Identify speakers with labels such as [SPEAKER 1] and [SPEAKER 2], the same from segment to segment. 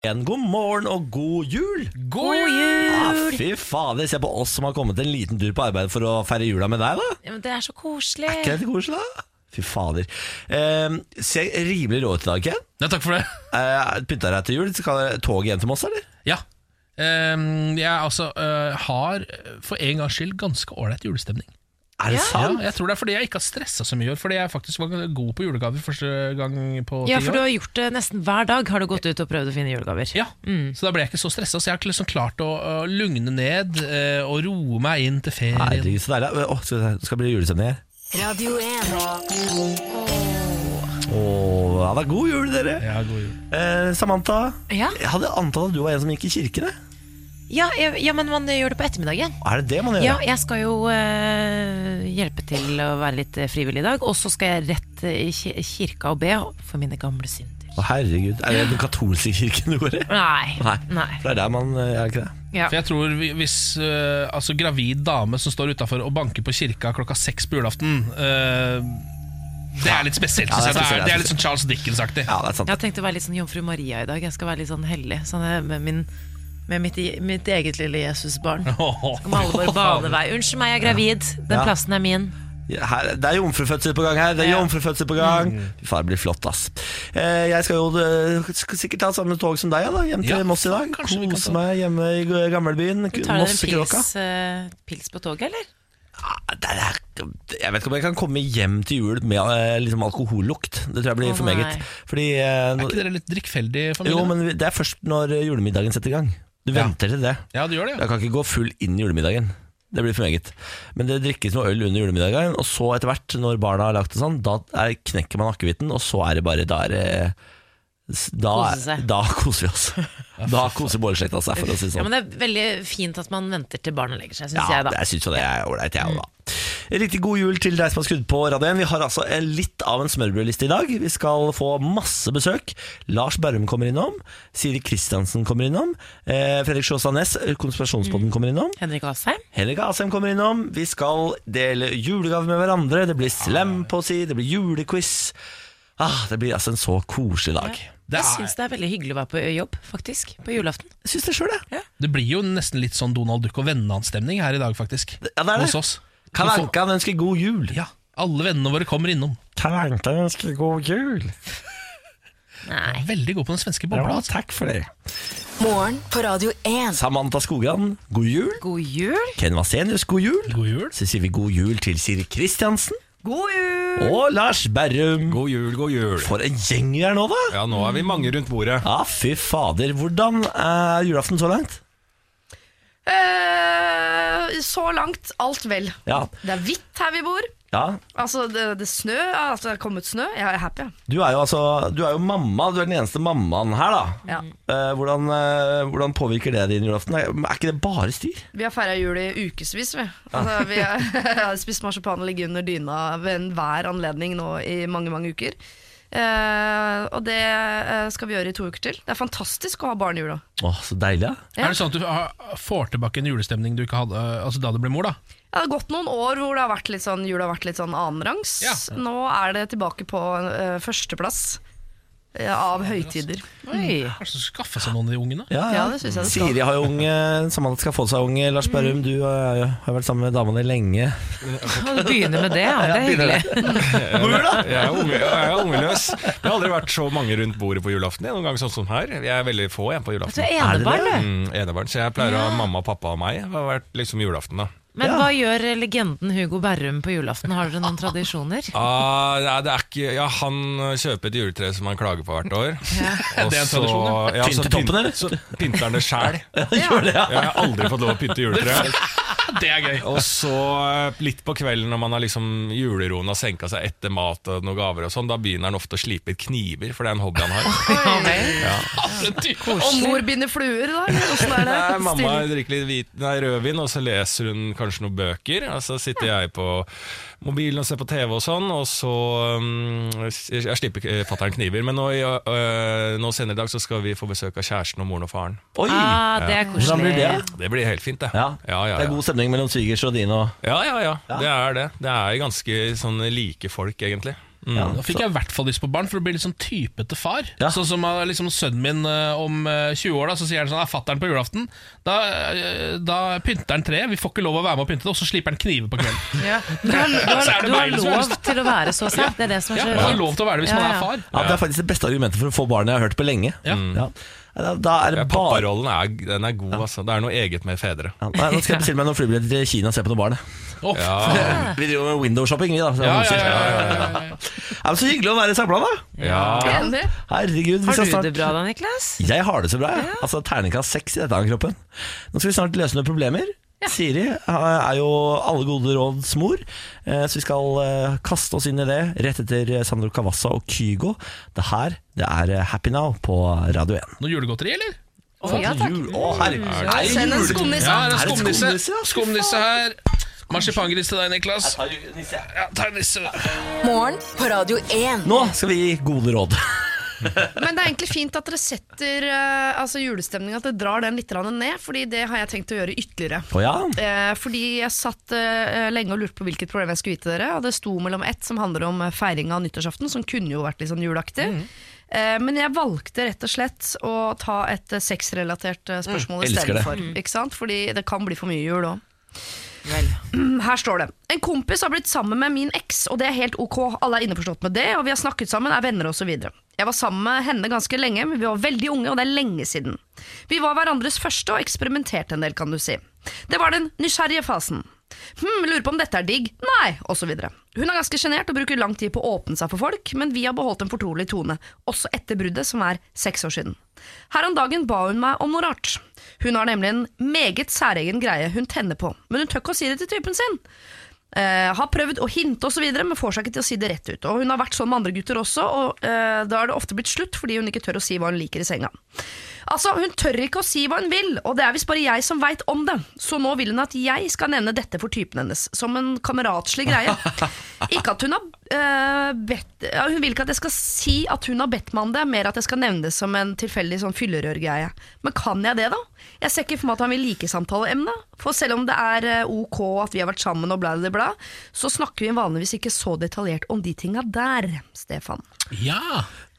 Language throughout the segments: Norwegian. [SPEAKER 1] En god morgen og god jul!
[SPEAKER 2] God jul!
[SPEAKER 1] Ah, fy fader, se på oss som har kommet en liten tur på arbeid for å feire jula med deg, da.
[SPEAKER 2] Ja, men det er så koselig.
[SPEAKER 1] Er ikke det koselig, da? Fy fader. Eh, ser rimelig rå ut i dag, Ken.
[SPEAKER 3] Ja, takk for det.
[SPEAKER 1] Eh, Pynta deg til jul. Skal dere toget hjem til Moss, eller?
[SPEAKER 3] Ja. Ehm, jeg altså eh, har for en gangs skyld ganske ålreit julestemning.
[SPEAKER 1] Er det
[SPEAKER 3] Ja,
[SPEAKER 1] sant?
[SPEAKER 3] jeg tror det er fordi jeg ikke har stressa så mye i år. Fordi jeg faktisk var god på julegaver første gang på ti
[SPEAKER 2] Ja, for du
[SPEAKER 3] år.
[SPEAKER 2] har gjort det nesten hver dag. Har du gått ut og prøvd å finne julegaver? Mm.
[SPEAKER 3] Ja, Så da ble jeg ikke så stressa. Så jeg har liksom klart å, å lugne ned eh, og roe meg inn til ferien.
[SPEAKER 1] Herregud, så deilig. Eh, Åh, skal det skal bli julestemning her.
[SPEAKER 4] Radio 1.
[SPEAKER 1] Åh, ja, det er god jul, dere.
[SPEAKER 3] Ja, god jul.
[SPEAKER 1] Eh, Samantha,
[SPEAKER 2] Ja.
[SPEAKER 1] jeg hadde antatt at du var en som gikk i kirken. jeg.
[SPEAKER 2] Ja, jeg- ja, men man gjør det på ettermiddagen.
[SPEAKER 1] Er det det man gjør?
[SPEAKER 2] Ja, jeg skal jo eh, hjelpe til å være litt eh, frivillig i dag. Og så skal jeg rett eh, i ki- kirka og be for mine gamle synder.
[SPEAKER 1] Å, herregud. Er det den katolske kirken du går i?
[SPEAKER 2] Nei.
[SPEAKER 1] Nei.
[SPEAKER 2] Nei.
[SPEAKER 1] For det er der man eh, Er det ikke det?
[SPEAKER 2] Ja.
[SPEAKER 3] For jeg tror vi- hvis eh, altså gravid dame som står utafor og banker på kirka klokka seks på julaften eh, Det er litt spesielt.
[SPEAKER 1] Ja, det er
[SPEAKER 3] synes jeg. det,
[SPEAKER 1] spesielt,
[SPEAKER 3] er, det er litt sånn Charles Dickens-aktig.
[SPEAKER 1] Ja, det er sant.
[SPEAKER 2] Jeg har tenkt å være litt sånn Jomfru Maria i dag. Jeg skal være litt sånn hellig. Sånn eh, med, min, med mitt, i- mitt eget lille Jesusbarn. Om alle våre banevei. Unnskyld meg, jeg er gravid. Den
[SPEAKER 1] Ja.
[SPEAKER 2] plassen er min.
[SPEAKER 1] her, det er jomfrufødsel på gang her. Det er
[SPEAKER 2] Ja.
[SPEAKER 1] jomfrufødsel på gang.
[SPEAKER 3] Mm.
[SPEAKER 1] Fy faen, det blir flott, ass. Eh, jeg skal jo eh, skal sikkert ta samme tog som deg ja, da, hjem til
[SPEAKER 3] Ja,
[SPEAKER 1] Moss i dag.
[SPEAKER 3] kanskje vi kan
[SPEAKER 1] Kose
[SPEAKER 3] ta-
[SPEAKER 1] meg hjemme i g- gamlebyen.
[SPEAKER 2] Du
[SPEAKER 1] k-
[SPEAKER 2] tar deg en
[SPEAKER 1] Mossekråka.
[SPEAKER 2] pils, eh, pils på toget, eller?
[SPEAKER 1] Ah, det er- Jeg vet ikke om jeg kan komme hjem til jul med eh, liksom alkohollukt. Det tror jeg blir
[SPEAKER 2] Å,
[SPEAKER 1] for
[SPEAKER 2] nei.
[SPEAKER 1] meget. Fordi eh,
[SPEAKER 3] Er
[SPEAKER 1] nå-
[SPEAKER 3] ikke dere litt drikkfeldig familie?
[SPEAKER 1] Jo, men vi- det er først når eh, julemiddagen setter i gang. Du
[SPEAKER 3] Ja.
[SPEAKER 1] venter til det.
[SPEAKER 3] Ja, du gjør det, ja.
[SPEAKER 1] Jeg kan ikke gå full inn i julemiddagen. Det blir for meget. Men det drikkes noe øl under julemiddagen, og så etter hvert, når barna har lagt det sånn, da er, knekker man akevitten, og så er det bare Da er det da,
[SPEAKER 2] Kose seg.
[SPEAKER 1] da koser vi oss. Da koser bålslekta seg, for å si det
[SPEAKER 2] Ja, men
[SPEAKER 1] sånn.
[SPEAKER 2] Det er veldig fint at man venter til barna legger seg, syns
[SPEAKER 1] Ja,
[SPEAKER 2] jeg. da
[SPEAKER 1] jeg Mm. syns jo det er ålreit, jeg òg, da. Riktig god jul til deg som har skrudd på radioen. Vi har altså en- litt av en smørbrødliste i dag. Vi skal få masse besøk. Lars Berrum kommer innom. Siri Kristiansen kommer innom. Eh, Fredrik Sjåstad Næss, Konspirasjonspodden, kommer innom.
[SPEAKER 2] Henrik Asheim.
[SPEAKER 1] Henrik Asheim kommer innom. Vi skal dele julegaver med hverandre. Det blir slam på si, det blir julequiz. Ah, det blir altså en så koselig dag.
[SPEAKER 3] Det
[SPEAKER 2] Jeg
[SPEAKER 3] er-
[SPEAKER 2] syns det er veldig hyggelig å være på jobb, faktisk. På julaften.
[SPEAKER 1] Jeg syns det sjøl, jeg.
[SPEAKER 3] Det blir jo nesten litt sånn Donald Duck og vennene hans stemning her i dag, faktisk.
[SPEAKER 1] Ja, det er
[SPEAKER 3] Hos
[SPEAKER 1] det.
[SPEAKER 3] oss. Du får-
[SPEAKER 1] Kalankan ønsker god jul.
[SPEAKER 3] Ja, alle vennene våre kommer innom.
[SPEAKER 1] Kalankan ønsker god jul.
[SPEAKER 2] Nei.
[SPEAKER 3] Veldig god på den svenske bobla. altså.
[SPEAKER 1] takk for det.
[SPEAKER 4] Morgen på Radio 1.
[SPEAKER 1] Samantha Skogran, god jul.
[SPEAKER 2] God jul.
[SPEAKER 1] Ken Vasenius, god jul.
[SPEAKER 3] God jul.
[SPEAKER 1] Så sier vi god jul til Siri Kristiansen.
[SPEAKER 2] God jul!
[SPEAKER 1] Og Lars Berrum.
[SPEAKER 5] God jul, god jul.
[SPEAKER 1] For en gjeng vi er nå, da.
[SPEAKER 5] Ja, nå er vi mange rundt bordet.
[SPEAKER 1] Ja, fy fader. Hvordan er julaften så langt?
[SPEAKER 6] Eh, så langt alt vel.
[SPEAKER 1] Ja,
[SPEAKER 6] Det er hvitt her vi bor.
[SPEAKER 1] ja
[SPEAKER 6] Altså, det, det snø, altså, det har kommet snø. Jeg er happy. ja.
[SPEAKER 1] Du er jo altså Du er jo mamma, du er den eneste mammaen her, da.
[SPEAKER 6] Ja.
[SPEAKER 1] Eh, hvordan, eh, hvordan påvirker det din julaften? Er, er ikke det bare styr?
[SPEAKER 6] Vi har feira jul i ukevis. Vi, altså, vi har har spist marsipan og ligget under dyna ved enhver anledning nå i mange mange uker. Eh, og det eh, skal vi gjøre i to uker til. Det er fantastisk å ha barn i jula.
[SPEAKER 1] Å, så deilig, ja.
[SPEAKER 6] Ja.
[SPEAKER 3] Er det sånn at du har- får tilbake en julestemning du ikke hadde eh, altså da du ble mor? da?
[SPEAKER 6] Det har gått noen år hvor det har vært litt sånn, jul har vært litt sånn annenrangs.
[SPEAKER 3] Ja.
[SPEAKER 6] Nå er det tilbake på eh, førsteplass eh, av høytider.
[SPEAKER 2] Oi.
[SPEAKER 3] Kanskje du skal skaffe seg noen av de ungene?
[SPEAKER 1] ja,
[SPEAKER 6] Ja, det synes jeg det skal.
[SPEAKER 1] Siri har jo unge, Samantha skal få seg unge. Lars Berrum, du eh, har vært sammen med dama di lenge.
[SPEAKER 2] Og du begynner med det, ja. Det er hyggelig.
[SPEAKER 5] Jeg er, unge, jeg er ungeløs. Det har aldri vært så mange rundt bordet på julaften. Jeg, noen ganger sånn som her. Jeg er veldig få jeg på
[SPEAKER 2] Du
[SPEAKER 5] julaften.
[SPEAKER 1] Er
[SPEAKER 2] er
[SPEAKER 1] det
[SPEAKER 2] enebarn,
[SPEAKER 1] det?
[SPEAKER 2] du.
[SPEAKER 5] Mm, enebarn, så jeg pleier å ha mamma, pappa og meg. Det har vært liksom julaften, da.
[SPEAKER 2] Men hva gjør legenden Hugo Berrum på julaften? Har dere noen tradisjoner?
[SPEAKER 5] Ah, nei, det er ikke, ja, han kjøper et juletre som han klager på hvert år. Og
[SPEAKER 3] Det er en
[SPEAKER 5] så-
[SPEAKER 3] tradisjon,
[SPEAKER 5] ja, så
[SPEAKER 1] Pynte toppen,
[SPEAKER 5] pynt-
[SPEAKER 1] eller?
[SPEAKER 5] Så pynter han det sjæl.
[SPEAKER 1] Gjør det, ja.
[SPEAKER 5] Jeg har aldri fått lov å pynte juletreet.
[SPEAKER 3] Det er gøy.
[SPEAKER 5] Og så eh, litt på kvelden når man har liksom juleroen har senka seg etter mat og noen gaver og sånn, da begynner han ofte å slipe ut kniver, for det er en hobby han har.
[SPEAKER 2] Ja, vel.
[SPEAKER 6] Og mor binder fluer, da? Eller åssen er det?
[SPEAKER 5] Nei, mamma
[SPEAKER 6] Stille.
[SPEAKER 5] drikker litt hvit, nei, rødvin, og så leser hun kanskje noen bøker. Og så sitter jeg på mobilen og ser på TV og sånn, og så mm, Jeg slipper eh, fatter'n kniver. Men nå, i, eh, nå senere i dag så skal vi få besøk av kjæresten og moren og faren.
[SPEAKER 1] Oi!
[SPEAKER 2] Ah, det er
[SPEAKER 1] Hvordan
[SPEAKER 2] koselig.
[SPEAKER 1] blir det?
[SPEAKER 5] Det blir helt fint, det.
[SPEAKER 1] Ja.
[SPEAKER 5] ja, ja,
[SPEAKER 1] Det er
[SPEAKER 5] ja.
[SPEAKER 1] god stemning mellom svigers og din og
[SPEAKER 5] Ja, ja, ja, Det er det. Det er ganske sånn like folk, egentlig.
[SPEAKER 1] Ja,
[SPEAKER 3] Da fikk
[SPEAKER 1] så-
[SPEAKER 3] jeg i hvert fall lyst på barn, for å bli litt sånn typete far.
[SPEAKER 1] Ja.
[SPEAKER 3] Sånn som eh, liksom, sønnen min eh, om eh, 20 år, da, så sier han sånn 'Er fatter'n på julaften?' Da, eh, da pynter han treet, vi får ikke lov å være med og pynte det, og så sliper han kniver på kvelden.
[SPEAKER 2] Ja. Du, har, du,
[SPEAKER 3] Så er
[SPEAKER 2] har,
[SPEAKER 3] det
[SPEAKER 2] du har
[SPEAKER 3] meg som har
[SPEAKER 2] lov
[SPEAKER 3] lyst.
[SPEAKER 2] til å være så sær. Det er det som er
[SPEAKER 3] Ja,
[SPEAKER 2] så
[SPEAKER 3] man har lov til å være det hvis man
[SPEAKER 2] Ja,
[SPEAKER 3] er
[SPEAKER 2] ja.
[SPEAKER 3] far.
[SPEAKER 1] Ja, Det er faktisk det beste argumentet for å få barn jeg har hørt på lenge.
[SPEAKER 3] Ja.
[SPEAKER 1] Ja. Da- Da er
[SPEAKER 5] Ja,
[SPEAKER 1] det bare
[SPEAKER 5] Papparollen er, den er god, altså. Det er noe eget med fedre.
[SPEAKER 1] ja, nei, Nå skal jeg bestille meg noen flybilletter til Kina og se på noen barn. jeg.
[SPEAKER 3] Åh,
[SPEAKER 5] Ja,
[SPEAKER 1] Vi driver med window-shopping, vi, da. så-
[SPEAKER 3] ja, ja, ja, ja, ja, ja.
[SPEAKER 1] Ja, men så hyggelig å være samla, da.
[SPEAKER 5] ja.
[SPEAKER 6] Enig.
[SPEAKER 1] Herregud, vi
[SPEAKER 2] Har
[SPEAKER 1] skal
[SPEAKER 2] du
[SPEAKER 1] snart
[SPEAKER 2] det bra da, Niklas?
[SPEAKER 1] Jeg har det så bra, jeg. Altså terningkast seks i dette av kroppen. Nå skal vi snart løse noen problemer. Siri eh, er jo alle gode råds mor, eh, så vi skal eh, kaste oss inn i det rett etter eh, Sandro Cavazza og Kygo. Det her det er eh, Happy Now på Radio 1.
[SPEAKER 3] Noe julegodteri, eller?
[SPEAKER 2] Å, ja, takk.
[SPEAKER 1] Jul. Å, herregud. Er det
[SPEAKER 6] Mm. Send en
[SPEAKER 1] jul?
[SPEAKER 6] skumnisse.
[SPEAKER 3] Ja, det
[SPEAKER 1] Er
[SPEAKER 3] er
[SPEAKER 1] det
[SPEAKER 3] skumnisse.
[SPEAKER 1] skumnisse, ja?
[SPEAKER 3] Skumnisse her. Marsipangris til deg, Niklas.
[SPEAKER 1] Tar du nisse?
[SPEAKER 3] Ja, ta en nisse.
[SPEAKER 4] Morgen på Radio 1.
[SPEAKER 1] Nå skal vi gi gode råd.
[SPEAKER 6] Men det er egentlig fint at dere setter eh, altså julestemninga, at dere drar den litt grann ned, Fordi det har jeg tenkt å gjøre ytterligere.
[SPEAKER 1] Å ja.
[SPEAKER 6] Eh, fordi jeg satt eh, lenge og lurte på hvilket problem jeg skulle gi til dere, og det sto mellom ett som handler om eh, feiring av nyttårsaften, som kunne jo vært litt sånn julaktig.
[SPEAKER 1] Mm.
[SPEAKER 6] Eh, men jeg valgte rett og slett å ta et eh, sexrelatert eh, spørsmål
[SPEAKER 1] Mm. elsker det.
[SPEAKER 6] istedenfor. Ikke sant? Fordi det kan bli for mye jul òg.
[SPEAKER 2] Vel.
[SPEAKER 6] Her står det En kompis har blitt sammen med min eks, og det er helt ok. Alle er innforstått med det, og vi har snakket sammen, er venner osv. Jeg var sammen med henne ganske lenge, men vi var veldig unge, og det er lenge siden. Vi var hverandres første og eksperimenterte en del, kan du si. Det var den nysgjerrige fasen. Hm, lurer på om dette er digg? Nei, osv. Hun er ganske sjenert og bruker lang tid på å åpne seg for folk, men vi har beholdt en fortrolig tone, også etter bruddet, som er seks år siden. Her om dagen ba hun meg om noe rart. Hun har nemlig en meget særegen greie hun tenner på, men hun tør ikke å si det til typen sin. Eh, har prøvd å hinte osv., men får seg ikke til å si det rett ut. Og Hun har vært sånn med andre gutter også, og eh, da er det ofte blitt slutt fordi hun ikke tør å si hva hun liker i senga. Altså, Hun tør ikke å si hva hun vil, og det er visst bare jeg som veit om det. Så nå vil hun at jeg skal nevne dette for typen hennes, som en kameratslig greie. Ikke at hun har eh, bedt ja, Hun vil ikke at jeg skal si at hun har bedt meg om det, mer at jeg skal nevne det som en tilfeldig sånn fyllerørgreie. Men kan jeg det, da? Jeg ser ikke for meg at han vil like samtaleemnet. For selv om det er eh, ok at vi har vært sammen og bla, bla, bla, så snakker vi vanligvis ikke så detaljert om de tinga der, Stefan.
[SPEAKER 3] Ja.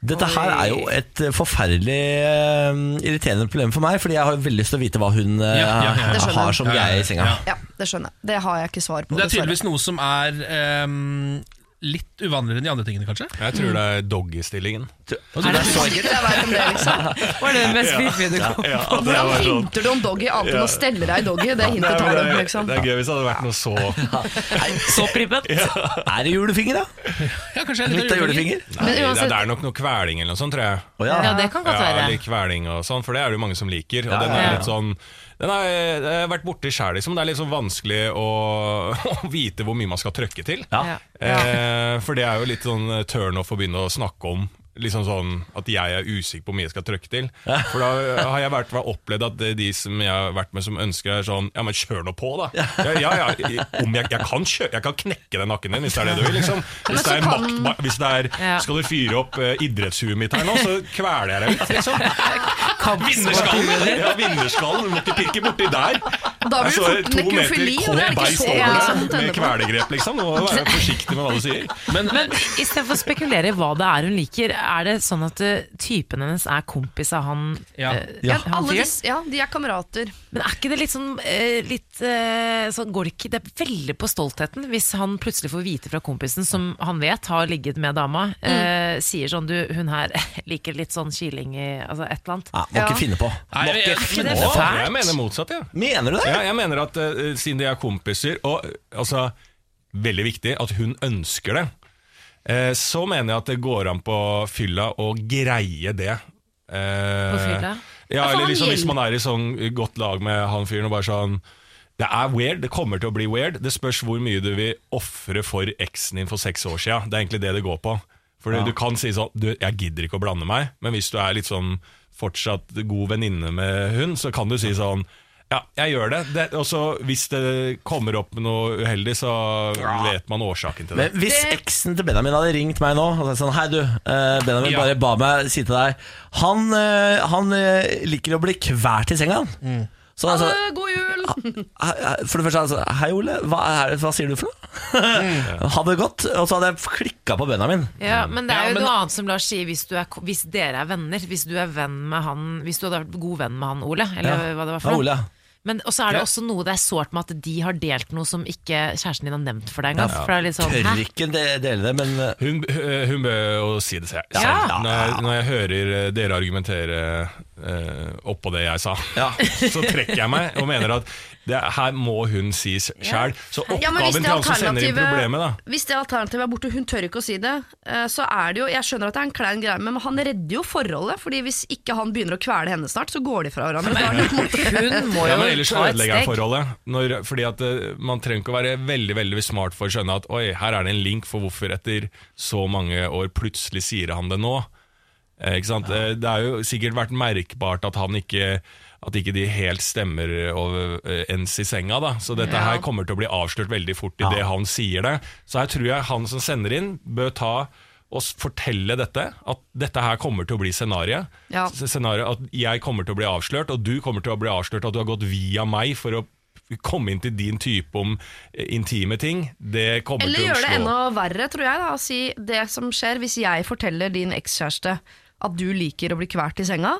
[SPEAKER 1] Dette her er jo et eh, forferdelig eh, irriterende problem for meg, fordi jeg har veldig lyst til å vite hva hun eh,
[SPEAKER 3] Ja, ja, ja.
[SPEAKER 6] Det skjønner
[SPEAKER 1] har
[SPEAKER 6] jeg.
[SPEAKER 1] som
[SPEAKER 3] Ja, ja,
[SPEAKER 1] greie
[SPEAKER 3] ja.
[SPEAKER 1] i senga.
[SPEAKER 3] Ja.
[SPEAKER 6] Ja, det skjønner jeg. Det har jeg ikke svar på.
[SPEAKER 3] Det er
[SPEAKER 6] dessverre.
[SPEAKER 3] tydeligvis noe som er ehm, litt uvanligere enn de andre tingene, kanskje?
[SPEAKER 5] Jeg tror det er doggystillingen.
[SPEAKER 2] Er det så
[SPEAKER 6] Jeg vet om det, liksom.
[SPEAKER 2] Var det den mest fiffige du kom på?
[SPEAKER 6] Hvordan hinter du om doggy annet enn å stelle deg i doggy? Det hintet tar du, liksom.
[SPEAKER 5] sånn- Det er gøy hvis det hadde vært noe så
[SPEAKER 2] Så prippet?
[SPEAKER 1] Er det julefinger, da?
[SPEAKER 3] Ja, kanskje litt
[SPEAKER 1] Litt av julefinger?
[SPEAKER 5] Nei, det
[SPEAKER 6] uansett-
[SPEAKER 5] det er nok noe kveling eller noe sånt, tror jeg.
[SPEAKER 1] Å
[SPEAKER 2] Ja, det kan godt
[SPEAKER 5] Ja,
[SPEAKER 2] være.
[SPEAKER 5] litt kveling og sånn, for det er det jo mange som liker. Og den
[SPEAKER 1] ja, ja.
[SPEAKER 5] er litt sånn Den har jeg jeg har vært borti sjæl, liksom. Det er litt sånn vanskelig å, å vite hvor mye man skal trøkke til.
[SPEAKER 1] Ja.
[SPEAKER 5] Eh, for det er jo litt sånn turnoff å begynne å snakke om. Liksom sånn At jeg er usikker på hvor mye jeg skal trykke til. For da har jeg vært, opplevd at det er de som jeg har vært med som ønsker, er sånn Ja, men kjør nå på, da! Ja, ja, ja i- om jeg, jeg, kan kjø jeg kan knekke den nakken din, hvis det er det du vil, liksom. Hvis det er makt, ba- hvis det er
[SPEAKER 2] Ja.
[SPEAKER 5] Skal du fyre opp eh, idrettshuet mitt her nå, så kveler jeg deg litt, liksom. Vinnerskallen! Ja, vinnerskallen! Du må ikke pirke borti der. Jeg
[SPEAKER 6] Da blir det
[SPEAKER 5] så
[SPEAKER 6] fort
[SPEAKER 5] to
[SPEAKER 6] nekrofili,
[SPEAKER 5] meter
[SPEAKER 6] og det er
[SPEAKER 5] kåt
[SPEAKER 6] ikke
[SPEAKER 5] beist
[SPEAKER 6] så
[SPEAKER 5] over
[SPEAKER 6] ja, sånn
[SPEAKER 5] deg med kvelergrep, liksom. Du må være forsiktig med hva du sier.
[SPEAKER 2] Men istedenfor å spekulere i hva det er hun liker, er det sånn at eh, typen hennes er kompis av han
[SPEAKER 3] Ja.
[SPEAKER 2] eh,
[SPEAKER 6] Ja,
[SPEAKER 2] han
[SPEAKER 6] alle
[SPEAKER 2] fyren?
[SPEAKER 6] disse, ja, de er kamerater.
[SPEAKER 2] Men er ikke det litt sånn, eh, litt, eh, sånn Går det ikke det er veldig på stoltheten hvis han plutselig får vite fra kompisen, som han vet har ligget med dama,
[SPEAKER 6] Mm.
[SPEAKER 2] eh, sier sånn du, hun her liker litt sånn kiling i altså et eller annet.
[SPEAKER 1] Ja, må ikke finne på. Må
[SPEAKER 3] Nei,
[SPEAKER 1] ikke
[SPEAKER 3] men-
[SPEAKER 1] finne
[SPEAKER 2] det er
[SPEAKER 1] på.
[SPEAKER 2] fælt.
[SPEAKER 5] Jeg mener motsatt, ja.
[SPEAKER 1] Mener du det?
[SPEAKER 5] ja. Jeg mener at eh, siden de er kompiser, og eh, altså Veldig viktig at hun ønsker det. Eh, så mener jeg at det går an på fylla å greie det. Eh,
[SPEAKER 2] På fylla?
[SPEAKER 5] Ja,
[SPEAKER 2] for han
[SPEAKER 5] eller liksom hvis
[SPEAKER 2] hjelper.
[SPEAKER 5] man er i sånn godt lag med han fyren og bare sånn det er weird, det kommer til å bli weird. Det spørs hvor mye du vil ofre for eksen din for seks år siden. Det er egentlig det det går på. For du kan si sånn du, 'Jeg gidder ikke å blande meg', men hvis du er litt sånn fortsatt god venninne med hun, så kan du si sånn ja, jeg gjør det. det og så hvis det kommer opp med noe uheldig, så vet man årsaken til det.
[SPEAKER 1] Men hvis eksen til Benjamin hadde ringt meg nå og sagt sånn Hei, du. eh, Benjamin
[SPEAKER 3] Ja.
[SPEAKER 1] bare
[SPEAKER 3] Mm.
[SPEAKER 1] ba meg si til deg Han, eh, han eh, liker å bli kvært i senga. han. Så
[SPEAKER 6] Ha
[SPEAKER 1] altså,
[SPEAKER 6] det, god jul!
[SPEAKER 5] Ah,
[SPEAKER 1] Hei- hei- For det første, altså, hei Ole, hva, er, hva sier du for
[SPEAKER 3] Mm.
[SPEAKER 1] noe? ha det godt. Og så hadde jeg klikka på Benjamin.
[SPEAKER 2] Ja, men det er
[SPEAKER 3] Ja,
[SPEAKER 2] jo
[SPEAKER 3] men-
[SPEAKER 2] noe annet som Lars sier hvis, du er, ko- hvis dere er venner. Hvis du er venn med han Hvis du hadde vært god venn med han Ole, eller
[SPEAKER 1] Ja.
[SPEAKER 2] hva det
[SPEAKER 1] Ja,
[SPEAKER 2] var for noe.
[SPEAKER 1] Ole.
[SPEAKER 2] Men også er det
[SPEAKER 3] Ja.
[SPEAKER 2] også noe det er sårt med at de har delt noe som ikke kjæresten din har nevnt for deg engang. For det er litt sånn,
[SPEAKER 1] Tør
[SPEAKER 2] hæ?
[SPEAKER 1] ikke de- dele det, men eh,
[SPEAKER 5] Hun, øh, hun bør jo si det selv.
[SPEAKER 2] Ja.
[SPEAKER 5] selv. Når, jeg, når jeg hører øh, dere argumentere øh, oppå det jeg sa,
[SPEAKER 1] Ja.
[SPEAKER 5] så trekker jeg meg og mener at det, her må hun si sjæl. Så
[SPEAKER 6] Ja, men
[SPEAKER 5] oppgaven
[SPEAKER 6] hvis det,
[SPEAKER 5] til han som sender inn problemet, da
[SPEAKER 6] alternativet, hvis det alternativet er borte, hun tør ikke å si det, eh, så er det jo Jeg skjønner at det er en klein greie, men han redder jo forholdet. Fordi hvis ikke han begynner å kvele henne snart, så går de fra hverandre. Da er det på en måte-
[SPEAKER 2] Hun må
[SPEAKER 5] Ja,
[SPEAKER 2] jo
[SPEAKER 5] men ellers
[SPEAKER 2] ta et
[SPEAKER 5] ødelegger jeg
[SPEAKER 2] steg.
[SPEAKER 5] forholdet. Når, fordi at eh, Man trenger ikke å være veldig veldig smart for å skjønne at Oi, her er det en link for hvorfor etter så mange år plutselig sier han det nå. Eh, ikke sant? Eh, Det har jo sikkert vært merkbart at han ikke at ikke de helt stemmer over, eh, ens i senga. da Så dette her kommer til å bli avslørt veldig fort idet det han sier det. Så her tror jeg han som sender inn, bør ta og s- fortelle dette. At dette her kommer til å bli scenarioet
[SPEAKER 6] Ja.
[SPEAKER 5] s- scenario at jeg kommer til å bli avslørt, og du kommer til å bli avslørt at du har gått via meg for å komme inn til din type om eh, intime ting, det kommer
[SPEAKER 6] Eller
[SPEAKER 5] til å
[SPEAKER 6] gjør
[SPEAKER 5] slå.
[SPEAKER 6] det enda verre, tror jeg, da, å si det som skjer hvis jeg forteller din ekskjæreste at du liker å bli kvalt i senga.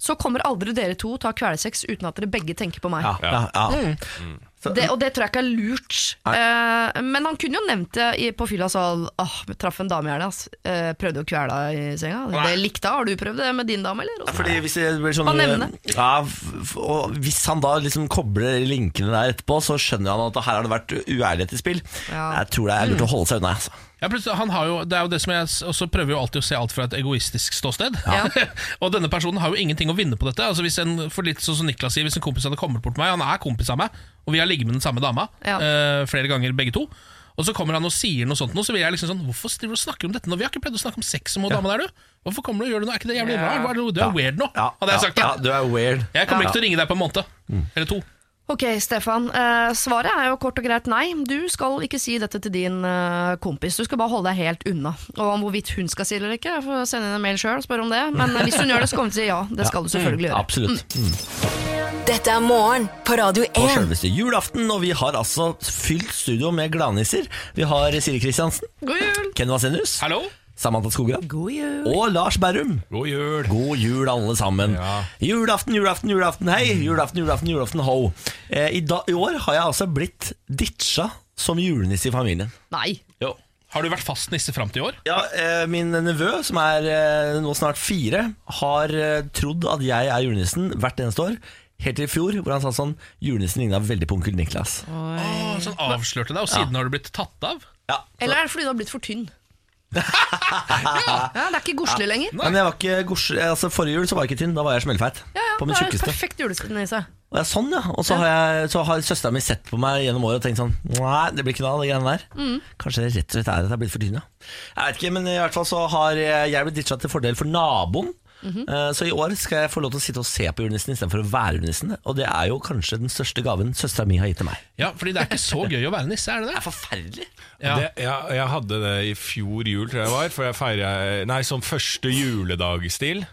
[SPEAKER 6] Så kommer aldri dere to ta kvelesex uten at dere begge tenker på meg.
[SPEAKER 1] ja, ja, ja.
[SPEAKER 2] Mm.
[SPEAKER 1] Mm.
[SPEAKER 6] Det, og det tror jeg ikke er lurt. Eh, men han kunne jo nevnt det i, på fylla. Så, åh, traff en dame gjerne. Ass. Eh, prøvde å kvele deg i senga. Det likte jeg. Har du prøvd det med din dame, eller? Og så-
[SPEAKER 1] Fordi hvis det blir sånn
[SPEAKER 6] Bare nevne.
[SPEAKER 1] ja, f- Og hvis han da liksom kobler linkene der etterpå, så skjønner han at her har det vært uærlighet i spill.
[SPEAKER 6] Ja.
[SPEAKER 1] Jeg tror det er lurt å holde seg unna. Altså.
[SPEAKER 3] Ja, plutselig, han har jo, det er jo det som jeg s- også prøver jo alltid å se alt fra et egoistisk ståsted. og denne personen har jo ingenting å vinne på dette. Altså hvis en, for litt sånn som Niklas sier, hvis en kompis hadde kommet bort til meg, han er kompis av meg, og vi har ligget med den samme dama
[SPEAKER 6] Ja.
[SPEAKER 3] eh, flere ganger begge to, og så kommer han og sier noe sånt, nå, så vil jeg liksom sånn Hvorfor driver du og snakker om dette nå? Vi har ikke pleid å snakke om sex med hun dama der, du. Hvorfor kommer du og gjør det nå? Er ikke det jævlig rart? Hva er det- Du er weird nå,
[SPEAKER 1] Ja,
[SPEAKER 3] hadde jeg
[SPEAKER 1] ja,
[SPEAKER 3] sagt.
[SPEAKER 1] ja, du er weird. Mm.
[SPEAKER 3] Jeg kommer ikke til å ringe deg på en måned. Eller to.
[SPEAKER 6] Ok, Stefan. eh, svaret er jo kort og greit nei. Du skal ikke si dette til din eh, kompis. Du skal bare holde deg helt unna. Og om hvorvidt hun skal si det eller ikke, jeg får sende henne en mail sjøl og spørre om det. Men eh, hvis hun gjør det, så kommer hun til å si ja. Det skal du selvfølgelig
[SPEAKER 1] Mm.
[SPEAKER 6] gjøre. Mm.
[SPEAKER 1] Absolutt.
[SPEAKER 4] Dette er morgen på Radio
[SPEAKER 1] På
[SPEAKER 4] 1.
[SPEAKER 1] selveste julaften, og vi har altså fylt studio med gladnisser. Vi har Siri Kristiansen,
[SPEAKER 6] God jul!
[SPEAKER 1] Ken Vasenius,
[SPEAKER 3] Hallo?
[SPEAKER 1] Samantha Skogran
[SPEAKER 2] God jul.
[SPEAKER 1] og Lars Berrum.
[SPEAKER 5] God jul!
[SPEAKER 1] God jul, alle sammen.
[SPEAKER 5] Ja.
[SPEAKER 1] Julaften, julaften, julaften, hei! Julaften, julaften, julaften, ho! Eh, i, da, I år har jeg altså blitt ditcha som julenisse i familien.
[SPEAKER 6] Nei.
[SPEAKER 3] Jo. Har du vært fast nisse fram til i år?
[SPEAKER 1] Ja, eh, Min nevø, som er eh, nå snart fire, har eh, trodd at jeg er julenissen hvert eneste år. Helt til i fjor, hvor han sa sånn Julenissen ligna veldig på onkel Niklas.
[SPEAKER 3] Åh, så han avslørte deg, og siden har du blitt tatt av?
[SPEAKER 1] Ja,
[SPEAKER 6] Eller er det fordi du har blitt for tynn? ja, ja, det er ikke godslig lenger.
[SPEAKER 1] Men jeg var ikke gors- altså Forrige jul så var jeg ikke tynn, da var jeg smellfeit.
[SPEAKER 6] Ja, ja,
[SPEAKER 1] på min
[SPEAKER 6] det er
[SPEAKER 1] tjukkeste.
[SPEAKER 6] perfekt juleskinise.
[SPEAKER 1] Og jeg, sånn, ja. Og så har, jeg- så har søstera mi sett på meg gjennom året og tenkt sånn Nei, det blir ikke noe av de greiene der.
[SPEAKER 6] Mm.
[SPEAKER 1] Kanskje det rett og slett er at jeg er blitt for tynn, ja. Jeg vet ikke, men i hvert fall så har jeg jeg blitt ditcha til fordel for naboen.
[SPEAKER 6] Mhm.
[SPEAKER 1] Eh, Så i år skal jeg få lov til å sitte og se på julenissen istedenfor å være julenissen. Og det er jo kanskje den største gaven søstera mi har gitt til meg.
[SPEAKER 3] Ja, fordi det er ikke så gøy å være nisse, er det det?
[SPEAKER 1] Forferdelig.
[SPEAKER 3] Ja.
[SPEAKER 5] Det, jeg, jeg hadde det i fjor jul, tror jeg det var. For jeg feira Nei, som første juledagstil.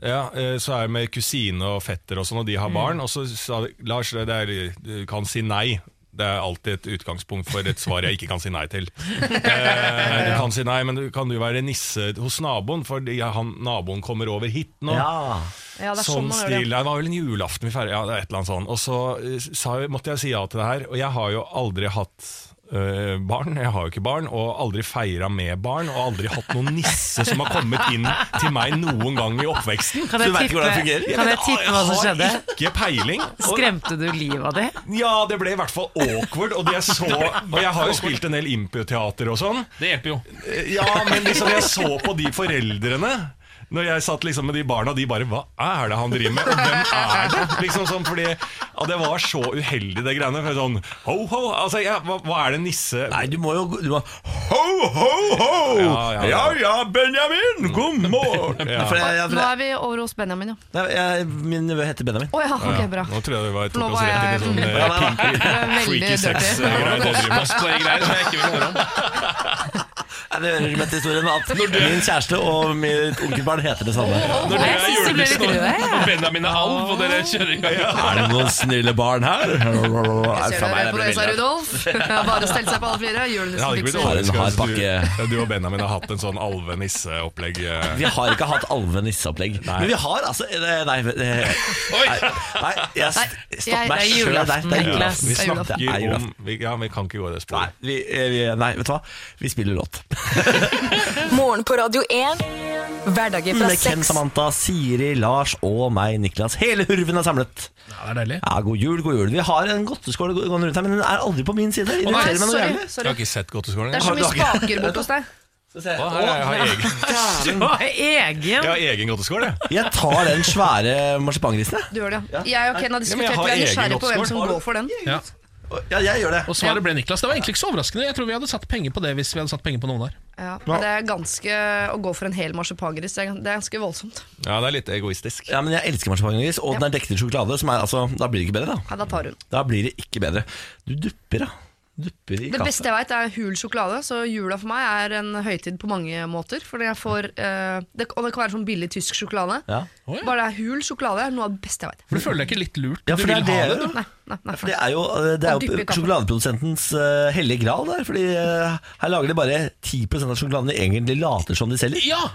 [SPEAKER 5] Ja, eh, så er jeg med kusine og fetter og sånn, og de har barn. Og så sa de, Lars det er, du kan si nei. Det er alltid et utgangspunkt for et svar jeg ikke kan si nei til. Eh, du kan si nei, men du kan jo være nisse hos naboen, for han, naboen kommer over hit nå.
[SPEAKER 1] Ja.
[SPEAKER 6] Ja, det er sånn
[SPEAKER 5] Sånn
[SPEAKER 6] man
[SPEAKER 5] stil,
[SPEAKER 6] gjør det.
[SPEAKER 5] Nei, det var vel en julaften vi feiret, ja, det er et eller annet sånn Og så eh, sa, jeg- måtte jeg si ja til det her Og jeg har jo aldri hatt eh, barn Jeg har jo ikke barn Og aldri feiret med barn Og aldri hatt noen nisse som har kommet inn til meg noen gang i oppveksten
[SPEAKER 2] Kan jeg
[SPEAKER 1] Du vet ikke hvordan det
[SPEAKER 2] tippe-
[SPEAKER 1] fungerer?
[SPEAKER 2] Kan jeg
[SPEAKER 5] Men,
[SPEAKER 2] tippe hva som skjedde?
[SPEAKER 5] Jeg har ikke peiling og,
[SPEAKER 2] Skremte du livet av det?
[SPEAKER 5] Ja, det ble i hvert fall awkward Og, det jeg så, og jeg har jo spilt en del impoteater og sånn
[SPEAKER 3] Det hjelper jo.
[SPEAKER 1] Eh,
[SPEAKER 5] ja, men liksom jeg så på de foreldrene når jeg satt liksom med de barna, de bare Hva er det han driver med? Og hvem er det? Liksom sånn, fordi ja, Det var så uheldig, det greiene. For sånn, ho, ho, altså, ja, hva, hva er det nisse
[SPEAKER 1] Nei, du må jo du må, Ho, ho, ho!
[SPEAKER 5] Ja, ja, ja.
[SPEAKER 1] Benjamin! God morgen!
[SPEAKER 5] Ja.
[SPEAKER 1] For jeg, jeg,
[SPEAKER 6] Nå er vi over hos Benjamin, ja.
[SPEAKER 1] jeg, jeg, min nevø heter Benjamin.
[SPEAKER 6] Å ja, ok, bra.
[SPEAKER 5] Nå trodde jeg vi var,
[SPEAKER 6] Nå
[SPEAKER 5] tok
[SPEAKER 6] var
[SPEAKER 5] oss rett inn i sånn
[SPEAKER 6] jeg-
[SPEAKER 1] Ja, nei,
[SPEAKER 5] eh,
[SPEAKER 1] nei.
[SPEAKER 5] freaky eh,
[SPEAKER 6] Veldig dirty.
[SPEAKER 5] sex-greier.
[SPEAKER 3] Postgreier som jeg ikke vil høre om.
[SPEAKER 1] Nei, Det hører med til historien at min kjæreste og mitt onkelbarn heter det samme.
[SPEAKER 3] Når dere
[SPEAKER 2] Jeg
[SPEAKER 3] er
[SPEAKER 2] synes det ble litt
[SPEAKER 3] julenissen og-
[SPEAKER 2] rød, jeg.
[SPEAKER 3] og Benjamin er alv, og dere kjører i gang
[SPEAKER 1] Er det noen snille barn her? Nei,
[SPEAKER 6] Ser
[SPEAKER 1] fra meg,
[SPEAKER 6] dere
[SPEAKER 1] det
[SPEAKER 6] på
[SPEAKER 1] ble
[SPEAKER 6] det, sa
[SPEAKER 1] billigere.
[SPEAKER 6] Rudolf? Bare stelt seg på alle fire.
[SPEAKER 5] Det hadde
[SPEAKER 6] liksom Julenissen
[SPEAKER 5] ikke blitt
[SPEAKER 6] fikser.
[SPEAKER 1] Har en hard
[SPEAKER 5] overraskende hvis
[SPEAKER 1] pakke.
[SPEAKER 5] du, du og Benjamin har hatt en sånn alve-nisse-opplegg. eh.
[SPEAKER 1] Vi har ikke hatt alve-nisseopplegg. Men vi har altså eh, Nei, eh,
[SPEAKER 3] Oi,
[SPEAKER 1] nei, nei jeg st- stopp meg
[SPEAKER 2] det er
[SPEAKER 1] sjøl der.
[SPEAKER 2] julaften,
[SPEAKER 1] Det er
[SPEAKER 2] Niklas.
[SPEAKER 1] julaften. Det er julaften. Det er
[SPEAKER 5] Vi snakker
[SPEAKER 1] julaften.
[SPEAKER 5] om vi, Ja, vi kan ikke gå i det
[SPEAKER 1] Nei,
[SPEAKER 5] sporet.
[SPEAKER 1] vi, eh, vi, nei, vet du hva? Vi spiller låt.
[SPEAKER 4] Morgen på Radio 1. Hverdager fra
[SPEAKER 1] Med Mm, Ken,
[SPEAKER 4] seks.
[SPEAKER 1] Samantha, Siri, Lars og meg, Niklas. Hele hurven er samlet.
[SPEAKER 3] ja, det er deilig
[SPEAKER 1] Ja, God jul, god jul. Vi har en godteskål gående rundt her, men den er aldri på min side.
[SPEAKER 6] Nei,
[SPEAKER 1] Inviterer meg noe
[SPEAKER 6] sorry,
[SPEAKER 1] jævlig.
[SPEAKER 5] Jeg har
[SPEAKER 6] sorry.
[SPEAKER 5] ikke sett Godteskålen
[SPEAKER 6] Det er
[SPEAKER 5] engang.
[SPEAKER 6] så mye spaker bort hos deg.
[SPEAKER 5] Å, her er- Jeg har egen,
[SPEAKER 1] Dæven.
[SPEAKER 2] Egen
[SPEAKER 5] jeg har egen godteskål, jeg.
[SPEAKER 1] Jeg tar den svære marsipangrisen, jeg.
[SPEAKER 6] Du gjør det, ja. Jeg og Ken har
[SPEAKER 5] men jeg
[SPEAKER 6] diskutert,
[SPEAKER 5] har
[SPEAKER 6] vi er
[SPEAKER 5] egen
[SPEAKER 6] nysgjerrige på hvem som
[SPEAKER 5] oppskål.
[SPEAKER 6] går for den.
[SPEAKER 3] ja.
[SPEAKER 1] Ja, jeg gjør det.
[SPEAKER 3] Og svaret ble Niklas, det var egentlig ikke så overraskende Jeg tror vi hadde satt penger på det hvis vi hadde satt penger på noen her
[SPEAKER 6] Ja, men det er ganske Å gå for en hel marsipangris, det er det er ganske voldsomt.
[SPEAKER 5] Ja, det er litt egoistisk.
[SPEAKER 1] Ja, men Jeg elsker marsipangrisen, og den er dekket i sjokolade. Som er, altså, da blir det ikke bedre, da.
[SPEAKER 6] Ja, da tar hun.
[SPEAKER 1] Da blir det ikke bedre. Du dupper, da. Dupper i
[SPEAKER 6] Det beste
[SPEAKER 1] kaffe.
[SPEAKER 6] jeg veit, er hul sjokolade. Så jula for meg er en høytid på mange måter. Fordi jeg får, eh, det, og det kan være sånn billig tysk sjokolade.
[SPEAKER 1] Ja.
[SPEAKER 3] Å, ja.
[SPEAKER 6] Bare det er hul sjokolade er noe av det beste jeg veit.
[SPEAKER 3] For du føler deg ikke litt lurt
[SPEAKER 1] Ja,
[SPEAKER 3] Du
[SPEAKER 1] for det er
[SPEAKER 3] vil ha
[SPEAKER 1] det,
[SPEAKER 3] det,
[SPEAKER 1] jo.
[SPEAKER 3] du
[SPEAKER 6] Nei, nei, nei.
[SPEAKER 1] Det er jo, eh, det er
[SPEAKER 6] Og dyppe
[SPEAKER 1] jo
[SPEAKER 6] i kaffe.
[SPEAKER 1] sjokoladeprodusentens eh, hellige gral der. Fordi eh, her lager de bare 10 av sjokoladen de egentlig later som de selger.
[SPEAKER 3] Ja,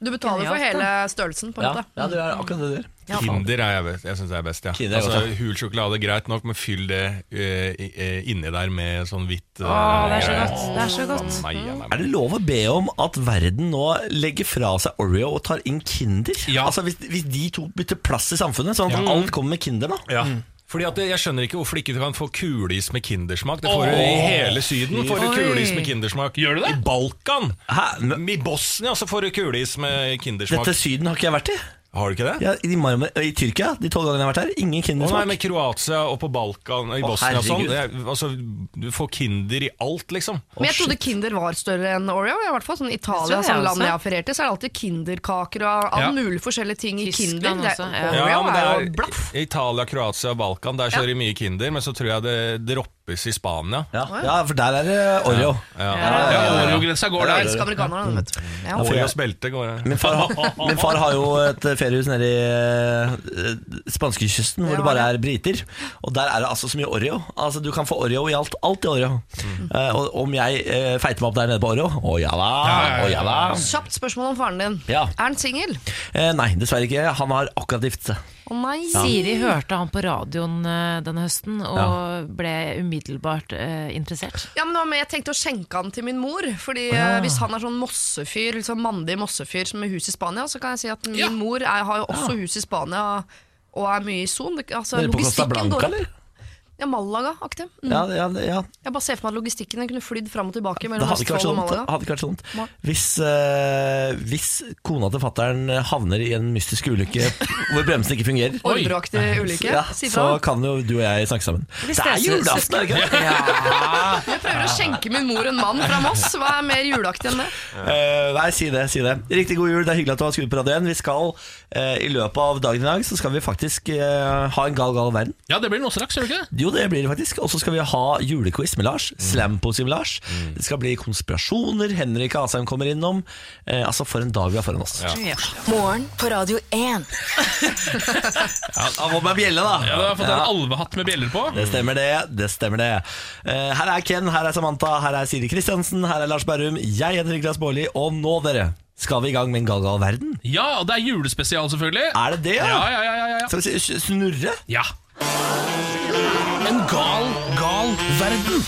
[SPEAKER 6] Du betaler for
[SPEAKER 2] Genialt,
[SPEAKER 6] hele størrelsen, på en
[SPEAKER 1] Ja,
[SPEAKER 6] måte.
[SPEAKER 1] ja det er akkurat det du gjør.
[SPEAKER 5] Kinder er jeg, best- jeg synes det er best, ja.
[SPEAKER 1] Kinder er
[SPEAKER 5] altså,
[SPEAKER 1] godt, ja.
[SPEAKER 5] hul sjokolade greit nok, men fyll det eh, i- eh, inni der med sånn hvitt
[SPEAKER 2] Å, det er så godt, det er så godt
[SPEAKER 5] Nei, nei, nei.
[SPEAKER 1] Er det lov å be om at verden nå legger fra seg Oreo og tar inn Kinder?
[SPEAKER 3] Ja.
[SPEAKER 1] Altså Hvis, hvis de to bytter plass i samfunnet, sånn at alt kommer med Kinder, da. Mm.
[SPEAKER 5] Ja. Fordi at eh, Jeg skjønner ikke hvorfor ikke du kan få kuleis med kindersmak. Det får du i hele Syden. får du
[SPEAKER 6] Oi.
[SPEAKER 5] kuleis med kindersmak
[SPEAKER 3] Gjør du det?
[SPEAKER 5] I Balkan!
[SPEAKER 1] Hæ? Men-
[SPEAKER 5] I Bosnia så får du kuleis med kindersmak.
[SPEAKER 1] Dette Syden har ikke jeg vært i.
[SPEAKER 5] Har du ikke det?
[SPEAKER 1] Ja, i, Marmar I Tyrkia, de tolv gangene jeg har vært her, ingen
[SPEAKER 5] Å nei, med
[SPEAKER 1] Kindersmak.
[SPEAKER 5] Kroatia og på Balkan og i
[SPEAKER 1] Å,
[SPEAKER 5] Bosnia og sånn.
[SPEAKER 1] herregud.
[SPEAKER 5] Det er, altså, du får Kinder i alt, liksom.
[SPEAKER 6] Men jeg trodde Kinder var større enn Oreo. I hvert fall sånn Italia,
[SPEAKER 2] Det tror jeg
[SPEAKER 6] sånn land
[SPEAKER 2] også.
[SPEAKER 6] jeg har feriert til, så er det alltid Kinderkaker og all
[SPEAKER 3] Ja.
[SPEAKER 6] mulig forskjellige ting i
[SPEAKER 2] Tyskland
[SPEAKER 6] Kinder. Det,
[SPEAKER 2] også, ja.
[SPEAKER 6] Oreo
[SPEAKER 5] men det
[SPEAKER 6] er
[SPEAKER 5] er-
[SPEAKER 6] jo blaff.
[SPEAKER 5] Italia, Kroatia og Balkan, der kjører de mye Kinder, men så tror jeg det droppes i Spania.
[SPEAKER 1] Ja. ja, for der er det Oreo.
[SPEAKER 5] Ja.
[SPEAKER 3] ja, Oreo-grensa går
[SPEAKER 6] Jeg
[SPEAKER 3] der
[SPEAKER 6] elsker amerikanerne, vet du. Ja.
[SPEAKER 5] Oreos belte går jeg.
[SPEAKER 1] Min far, har- min far har jo et feriehus nede i eh, spanskekysten hvor det bare er briter. Og der er det altså så mye Oreo. Altså Du kan få Oreo i alt. Alt i Oreo. Eh, og om jeg eh, feiter meg opp der nede på Oreo Å ja da,
[SPEAKER 3] Ja, ja, ja.
[SPEAKER 1] å ja da.
[SPEAKER 6] Kjapt spørsmål om faren din.
[SPEAKER 1] Ja.
[SPEAKER 6] Er han singel?
[SPEAKER 1] Eh, nei, dessverre ikke. Han har akkurat giftet seg.
[SPEAKER 2] Mm.
[SPEAKER 6] Å nei.
[SPEAKER 2] Siri hørte han på radioen eh, denne høsten og ble umiddelbart eh, interessert.
[SPEAKER 6] Ja, men det var med, Jeg tenkte å skjenke han til min mor. Fordi eh, Hvis han er sånn mossefyr, litt sånn mandig mossefyr som har hus i Spania, så kan jeg si at min
[SPEAKER 3] Ja.
[SPEAKER 6] mor er, har jo også hus i Spania og er mye i Son. Det- Altså,
[SPEAKER 1] Nede på Costa
[SPEAKER 6] logistikken
[SPEAKER 1] Blanca,
[SPEAKER 6] går opp.
[SPEAKER 1] eller?
[SPEAKER 6] Ja, Malaga-aktig. Mm.
[SPEAKER 1] Ja, ja, ja.
[SPEAKER 6] Jeg bare ser for meg at logistikken den kunne flydd fram og tilbake
[SPEAKER 1] Det
[SPEAKER 6] mellom
[SPEAKER 1] hadde ikke vært
[SPEAKER 6] Østfold og
[SPEAKER 1] sånn.
[SPEAKER 6] Malaga.
[SPEAKER 1] Hadde ikke vært sånn.
[SPEAKER 6] Nei.
[SPEAKER 1] Hvis, eh, hvis kona til fattern havner i en mystisk ulykke hvor bremsen ikke fungerer
[SPEAKER 6] Ordreaktig ulykke.
[SPEAKER 1] ja,
[SPEAKER 6] si
[SPEAKER 1] så
[SPEAKER 6] fra.
[SPEAKER 1] kan jo du og jeg snakke sammen. Det
[SPEAKER 2] Vi
[SPEAKER 1] er
[SPEAKER 2] ses,
[SPEAKER 1] julaften, er det ikke det?
[SPEAKER 6] Jeg prøver å skjenke min mor en mann fra Moss. Hva er mer juleaktig enn det?
[SPEAKER 1] Eh, nei, si det, si det. Riktig god jul, det er hyggelig at du har skrudd på radioen. Vi skal eh, I løpet av dagen i dag så skal vi faktisk eh, ha en gal, gal verden.
[SPEAKER 3] Ja, det blir noe straks, gjør det ikke Mm. det?
[SPEAKER 1] Jo, det blir det faktisk. Og så skal vi ha julequiz med Lars. Slampoesi med Lars.
[SPEAKER 3] Mm.
[SPEAKER 1] Det skal bli konspirasjoner. Henrik Asheim kommer innom. Eh, altså, for en dag vi har foran oss. Ja.
[SPEAKER 4] Morgen på Radio 1.
[SPEAKER 1] Han må med bjelle, da.
[SPEAKER 3] Ja, du har fått en
[SPEAKER 1] Ja.
[SPEAKER 3] alvehatt med bjeller på
[SPEAKER 1] Det stemmer det. det stemmer det Eh, Her er Ken, her er Samantha, her er Siri Kristiansen, her er Lars Berrum. Jeg heter Niklas Baarli, og nå, dere, skal vi i gang med en gal, gal verden.
[SPEAKER 3] Ja, og det er julespesial selvfølgelig
[SPEAKER 1] Er det det,
[SPEAKER 3] Ja, ja, ja, ja, ja.
[SPEAKER 1] Skal vi si snurre?
[SPEAKER 3] ja. En gal, gal verden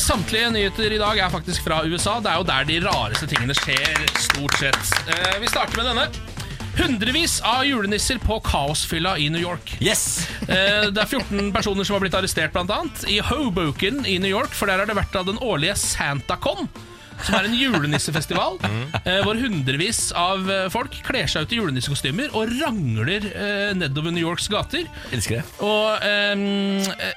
[SPEAKER 3] Samtlige nyheter i dag er faktisk fra USA Det er jo der de rareste tingene skjer Stort sett eh, Vi starter med denne Hundrevis av julenisser på kaosfylla i New York
[SPEAKER 1] Yes!
[SPEAKER 3] Eh, Det er 14 personer som har blitt arrestert blant annet I Hoboken i New York For der har det vært av den årlige SantaCon Som er en julenissefestival eh, Hvor hundrevis av eh, folk Kler seg ut i julenissekostymer Og rangler eh, nedover New Yorks gater
[SPEAKER 1] Elsker det.
[SPEAKER 3] Og em,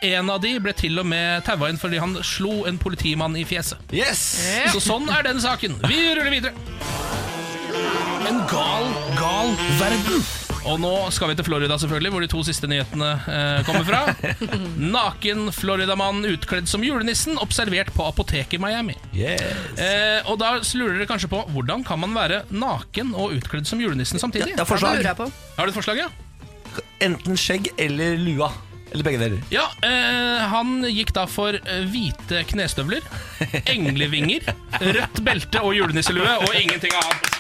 [SPEAKER 3] en av de ble til og med taua inn Fordi han slo en politimann i fjeset
[SPEAKER 1] Yes!
[SPEAKER 3] Så sånn er den saken Vi ruller videre En gal, gal verden Og nå skal vi til Florida, selvfølgelig, hvor de to siste nyhetene eh, kommer fra. Naken Floridamann utkledd som julenissen, observert på apoteket i Miami.
[SPEAKER 1] Yes.
[SPEAKER 3] Eh, og da lurer dere kanskje på hvordan kan man være naken og utkledd som julenissen samtidig?
[SPEAKER 1] Det er forslag.
[SPEAKER 6] lurer jeg på.
[SPEAKER 3] Har du et forslag, ja?
[SPEAKER 1] Enten skjegg eller lua. Eller begge deler.
[SPEAKER 3] Ja, eh, han gikk da for eh, hvite knestøvler, englevinger, rødt belte og julenisselue og ingenting annet.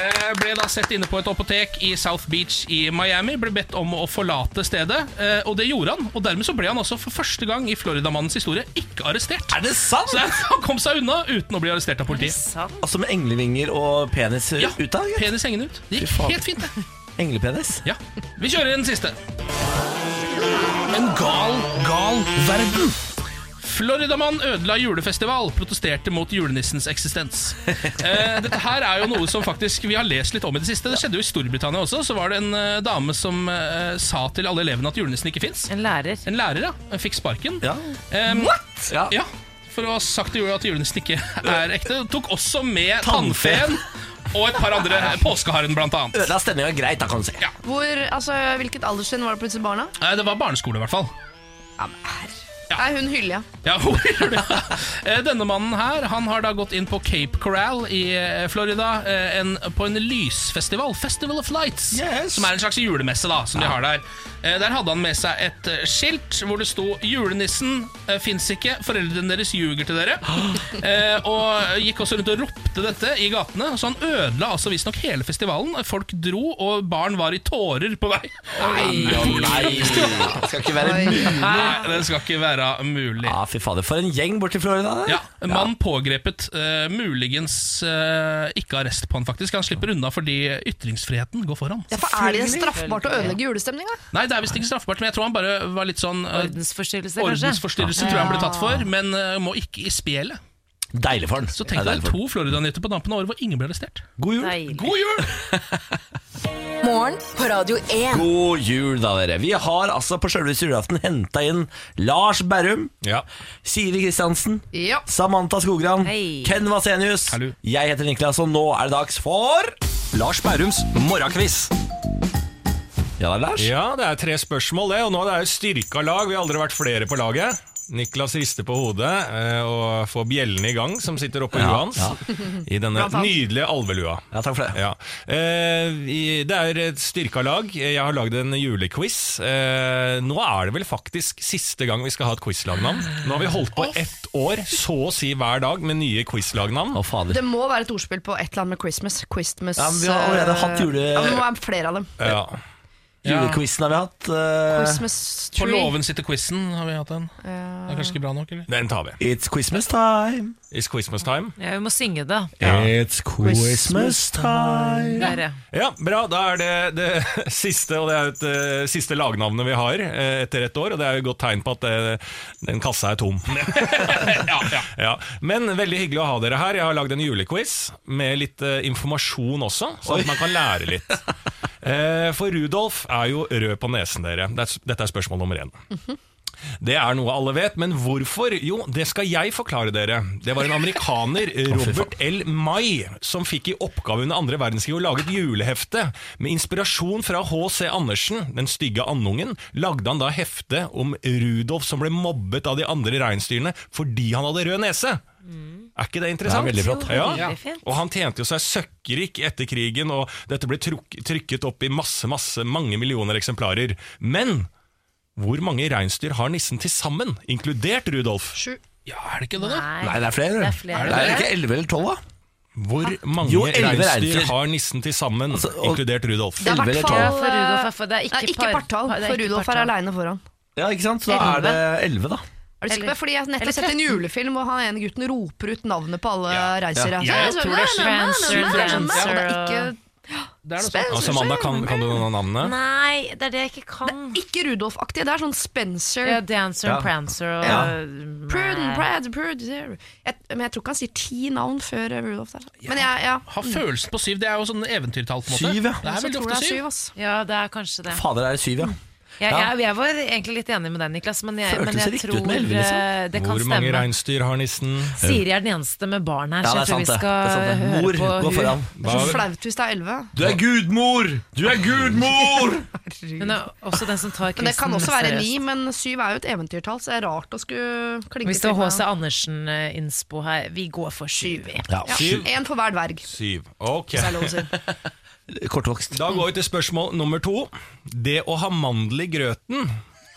[SPEAKER 3] Eh, ble da sett inne på et apotek i South Beach i Miami, ble bedt om å forlate stedet, eh, og det gjorde han. Og dermed så ble han også for første gang i Floridamannens historie ikke arrestert.
[SPEAKER 1] Er det sant?!
[SPEAKER 3] Så han kom seg unna uten å bli arrestert av politiet.
[SPEAKER 2] Sant.
[SPEAKER 1] Altså med englevinger og penis
[SPEAKER 3] Ja,
[SPEAKER 1] ut av? gitt.
[SPEAKER 3] penis hengende ut. Det
[SPEAKER 1] Fy
[SPEAKER 3] gikk
[SPEAKER 1] faen.
[SPEAKER 3] helt fint, det.
[SPEAKER 1] Englepenis?
[SPEAKER 3] Ja, vi kjører den siste En gal, gal verden Floridamann ødela julefestival Protesterte mot julenissens eksistens eh, Dette her er jo noe som faktisk Vi har lest litt om i det siste Det skjedde jo i Storbritannia også Så var det en eh, dame som eh, sa til alle elevene at julenissen ikke finnes
[SPEAKER 2] En lærer.
[SPEAKER 3] En lærer ja, Hun fikk sparken
[SPEAKER 1] Ja.
[SPEAKER 3] Em,
[SPEAKER 1] Ja.
[SPEAKER 3] ja, for å ha sagt til jula at julenissen ikke er ekte Hun Tok også med tannfeen Og et par andre påskeharen blant annet
[SPEAKER 1] Ødela stemninga greit, da, kan du si.
[SPEAKER 6] Hvor, altså, hvilket alderstrinn var det plutselig barna?
[SPEAKER 3] Nei, det var barneskole i hvert fall
[SPEAKER 6] Ja, men her. Nei, hun hyller, ja.
[SPEAKER 3] Ja, hvor gjør du det? Eh, Denne mannen her Han har da gått inn på Cape Coral i eh, Florida eh, en, på en lysfestival, Festival of Lights,
[SPEAKER 1] Yes.
[SPEAKER 3] som er en slags julemesse da, som de har der. Eh, Der hadde han med seg et eh, skilt hvor det sto 'Julenissen eh, fins ikke, foreldrene deres ljuger til dere'. Eh, Og gikk også rundt og ropte dette i gatene, så han ødela altså visstnok hele festivalen. Folk dro, og barn var i tårer på vei.
[SPEAKER 1] Nei, det skal ikke være mulig.
[SPEAKER 3] Nei, det skal ikke være
[SPEAKER 1] Ja,
[SPEAKER 3] mulig.
[SPEAKER 1] Ah, fy fader, for en gjeng borti Florida. det.
[SPEAKER 3] Ja, en mann pågrepet. eh, muligens eh, ikke arrest på han, faktisk. Han slipper unna fordi ytringsfriheten går foran.
[SPEAKER 6] ja for er det straffbart å ødelegge julestemninga?
[SPEAKER 3] Nei, det er visst ikke straffbart, men jeg tror han bare var litt sånn eh,
[SPEAKER 2] Ordensforstyrrelse, kanskje.
[SPEAKER 3] Ordensforstyrrelse tror jeg han ble tatt for, men eh, må ikke i spelet.
[SPEAKER 1] Deilig for den.
[SPEAKER 3] Så tenk
[SPEAKER 1] Ja, deilig
[SPEAKER 3] deg
[SPEAKER 1] for den.
[SPEAKER 3] to Florida-nyheter på dampen av året hvor ingen ble arrestert.
[SPEAKER 1] God jul.
[SPEAKER 2] Deilig.
[SPEAKER 3] God jul!
[SPEAKER 4] Morgen på Radio 1.
[SPEAKER 1] God jul, da, dere. Vi har altså på sjølveste julaften henta inn Lars Berrum,
[SPEAKER 5] Ja.
[SPEAKER 1] Siri Kristiansen,
[SPEAKER 6] Ja.
[SPEAKER 1] Samantha Skogran,
[SPEAKER 2] Hei.
[SPEAKER 1] Ken Vasenius.
[SPEAKER 3] Hallo.
[SPEAKER 1] Jeg heter Niklas, og nå er det dags for
[SPEAKER 7] Lars Bærums morgenkviss.
[SPEAKER 1] Ja da, Lars.
[SPEAKER 5] ja, det er tre spørsmål, det. Og nå er det jo styrka lag. Vi har aldri vært flere på laget. Niklas rister på hodet eh, og får bjellene i gang, som sitter oppå
[SPEAKER 1] Ja,
[SPEAKER 5] huet hans. I denne
[SPEAKER 6] Blant annet.
[SPEAKER 5] nydelige alvelua.
[SPEAKER 1] Ja, takk for det.
[SPEAKER 5] Ja. Eh, i- det er et styrka lag. Jeg har lagd en julequiz. Eh, nå er det vel faktisk siste gang vi skal ha et quizlagnavn. Nå har vi holdt på ett år, så å si hver dag, med nye quizlagnavn.
[SPEAKER 1] Å, fader.
[SPEAKER 6] Det må være et ordspill på et eller annet med Christmas. Christmas
[SPEAKER 1] Ja, men vi har allerede
[SPEAKER 6] eh,
[SPEAKER 1] hatt jule-
[SPEAKER 6] Ja, men det må være flere av dem.
[SPEAKER 5] Ja.
[SPEAKER 1] Julequizen har vi hatt. eh,
[SPEAKER 6] Christmas
[SPEAKER 3] På
[SPEAKER 6] tree.
[SPEAKER 3] låven sitter quizen, har vi hatt en. Det er kanskje ikke bra nok, eller?
[SPEAKER 5] Den tar vi.
[SPEAKER 1] It's Christmas time.
[SPEAKER 5] It's Christmas time.
[SPEAKER 2] Ja, vi må synge det.
[SPEAKER 1] It's Christmas time.
[SPEAKER 2] Der, ja.
[SPEAKER 5] Ja, bra. Da er det det siste, og det er et, eh, siste lagnavnet vi har eh, etter ett år. Og det er jo et godt tegn på at eh, den kassa er tom.
[SPEAKER 3] Ja, ja.
[SPEAKER 5] Ja, Men veldig hyggelig å ha dere her. Jeg har lagd en julequiz med litt eh, informasjon også, så at man kan lære litt. Eh, for Rudolf er jo rød på nesen, dere. Det er- Dette er spørsmål nummer én. Det er noe alle vet, men hvorfor? Jo, det skal jeg forklare dere. Det var en amerikaner, Robert L. May, som fikk i oppgave under andre verdenskrig å lage et julehefte. Med inspirasjon fra H.C. Andersen, den stygge andungen, lagde han da hefte om Rudolf som ble mobbet av de andre reinsdyrene fordi han hadde rød nese. Er ikke det interessant?
[SPEAKER 1] Det er veldig flott.
[SPEAKER 5] Ja.
[SPEAKER 2] Veldig fint.
[SPEAKER 5] Og han tjente jo seg søkkrik etter krigen, og dette ble truk- trykket opp i masse, masse, mange millioner eksemplarer. Men hvor mange reinsdyr har nissen til sammen, inkludert Rudolf?
[SPEAKER 6] Sju.
[SPEAKER 3] ja, er det ikke det, da?
[SPEAKER 2] Nei.
[SPEAKER 1] Nei, det er flere.
[SPEAKER 2] Det er flere. Ah.
[SPEAKER 1] det er ikke 11 eller 12, da?
[SPEAKER 5] Hvor mange
[SPEAKER 1] Jo, elleve
[SPEAKER 5] reinsdyr,
[SPEAKER 1] reinsdyr. Altså,
[SPEAKER 5] har nissen til sammen,
[SPEAKER 1] og-
[SPEAKER 5] inkludert Rudolf?
[SPEAKER 6] Det er i
[SPEAKER 1] Elleve eller
[SPEAKER 6] hvert
[SPEAKER 2] Ja,
[SPEAKER 6] fall
[SPEAKER 2] for Rudolf er for, det er
[SPEAKER 6] Nei,
[SPEAKER 2] ikke,
[SPEAKER 6] ikke
[SPEAKER 2] par-
[SPEAKER 6] partall,
[SPEAKER 2] det er
[SPEAKER 6] for
[SPEAKER 2] ikke
[SPEAKER 6] Rudolf er
[SPEAKER 2] partall.
[SPEAKER 6] aleine foran.
[SPEAKER 1] Ja, ikke sant? Så da er det 11, da.
[SPEAKER 6] Er du sikker på
[SPEAKER 2] Eller-
[SPEAKER 6] det? Fordi Jeg har
[SPEAKER 2] eller
[SPEAKER 6] nettopp sett en
[SPEAKER 2] tretten.
[SPEAKER 6] julefilm hvor han ene gutten roper ut navnet på alle
[SPEAKER 5] Ja.
[SPEAKER 6] reinsdyra.
[SPEAKER 3] Ja, jeg
[SPEAKER 6] Så-
[SPEAKER 3] tror det
[SPEAKER 2] Prancer,
[SPEAKER 3] er
[SPEAKER 6] Det er
[SPEAKER 2] Dancer
[SPEAKER 6] sånn, det er ikke-
[SPEAKER 3] Det sånn. er det også.
[SPEAKER 5] Altså, Amanda, kan, kan du noen av navnene?
[SPEAKER 2] Nei, det er det jeg ikke kan.
[SPEAKER 6] Ikke Rudolf-aktig, det er sånn Spencer
[SPEAKER 2] Ja, Dancer
[SPEAKER 1] Ja.
[SPEAKER 2] og Prancer og
[SPEAKER 1] Ja.
[SPEAKER 6] Pruden, Prad, Prud zero. jeg, Men jeg tror ikke han sier ti navn før eh, Rudolf der. Men jeg, ja, Mm.
[SPEAKER 3] Ha følelsen på syv. Det er jo sånn eventyrtall. på en måte
[SPEAKER 1] Syv, ja.
[SPEAKER 3] Det er
[SPEAKER 6] så tror
[SPEAKER 3] veldig
[SPEAKER 6] jeg
[SPEAKER 3] ofte
[SPEAKER 6] det er
[SPEAKER 3] syv.
[SPEAKER 6] syv, ass.
[SPEAKER 2] Ja, det er kanskje det.
[SPEAKER 1] Fader, det er 7, ja.
[SPEAKER 2] Jeg,
[SPEAKER 1] Ja.
[SPEAKER 2] jeg, jeg var egentlig litt enig med deg, Niklas, men jeg,
[SPEAKER 1] Føltes
[SPEAKER 2] men jeg
[SPEAKER 1] riktig
[SPEAKER 2] tror
[SPEAKER 1] ut med Elven, liksom.
[SPEAKER 2] eh, det kan
[SPEAKER 5] Hvor mange
[SPEAKER 2] stemme.
[SPEAKER 5] reinsdyr har nissen?
[SPEAKER 2] Siri er den eneste med barn her,
[SPEAKER 1] Ja,
[SPEAKER 2] så
[SPEAKER 1] det
[SPEAKER 2] jeg
[SPEAKER 1] er
[SPEAKER 2] tror
[SPEAKER 1] sant,
[SPEAKER 2] vi
[SPEAKER 1] det. det
[SPEAKER 2] skal
[SPEAKER 1] er sant, det.
[SPEAKER 2] høre
[SPEAKER 1] Mor
[SPEAKER 2] på
[SPEAKER 1] går
[SPEAKER 2] hun.
[SPEAKER 1] foran.
[SPEAKER 6] Det er så flaut hvis det er elleve.
[SPEAKER 1] Du er gudmor! Du er gudmor!
[SPEAKER 2] Hun er også den som tar
[SPEAKER 6] Men det kan
[SPEAKER 2] quizen
[SPEAKER 6] også
[SPEAKER 2] mest
[SPEAKER 6] være
[SPEAKER 2] seriøst.
[SPEAKER 6] ni, men syv er jo et eventyrtall, så det er rart å skulle klinke
[SPEAKER 2] Hvis det er
[SPEAKER 6] med-
[SPEAKER 2] H.C. Andersen-innspo her, vi går for syv. vi.
[SPEAKER 1] Ja,
[SPEAKER 6] Ja,
[SPEAKER 1] syv.
[SPEAKER 6] En for hver dverg.
[SPEAKER 5] Syv. Ok.
[SPEAKER 6] hvis det er lov å si.
[SPEAKER 1] Kortvokst.
[SPEAKER 5] Da går vi til spørsmål nummer to. Det å ha mandel i grøten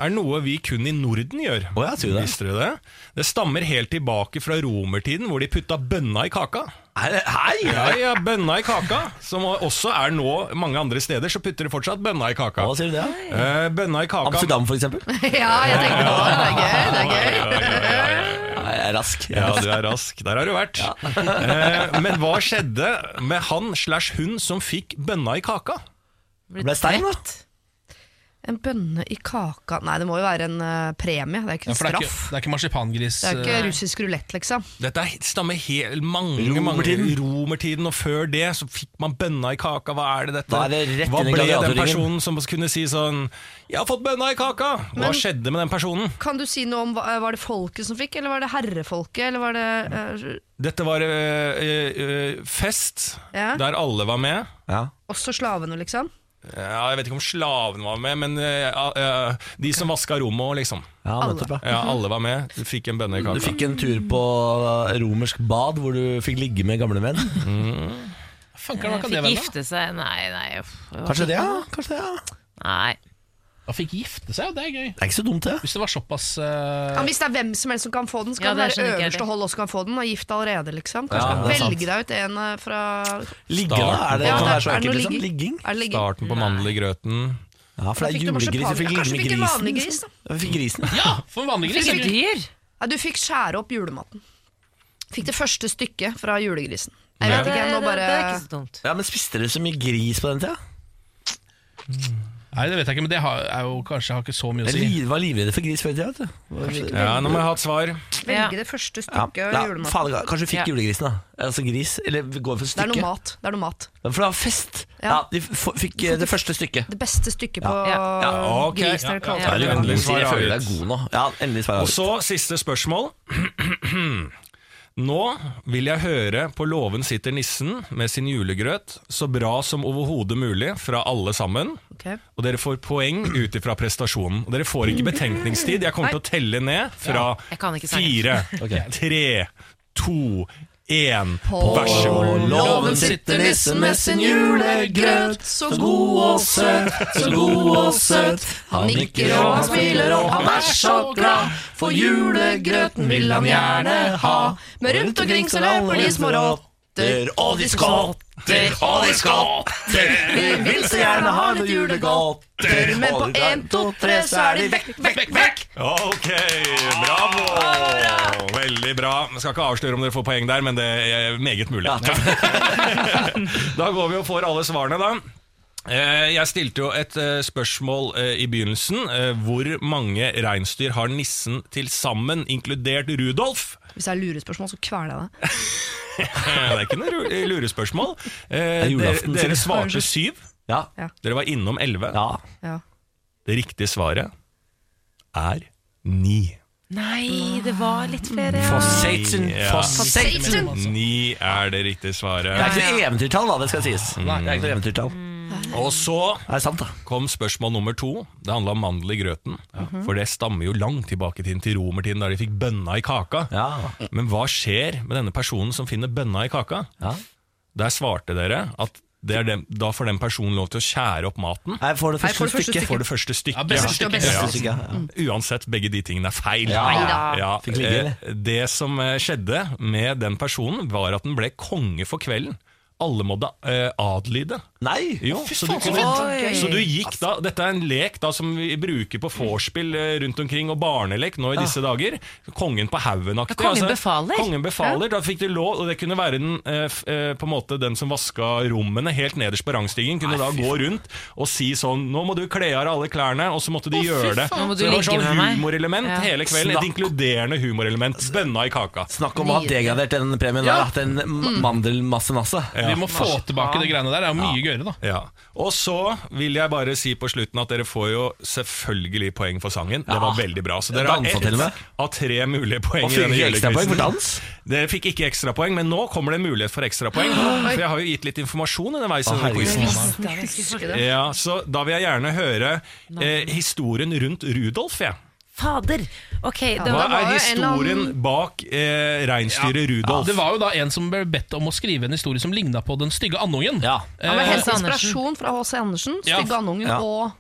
[SPEAKER 5] er noe vi kun i Norden gjør.
[SPEAKER 1] Å, ja, sier du det?
[SPEAKER 5] Visste du det? Det stammer helt tilbake fra romertiden, hvor de putta bønna i kaka.
[SPEAKER 1] Er det- Hei!
[SPEAKER 5] Ja, ja, bønna i kaka, som også er nå mange andre steder, så putter de fortsatt bønna i kaka.
[SPEAKER 1] Hva sier du det?
[SPEAKER 5] Eh, bønna i kaka
[SPEAKER 1] Amsterdam, for eksempel.
[SPEAKER 6] Ja, jeg tenkte å, det er gøy. Det er gøy.
[SPEAKER 1] Nei, Jeg er rask.
[SPEAKER 5] Ja, du er rask. Der har du vært. eh, men hva skjedde med han slash hun som fikk bønna i kaka?
[SPEAKER 1] Ble stein, da?
[SPEAKER 2] drept.
[SPEAKER 6] En bønne i kaka Nei, det må jo være en eh, premie. Det er ikke
[SPEAKER 3] Ja,
[SPEAKER 6] en
[SPEAKER 3] for det er ikke,
[SPEAKER 6] straff.
[SPEAKER 3] det er ikke marsipangris.
[SPEAKER 6] Det er jo
[SPEAKER 3] eh,
[SPEAKER 6] ikke russisk rulett, liksom.
[SPEAKER 5] Dette er- stammer helt mange,
[SPEAKER 1] Romertiden.
[SPEAKER 5] mange romertiden, og før det så fikk man bønna i kaka. Hva er det dette?
[SPEAKER 1] Da er det rett
[SPEAKER 5] Hva
[SPEAKER 1] inn i
[SPEAKER 5] ble den
[SPEAKER 1] gladiatorringen.
[SPEAKER 5] personen som kunne si sånn 'Jeg har fått bønna i kaka'? Hva skjedde med den personen?
[SPEAKER 6] Kan du si noe om hva- eh, Var det folket som fikk, eller var det herrefolket? Eller var det eh,
[SPEAKER 5] Dette var eh, eh, eh, fest
[SPEAKER 6] Ja.
[SPEAKER 5] der alle var med.
[SPEAKER 1] Ja.
[SPEAKER 6] også slavene, liksom?
[SPEAKER 5] Ja, jeg vet ikke om slavene var med, men eh, eh, de som vaska rommet, liksom.
[SPEAKER 1] Ja, nettopp, ja.
[SPEAKER 5] Ja, alle var med. Du fikk en bønne i
[SPEAKER 1] Du
[SPEAKER 5] kaka.
[SPEAKER 1] fikk en tur på romersk bad hvor du fikk ligge med gamle menn.
[SPEAKER 2] Mm.
[SPEAKER 3] Fanker, hva kan
[SPEAKER 2] Fikk
[SPEAKER 3] det være? da?
[SPEAKER 2] gifte seg Nei, nei. uff.
[SPEAKER 1] Kanskje det, ja. Kanskje det, ja.
[SPEAKER 2] Nei.
[SPEAKER 3] Han fikk gifte seg, og det er gøy.
[SPEAKER 1] Det er ikke så dumt, det.
[SPEAKER 3] Hvis det var såpass
[SPEAKER 6] Ja,
[SPEAKER 3] eh,
[SPEAKER 6] hvis det er hvem som helst som kan få den, skal
[SPEAKER 2] Ja,
[SPEAKER 6] det
[SPEAKER 2] det skjønner
[SPEAKER 6] være
[SPEAKER 2] ikke jeg
[SPEAKER 6] øverste
[SPEAKER 2] heller.
[SPEAKER 6] hold også kan få den, og gift allerede, liksom.
[SPEAKER 1] Ja, det er sant.
[SPEAKER 6] Velge deg ut en eh, fra
[SPEAKER 1] Ligge, da. Er det,
[SPEAKER 6] Ja,
[SPEAKER 1] kan
[SPEAKER 6] det
[SPEAKER 1] være så
[SPEAKER 6] er
[SPEAKER 1] ekkelt,
[SPEAKER 6] noe
[SPEAKER 1] liksom?
[SPEAKER 6] ligging.
[SPEAKER 1] Ligging.
[SPEAKER 6] Er det ligge?
[SPEAKER 5] Starten på mandel i grøten.
[SPEAKER 1] Ja, for
[SPEAKER 6] Da
[SPEAKER 1] det
[SPEAKER 6] fikk
[SPEAKER 1] er
[SPEAKER 6] du
[SPEAKER 1] julegris. Du fikk
[SPEAKER 6] marsipan.
[SPEAKER 1] ligge med
[SPEAKER 6] Kanskje du fikk en
[SPEAKER 1] grisen.
[SPEAKER 6] vanlig gris,
[SPEAKER 1] liksom. Ja, vi Fikk grisen.
[SPEAKER 3] Ja, for en vanlig gris.
[SPEAKER 2] Fikk
[SPEAKER 3] eller?
[SPEAKER 2] dyr.
[SPEAKER 6] Ja, du fikk skjære opp julematen. Fikk det første stykket fra julegrisen. Jeg
[SPEAKER 5] Ja.
[SPEAKER 6] vet
[SPEAKER 2] Det,
[SPEAKER 6] ikke,
[SPEAKER 2] det,
[SPEAKER 6] nå
[SPEAKER 2] det
[SPEAKER 6] bare
[SPEAKER 2] er ikke så dumt.
[SPEAKER 1] Ja, men spiste dere så mye gris på den tida?
[SPEAKER 3] Nei, det vet jeg ikke, men det har, er jo kanskje har ikke så mye å
[SPEAKER 1] Jeg
[SPEAKER 3] si.
[SPEAKER 1] li- var livredde for gris før i tida, vet du.
[SPEAKER 5] Ja, nå må jeg ha et svar.
[SPEAKER 6] Velge det første
[SPEAKER 1] Ja,
[SPEAKER 6] stykket av
[SPEAKER 1] ja,
[SPEAKER 6] julematen.
[SPEAKER 1] faen, kanskje du fikk
[SPEAKER 2] Ja.
[SPEAKER 1] julegrisen, da. Altså gris. Eller vi går for
[SPEAKER 6] Det er noe
[SPEAKER 1] stykket.
[SPEAKER 6] mat. Det er noe mat.
[SPEAKER 1] For det var fest.
[SPEAKER 6] Ja.
[SPEAKER 1] Ja, de f fikk eh, det første stykket.
[SPEAKER 6] Det beste stykket på
[SPEAKER 2] Ja.
[SPEAKER 5] Ja, ok.
[SPEAKER 6] grisen. eller kalv.
[SPEAKER 2] Ja, ja,
[SPEAKER 5] det er jo endelig svar
[SPEAKER 1] Jeg føler det er
[SPEAKER 5] avgitt.
[SPEAKER 1] god nå. Ja, endelig svar
[SPEAKER 5] Og
[SPEAKER 1] avgitt.
[SPEAKER 5] så siste spørsmål. Nå vil jeg høre på låven sitter nissen med sin julegrøt så bra som overhodet mulig fra alle sammen.
[SPEAKER 6] Ok.
[SPEAKER 5] Og dere får poeng ut ifra prestasjonen. Og dere får ikke betenkningstid. Jeg kommer til å telle ned fra
[SPEAKER 2] Jeg kan ikke sangen.
[SPEAKER 5] fire,
[SPEAKER 1] Ok.
[SPEAKER 5] tre, to, én. Vær så god.
[SPEAKER 1] Låven sitter nissen med sin julegrøt, så god og søt, så god og søt. Han nikker og han smiler og han er så glad, for julegrøten vil han gjerne ha.
[SPEAKER 6] Men rundt omkring så løper de små rotter,
[SPEAKER 1] og de skotter, og de skotter. Vi vil så gjerne ha litt julegodter,
[SPEAKER 6] Men på en, to, tre, så er de vekk, vekk, vekk!
[SPEAKER 5] Ok, bravo!
[SPEAKER 1] Ah,
[SPEAKER 5] Veldig bra. Jeg skal ikke avsløre om dere får poeng der, men det er meget mulig. da går vi og får alle svarene, da. Eh, Jeg stilte jo et eh, spørsmål eh, i begynnelsen. eh, Hvor mange reinsdyr har nissen til sammen, inkludert Rudolf?
[SPEAKER 6] Hvis det er lurespørsmål, så kveler jeg deg.
[SPEAKER 5] Eh, Det er ikke noe ru- lurespørsmål. Eh,
[SPEAKER 1] Det er
[SPEAKER 5] Dere,
[SPEAKER 1] julaften,
[SPEAKER 5] dere
[SPEAKER 1] sikkert.
[SPEAKER 5] svarte syv.
[SPEAKER 1] Ja.
[SPEAKER 5] Dere var innom elleve.
[SPEAKER 1] Ja.
[SPEAKER 6] Ja.
[SPEAKER 5] Det riktige svaret er ni.
[SPEAKER 2] Nei, det var litt flere. ja.
[SPEAKER 1] Satan.
[SPEAKER 5] Ja.
[SPEAKER 1] For Satan.
[SPEAKER 5] Ni er det riktige svaret. Mm.
[SPEAKER 1] Det er ikke noe eventyrtall, da, det skal sies. Det er ikke noe eventyrtall. Mm.
[SPEAKER 5] Og så
[SPEAKER 1] Det er sant, da.
[SPEAKER 5] kom spørsmål nummer to. Det handla om mandel i grøten.
[SPEAKER 1] Mhm.
[SPEAKER 5] For det stammer jo langt tilbake i tiden, til romertiden, da de fikk bønna i kaka.
[SPEAKER 1] Ja.
[SPEAKER 5] Men hva skjer med denne personen som finner bønna i kaka?
[SPEAKER 1] Ja.
[SPEAKER 5] Der svarte dere at det er dem, da får den personen lov til å skjære opp maten.
[SPEAKER 1] Nei, for det
[SPEAKER 6] Nei, for
[SPEAKER 1] første stykket.
[SPEAKER 6] det første
[SPEAKER 5] For det første stykket.
[SPEAKER 3] Ja, beste
[SPEAKER 6] stykket, beste
[SPEAKER 5] Ja.
[SPEAKER 1] stykket, ja.
[SPEAKER 5] Uansett, begge de tingene er feil.
[SPEAKER 1] Ja.
[SPEAKER 5] Ja,
[SPEAKER 1] Fikk ligge, eller?
[SPEAKER 5] eh, Det som eh, skjedde med den personen, var at den ble konge for kvelden. Alle måtte eh, adlyde.
[SPEAKER 1] Nei!
[SPEAKER 5] Jo, så, du kunne, så du gikk da Dette er en lek da som vi bruker på vorspiel eh, rundt omkring, og barnelek nå i disse dager. Kongen på haugen-aktig. altså.
[SPEAKER 2] Ja, kongen befaler.
[SPEAKER 5] Kongen befaler, Da fikk de lov, og det kunne være den, eh, f- eh, på en måte den som vaska rommene helt nederst på rangstigen, kunne da gå rundt og si sånn Nå må du kle av deg alle klærne, og så måtte de gjøre det.
[SPEAKER 2] Nå må
[SPEAKER 5] Så
[SPEAKER 2] du
[SPEAKER 5] det var
[SPEAKER 2] ligge
[SPEAKER 5] sånn
[SPEAKER 2] med meg.
[SPEAKER 5] humorelement
[SPEAKER 2] Ja.
[SPEAKER 5] hele kvelden.
[SPEAKER 1] Snakk.
[SPEAKER 5] Et inkluderende humorelement. Bønna i kaka.
[SPEAKER 1] Snakk om å ha degradert den premien der, da. Den mandelmassenasse.
[SPEAKER 5] Ja,
[SPEAKER 3] vi må få tilbake de greiene der. Det er jo mye gøyere, da.
[SPEAKER 5] Ja. Og så vil jeg bare si på slutten at dere får jo selvfølgelig poeng for sangen. Det var veldig bra. Så dere har
[SPEAKER 1] Dansa til og
[SPEAKER 5] ett
[SPEAKER 1] med.
[SPEAKER 5] av tre mulige poeng.
[SPEAKER 1] Og
[SPEAKER 5] i
[SPEAKER 1] fikk
[SPEAKER 5] denne
[SPEAKER 1] ikke ekstrapoeng
[SPEAKER 5] julequizen.
[SPEAKER 1] for dans?
[SPEAKER 5] Dere fikk ikke ekstrapoeng, men nå kommer det mulighet for ekstrapoeng. For jeg har jo gitt litt informasjon underveis. i denne
[SPEAKER 1] herregud.
[SPEAKER 5] quizen.
[SPEAKER 6] Husker du det?
[SPEAKER 5] Ja, så da vil jeg gjerne høre eh, historien rundt Rudolf. Ja.
[SPEAKER 2] Fader! Ok, det
[SPEAKER 5] Hva
[SPEAKER 2] var
[SPEAKER 6] var
[SPEAKER 5] er
[SPEAKER 6] jo en eller
[SPEAKER 5] historien
[SPEAKER 6] annen-
[SPEAKER 5] bak eh, reinsdyret Rudolf?
[SPEAKER 3] Det var jo da en som ble bedt om å skrive en historie som ligna på Den stygge andungen.
[SPEAKER 1] Ja.
[SPEAKER 6] Han var
[SPEAKER 3] Eh,
[SPEAKER 6] helt
[SPEAKER 2] H.C. Andersen.
[SPEAKER 6] inspirasjon fra H.C. Andersen,
[SPEAKER 3] Ja.
[SPEAKER 6] Stygge andungen
[SPEAKER 1] Ja.
[SPEAKER 6] og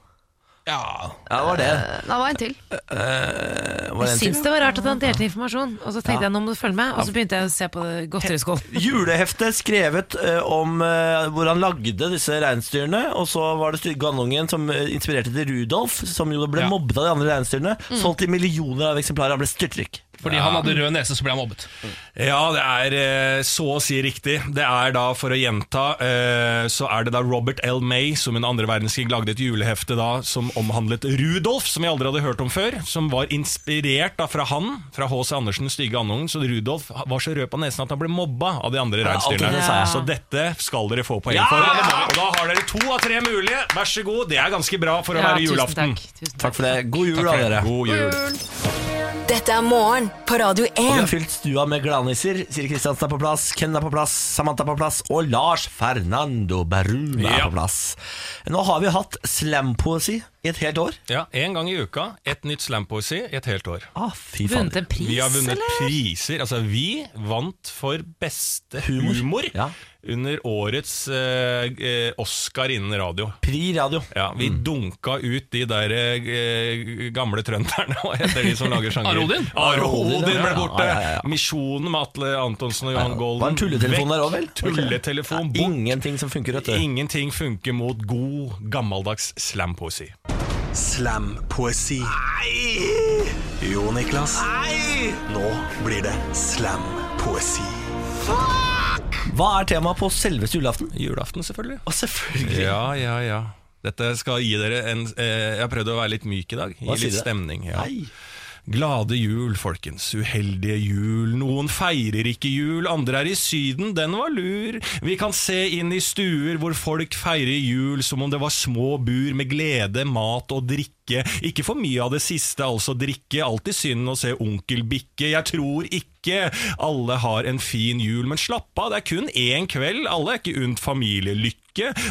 [SPEAKER 3] ja.
[SPEAKER 1] Ja, det var det.
[SPEAKER 6] Nei, det var en til.
[SPEAKER 1] Var det
[SPEAKER 2] Jeg
[SPEAKER 1] en
[SPEAKER 2] syns
[SPEAKER 1] til?
[SPEAKER 2] det var rart at han delte informasjon, og så tenkte jeg nå må du følge med, og så begynte jeg å se på godteriskål.
[SPEAKER 1] Juleheftet skrevet eh, om eh, hvor han lagde disse reinsdyrene. Og så var det stygge andungen som eh, inspirerte til Rudolf, som jo ble
[SPEAKER 3] Ja.
[SPEAKER 1] mobbet av de andre reinsdyrene. Solgt i millioner av eksemplarer. Han ble styrtrik.
[SPEAKER 3] Fordi han hadde rød nese, så ble han mobbet.
[SPEAKER 5] Ja, det er eh, så å si riktig. Det er da, for å gjenta, eh, så er det da Robert L. May som under andre verdenskrig lagde et julehefte da som omhandlet Rudolf, som jeg aldri hadde hørt om før. Som var inspirert da fra han, fra H.C. Andersen, Stygge Andungen. Så Rudolf var så rød på nesen at han ble mobba av de andre
[SPEAKER 1] Ja, alltid
[SPEAKER 5] reinsdyrene.
[SPEAKER 1] det sa jeg.
[SPEAKER 5] Så dette skal dere få poeng
[SPEAKER 1] Ja!
[SPEAKER 5] for. Og da har dere to av tre mulige. Vær så god. Det er ganske bra for å være julaften.
[SPEAKER 2] Tusen takk.
[SPEAKER 1] Takk for det. God jul, da,
[SPEAKER 5] for det.
[SPEAKER 1] dere.
[SPEAKER 5] God jul.
[SPEAKER 4] Dette er morgen på Radio
[SPEAKER 1] Og vi har
[SPEAKER 4] 1.
[SPEAKER 1] fylt stua med gladnisser. Siri Kristiansen er på plass, Ken er på plass, Samantha er på plass, og Lars Fernando Beruna er
[SPEAKER 5] Ja.
[SPEAKER 1] på plass. Nå har vi hatt slampoesi i et helt år.
[SPEAKER 5] Ja, En gang i uka, et nytt slampoesi i et helt år.
[SPEAKER 1] Ah, fy faen.
[SPEAKER 2] Vunnet en pris,
[SPEAKER 5] Vi har vunnet
[SPEAKER 2] eller?
[SPEAKER 5] priser. Altså, vi vant for beste
[SPEAKER 1] Humor.
[SPEAKER 5] humor,
[SPEAKER 1] Ja.
[SPEAKER 5] under årets eh, eh, Oscar innen radio.
[SPEAKER 1] Pri radio. Mm.
[SPEAKER 5] Ja, vi dunka ut de der eh, gamle trønderne, hva heter de som lager sjanger?
[SPEAKER 3] Are Odin?
[SPEAKER 5] Are Odin
[SPEAKER 1] Ja,
[SPEAKER 5] ble
[SPEAKER 1] ja,
[SPEAKER 5] borte!
[SPEAKER 1] ja, ja, ja.
[SPEAKER 5] Misjonen med Atle Antonsen og Johan
[SPEAKER 1] Ja,
[SPEAKER 5] Golden.
[SPEAKER 1] var en tulletelefon
[SPEAKER 5] Vekk.
[SPEAKER 1] der også, vel? Var det ikke det?
[SPEAKER 5] Tulletelefon
[SPEAKER 1] Ja,
[SPEAKER 5] bort.
[SPEAKER 1] Ingenting som funker, vet du.
[SPEAKER 5] Ingenting funker mot god, gammeldags slampoesi.
[SPEAKER 8] Slampoesi. Jo, Niklas. Nå blir det slampoesi.
[SPEAKER 1] Hva er temaet på selveste julaften?
[SPEAKER 5] Julaften, selvfølgelig.
[SPEAKER 1] Og selvfølgelig
[SPEAKER 5] Ja, ja, ja. Dette skal gi dere en eh, Jeg har prøvd å være litt myk i dag. Gi
[SPEAKER 1] Hva sier
[SPEAKER 5] litt
[SPEAKER 1] det?
[SPEAKER 5] stemning. Ja.
[SPEAKER 1] Nei.
[SPEAKER 5] Glade jul, folkens. Uheldige jul. Noen feirer ikke jul, andre er i Syden. Den var lur. Vi kan se inn i stuer hvor folk feirer jul som om det var små bur med glede, mat og drikke. Ikke for mye av det siste, altså drikke. Alltid synd å se onkel bikke. Jeg tror ikke alle har en fin jul, men slapp av, det er kun én kveld. Alle er ikke unnt familielykke.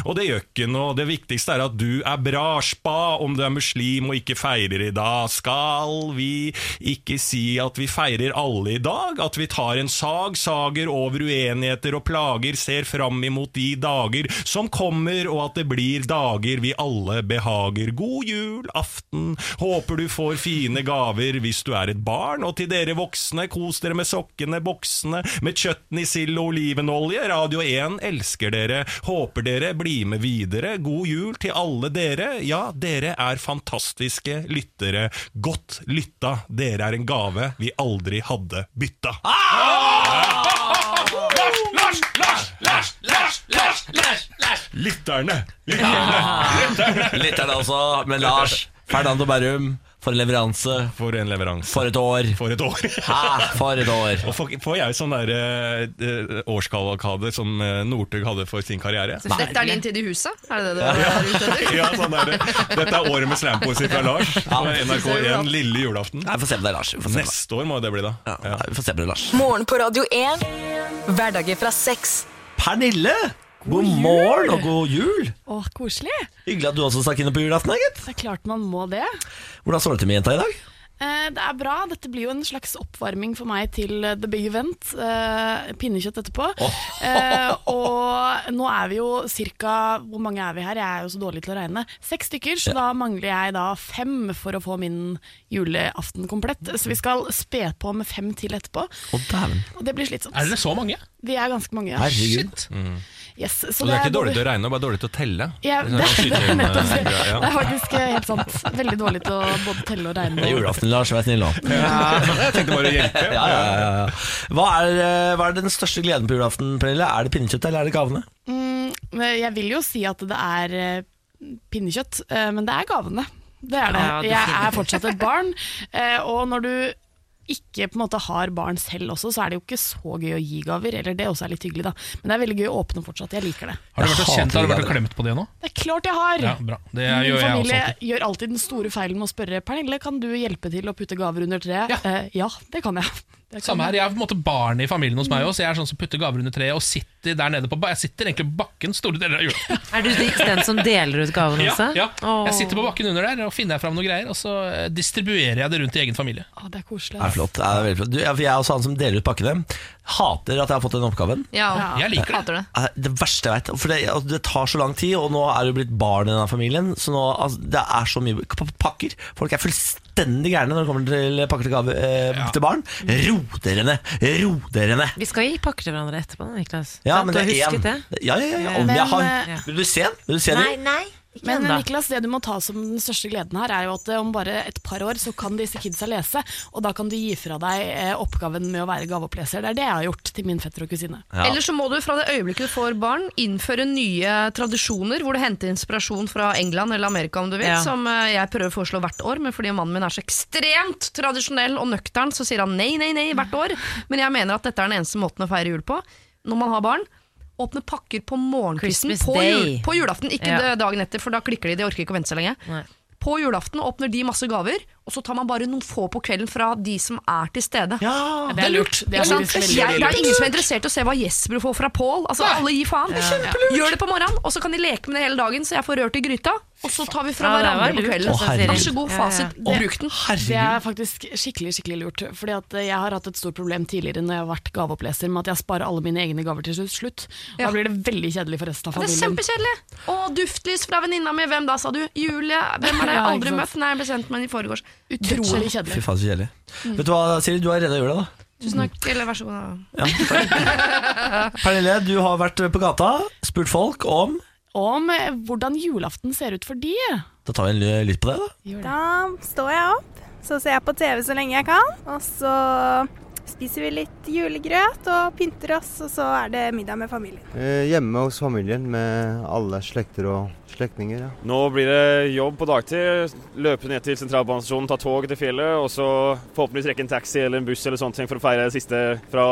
[SPEAKER 5] Og det gjør ikke noe. Det viktigste er at du er bra. Spa om du er muslim og ikke feirer i dag. Skal vi ikke si at vi feirer alle i dag? At vi tar en sag, sager over uenigheter og plager, ser fram imot de dager som kommer, og at det blir dager vi alle behager. God jul, aften. Håper du får fine gaver hvis du er et barn. Og til dere voksne, kos dere med sokkene, boksene, med kjøtten i sild og olivenolje. Radio 1 elsker dere. Håper dere blir med videre. God jul til alle dere. Ja, dere er fantastiske lyttere. Godt lytta. Dere er en gave vi aldri hadde bytta.
[SPEAKER 3] Lars, Lars, Lars, Lars, Lars, Lars, Lars.
[SPEAKER 5] Lytterne!
[SPEAKER 1] Litt er det også, men Lars Fernando Berrum, for en leveranse,
[SPEAKER 5] For en leveranse.
[SPEAKER 1] for et år.
[SPEAKER 5] For et år.
[SPEAKER 1] Hæ, for et år.
[SPEAKER 5] Og får får jeg sånn der, eh, årskalakade som eh, Northug hadde for sin karriere?
[SPEAKER 6] Så Dette er din tid i huset? Er det det du er ute etter?
[SPEAKER 5] Ja, sånn er det. Dette er året med slampoesi fra Lars. På NRK1 lille julaften.
[SPEAKER 1] Nei, vi får se på deg, Lars. Vi får se på deg.
[SPEAKER 5] Neste år må jo det bli, da.
[SPEAKER 1] Ja, nei, vi får se på deg, Lars.
[SPEAKER 4] Morgen på Radio 1. Hverdager fra seks.
[SPEAKER 1] Pernille, god morgen og god jul.
[SPEAKER 9] Å, koselig.
[SPEAKER 1] Hyggelig at du også stakk innom på julaften, da, gitt.
[SPEAKER 9] Det er klart man må det.
[SPEAKER 1] Hvordan står det til med jenta i dag?
[SPEAKER 9] Eh, Det er bra. Dette blir jo en slags oppvarming for meg til eh, The Big Event. eh, Pinnekjøtt etterpå. Eh, Og nå er vi jo ca. Hvor mange er vi her? Jeg er jo så dårlig til å regne. Seks stykker, så da mangler jeg da fem for å få min julaften komplett. Så vi skal spe på med fem til etterpå,
[SPEAKER 1] Å, dæven.
[SPEAKER 9] og det blir slitsomt.
[SPEAKER 3] Er dere så mange?
[SPEAKER 9] Vi er ganske mange. Ja.
[SPEAKER 1] Herregud.
[SPEAKER 5] Mm.
[SPEAKER 9] Yes, så
[SPEAKER 5] Og det er ikke dårlig
[SPEAKER 9] både-
[SPEAKER 5] til å regne, bare dårlig til å telle.
[SPEAKER 9] Ja,
[SPEAKER 5] Det er
[SPEAKER 9] det, det,
[SPEAKER 5] sånn skyter inn,
[SPEAKER 9] er
[SPEAKER 5] eh,
[SPEAKER 9] nettopp det.
[SPEAKER 5] greia.
[SPEAKER 9] Det er faktisk eh, helt sant. Veldig dårlig til å både telle og regne.
[SPEAKER 1] Det er julaften, Lars. Vær snill nå.
[SPEAKER 5] Jeg tenkte bare å hjelpe.
[SPEAKER 1] Ja, ja, ja, ja. Hva, er, eh, hva er den største gleden på julaften, Pernille? Er det pinnekjøttet, eller er det gavene?
[SPEAKER 9] Mm, men jeg vil jo si at det er eh, pinnekjøtt, eh, men det er gavene. Det er det.
[SPEAKER 2] Ja,
[SPEAKER 9] Jeg er fortsatt et barn, eh, og når du ikke på en måte har barn selv også, så er det jo ikke så gøy å gi gaver. Eller det også er litt hyggelig, da. Men det er veldig gøy å åpne fortsatt. Jeg liker det.
[SPEAKER 3] Har du vært og
[SPEAKER 1] Jeg
[SPEAKER 3] kjent, har du
[SPEAKER 1] hater
[SPEAKER 3] vært og klemt på det nå?
[SPEAKER 9] Det er klart jeg har!
[SPEAKER 3] Ja, bra. Det
[SPEAKER 9] Min
[SPEAKER 3] gjør jeg også
[SPEAKER 9] familie
[SPEAKER 3] alltid.
[SPEAKER 9] gjør alltid den store feilen med å spørre Pernille, kan du hjelpe til å putte gaver under treet.
[SPEAKER 3] Ja.
[SPEAKER 9] Eh, ja det kan jeg. Det kan
[SPEAKER 3] Samme
[SPEAKER 9] jeg.
[SPEAKER 3] her, Jeg er på en måte barnet i familien hos meg også. Jeg er sånn som putter gaver under treet og sitter der nede på ba Jeg sitter egentlig på bakken store deler av jula.
[SPEAKER 2] Er du den som deler ut gavene
[SPEAKER 3] Ja,
[SPEAKER 2] også?
[SPEAKER 3] ja.
[SPEAKER 2] Åh.
[SPEAKER 3] Jeg sitter på bakken under der og finner jeg fram noen greier, og så eh, distribuerer jeg det rundt i egen familie.
[SPEAKER 9] Å, det er koselig.
[SPEAKER 1] Det er flott. Det er veldig flott. Du, jeg jeg er også han som deler ut pakkene. Hater at jeg har fått den oppgaven.
[SPEAKER 6] Ja,
[SPEAKER 3] Jeg liker det.
[SPEAKER 6] Hater det.
[SPEAKER 1] Eh, Det verste jeg vet. For det, altså, det tar så lang tid, og nå er du blitt barn i denne familien. Så nå, altså, det er så mye p- pakker. Folk er fullstendig gærne når det kommer til pakker til, gave, eh,
[SPEAKER 3] Ja.
[SPEAKER 1] til barn. Ro dere ned! Ro dere ned!
[SPEAKER 2] Vi skal gi pakker til hverandre etterpå, da, Niklas.
[SPEAKER 1] Ja,
[SPEAKER 2] Sant?
[SPEAKER 1] men
[SPEAKER 2] du
[SPEAKER 1] det
[SPEAKER 2] har
[SPEAKER 1] er
[SPEAKER 2] husket
[SPEAKER 1] én.
[SPEAKER 2] det?
[SPEAKER 1] Ja, ja, ja, ja. Om
[SPEAKER 9] Men,
[SPEAKER 1] jeg
[SPEAKER 9] eh,
[SPEAKER 1] har Vil du se den? Vil du se den?
[SPEAKER 2] nei. Ikke
[SPEAKER 9] Men
[SPEAKER 2] ennå.
[SPEAKER 9] Niklas, det du må ta som den største gleden her, er jo at eh, om bare et par år så kan disse kidsa lese, og da kan du gi fra deg eh, oppgaven med å være gaveoppleser. Det er det jeg har gjort til min fetter og kusine.
[SPEAKER 1] Ja.
[SPEAKER 6] Eller så må du fra det øyeblikket du får barn, innføre nye tradisjoner hvor du henter inspirasjon fra England eller Amerika, om du vil,
[SPEAKER 2] Ja.
[SPEAKER 6] som eh, jeg prøver å foreslå hvert år. Men fordi mannen min er så ekstremt tradisjonell og nøktern, så sier han nei, nei, nei hvert år. Men jeg mener at dette er den eneste måten å feire jul på når man har barn. Åpne pakker på morgenkvisten
[SPEAKER 2] Christmas
[SPEAKER 6] på, jul,
[SPEAKER 2] day.
[SPEAKER 6] på julaften, ikke
[SPEAKER 2] Ja.
[SPEAKER 6] dagen etter, for da klikker de. De orker ikke å vente så lenge.
[SPEAKER 2] Nei.
[SPEAKER 6] På julaften åpner de masse gaver, og så tar man bare noen få på kvelden fra de som er til stede.
[SPEAKER 1] Ja.
[SPEAKER 9] Det er lurt. Det
[SPEAKER 6] Ikke
[SPEAKER 9] er
[SPEAKER 6] sant?
[SPEAKER 9] faktisk veldig
[SPEAKER 6] Jeg, det er
[SPEAKER 9] lurt.
[SPEAKER 6] ingen som er interessert i å se hva Jesper får fra Pål. Altså, alle gir faen. Gjør det på morgenen, og så kan de leke med det hele dagen, så jeg får rør til gryta. Og så tar vi fra
[SPEAKER 2] Ja, det var
[SPEAKER 6] hverandre på
[SPEAKER 2] lurt,
[SPEAKER 6] kvelden.
[SPEAKER 1] altså, Å, herregud.
[SPEAKER 6] Vær så god, fasit.
[SPEAKER 1] Å,
[SPEAKER 6] Bruk den.
[SPEAKER 9] Det
[SPEAKER 1] Herregud.
[SPEAKER 9] er faktisk skikkelig skikkelig lurt. Fordi at eh, Jeg har hatt et stort problem tidligere når jeg har vært gaveoppleser med at jeg sparer alle mine egne gaver til slutt.
[SPEAKER 6] Ja.
[SPEAKER 9] Da blir det veldig kjedelig for resten av
[SPEAKER 6] Det er
[SPEAKER 9] familien.
[SPEAKER 6] kjempekjedelig. Å, duftlys fra venninna mi. Hvem da, sa du? Julie? Hvem er det?
[SPEAKER 9] Ja, ikke
[SPEAKER 6] Aldri
[SPEAKER 9] sant.
[SPEAKER 6] møtt? Nei, jeg ble kjent med henne i forgårs.
[SPEAKER 9] Utrolig
[SPEAKER 1] Fy
[SPEAKER 9] kjedelig.
[SPEAKER 1] faen, så kjedelig.
[SPEAKER 2] Mm.
[SPEAKER 1] Vet du hva, Siri, du har redda jula, da.
[SPEAKER 6] Tusen takk. Eller vær så god. da.
[SPEAKER 1] Pernille, du har vært på gata, spurt folk om
[SPEAKER 9] Om eh, hvordan julaften ser ut for de.
[SPEAKER 1] Da tar vi en ly- lytt på det, da.
[SPEAKER 10] Da står jeg opp, så ser jeg på TV så lenge jeg kan. Og så spiser vi litt julegrøt og pynter oss, og så er det middag med familien.
[SPEAKER 11] Eh, Hjemme hos familien med alle slekter og slektninger. Ja.
[SPEAKER 8] Nå blir det jobb på dagtid. Løpe ned til sentralbanestasjonen, ta tog til fjellet, og så forhåpentligvis rekke en taxi eller en buss eller sånne ting for å feire siste fra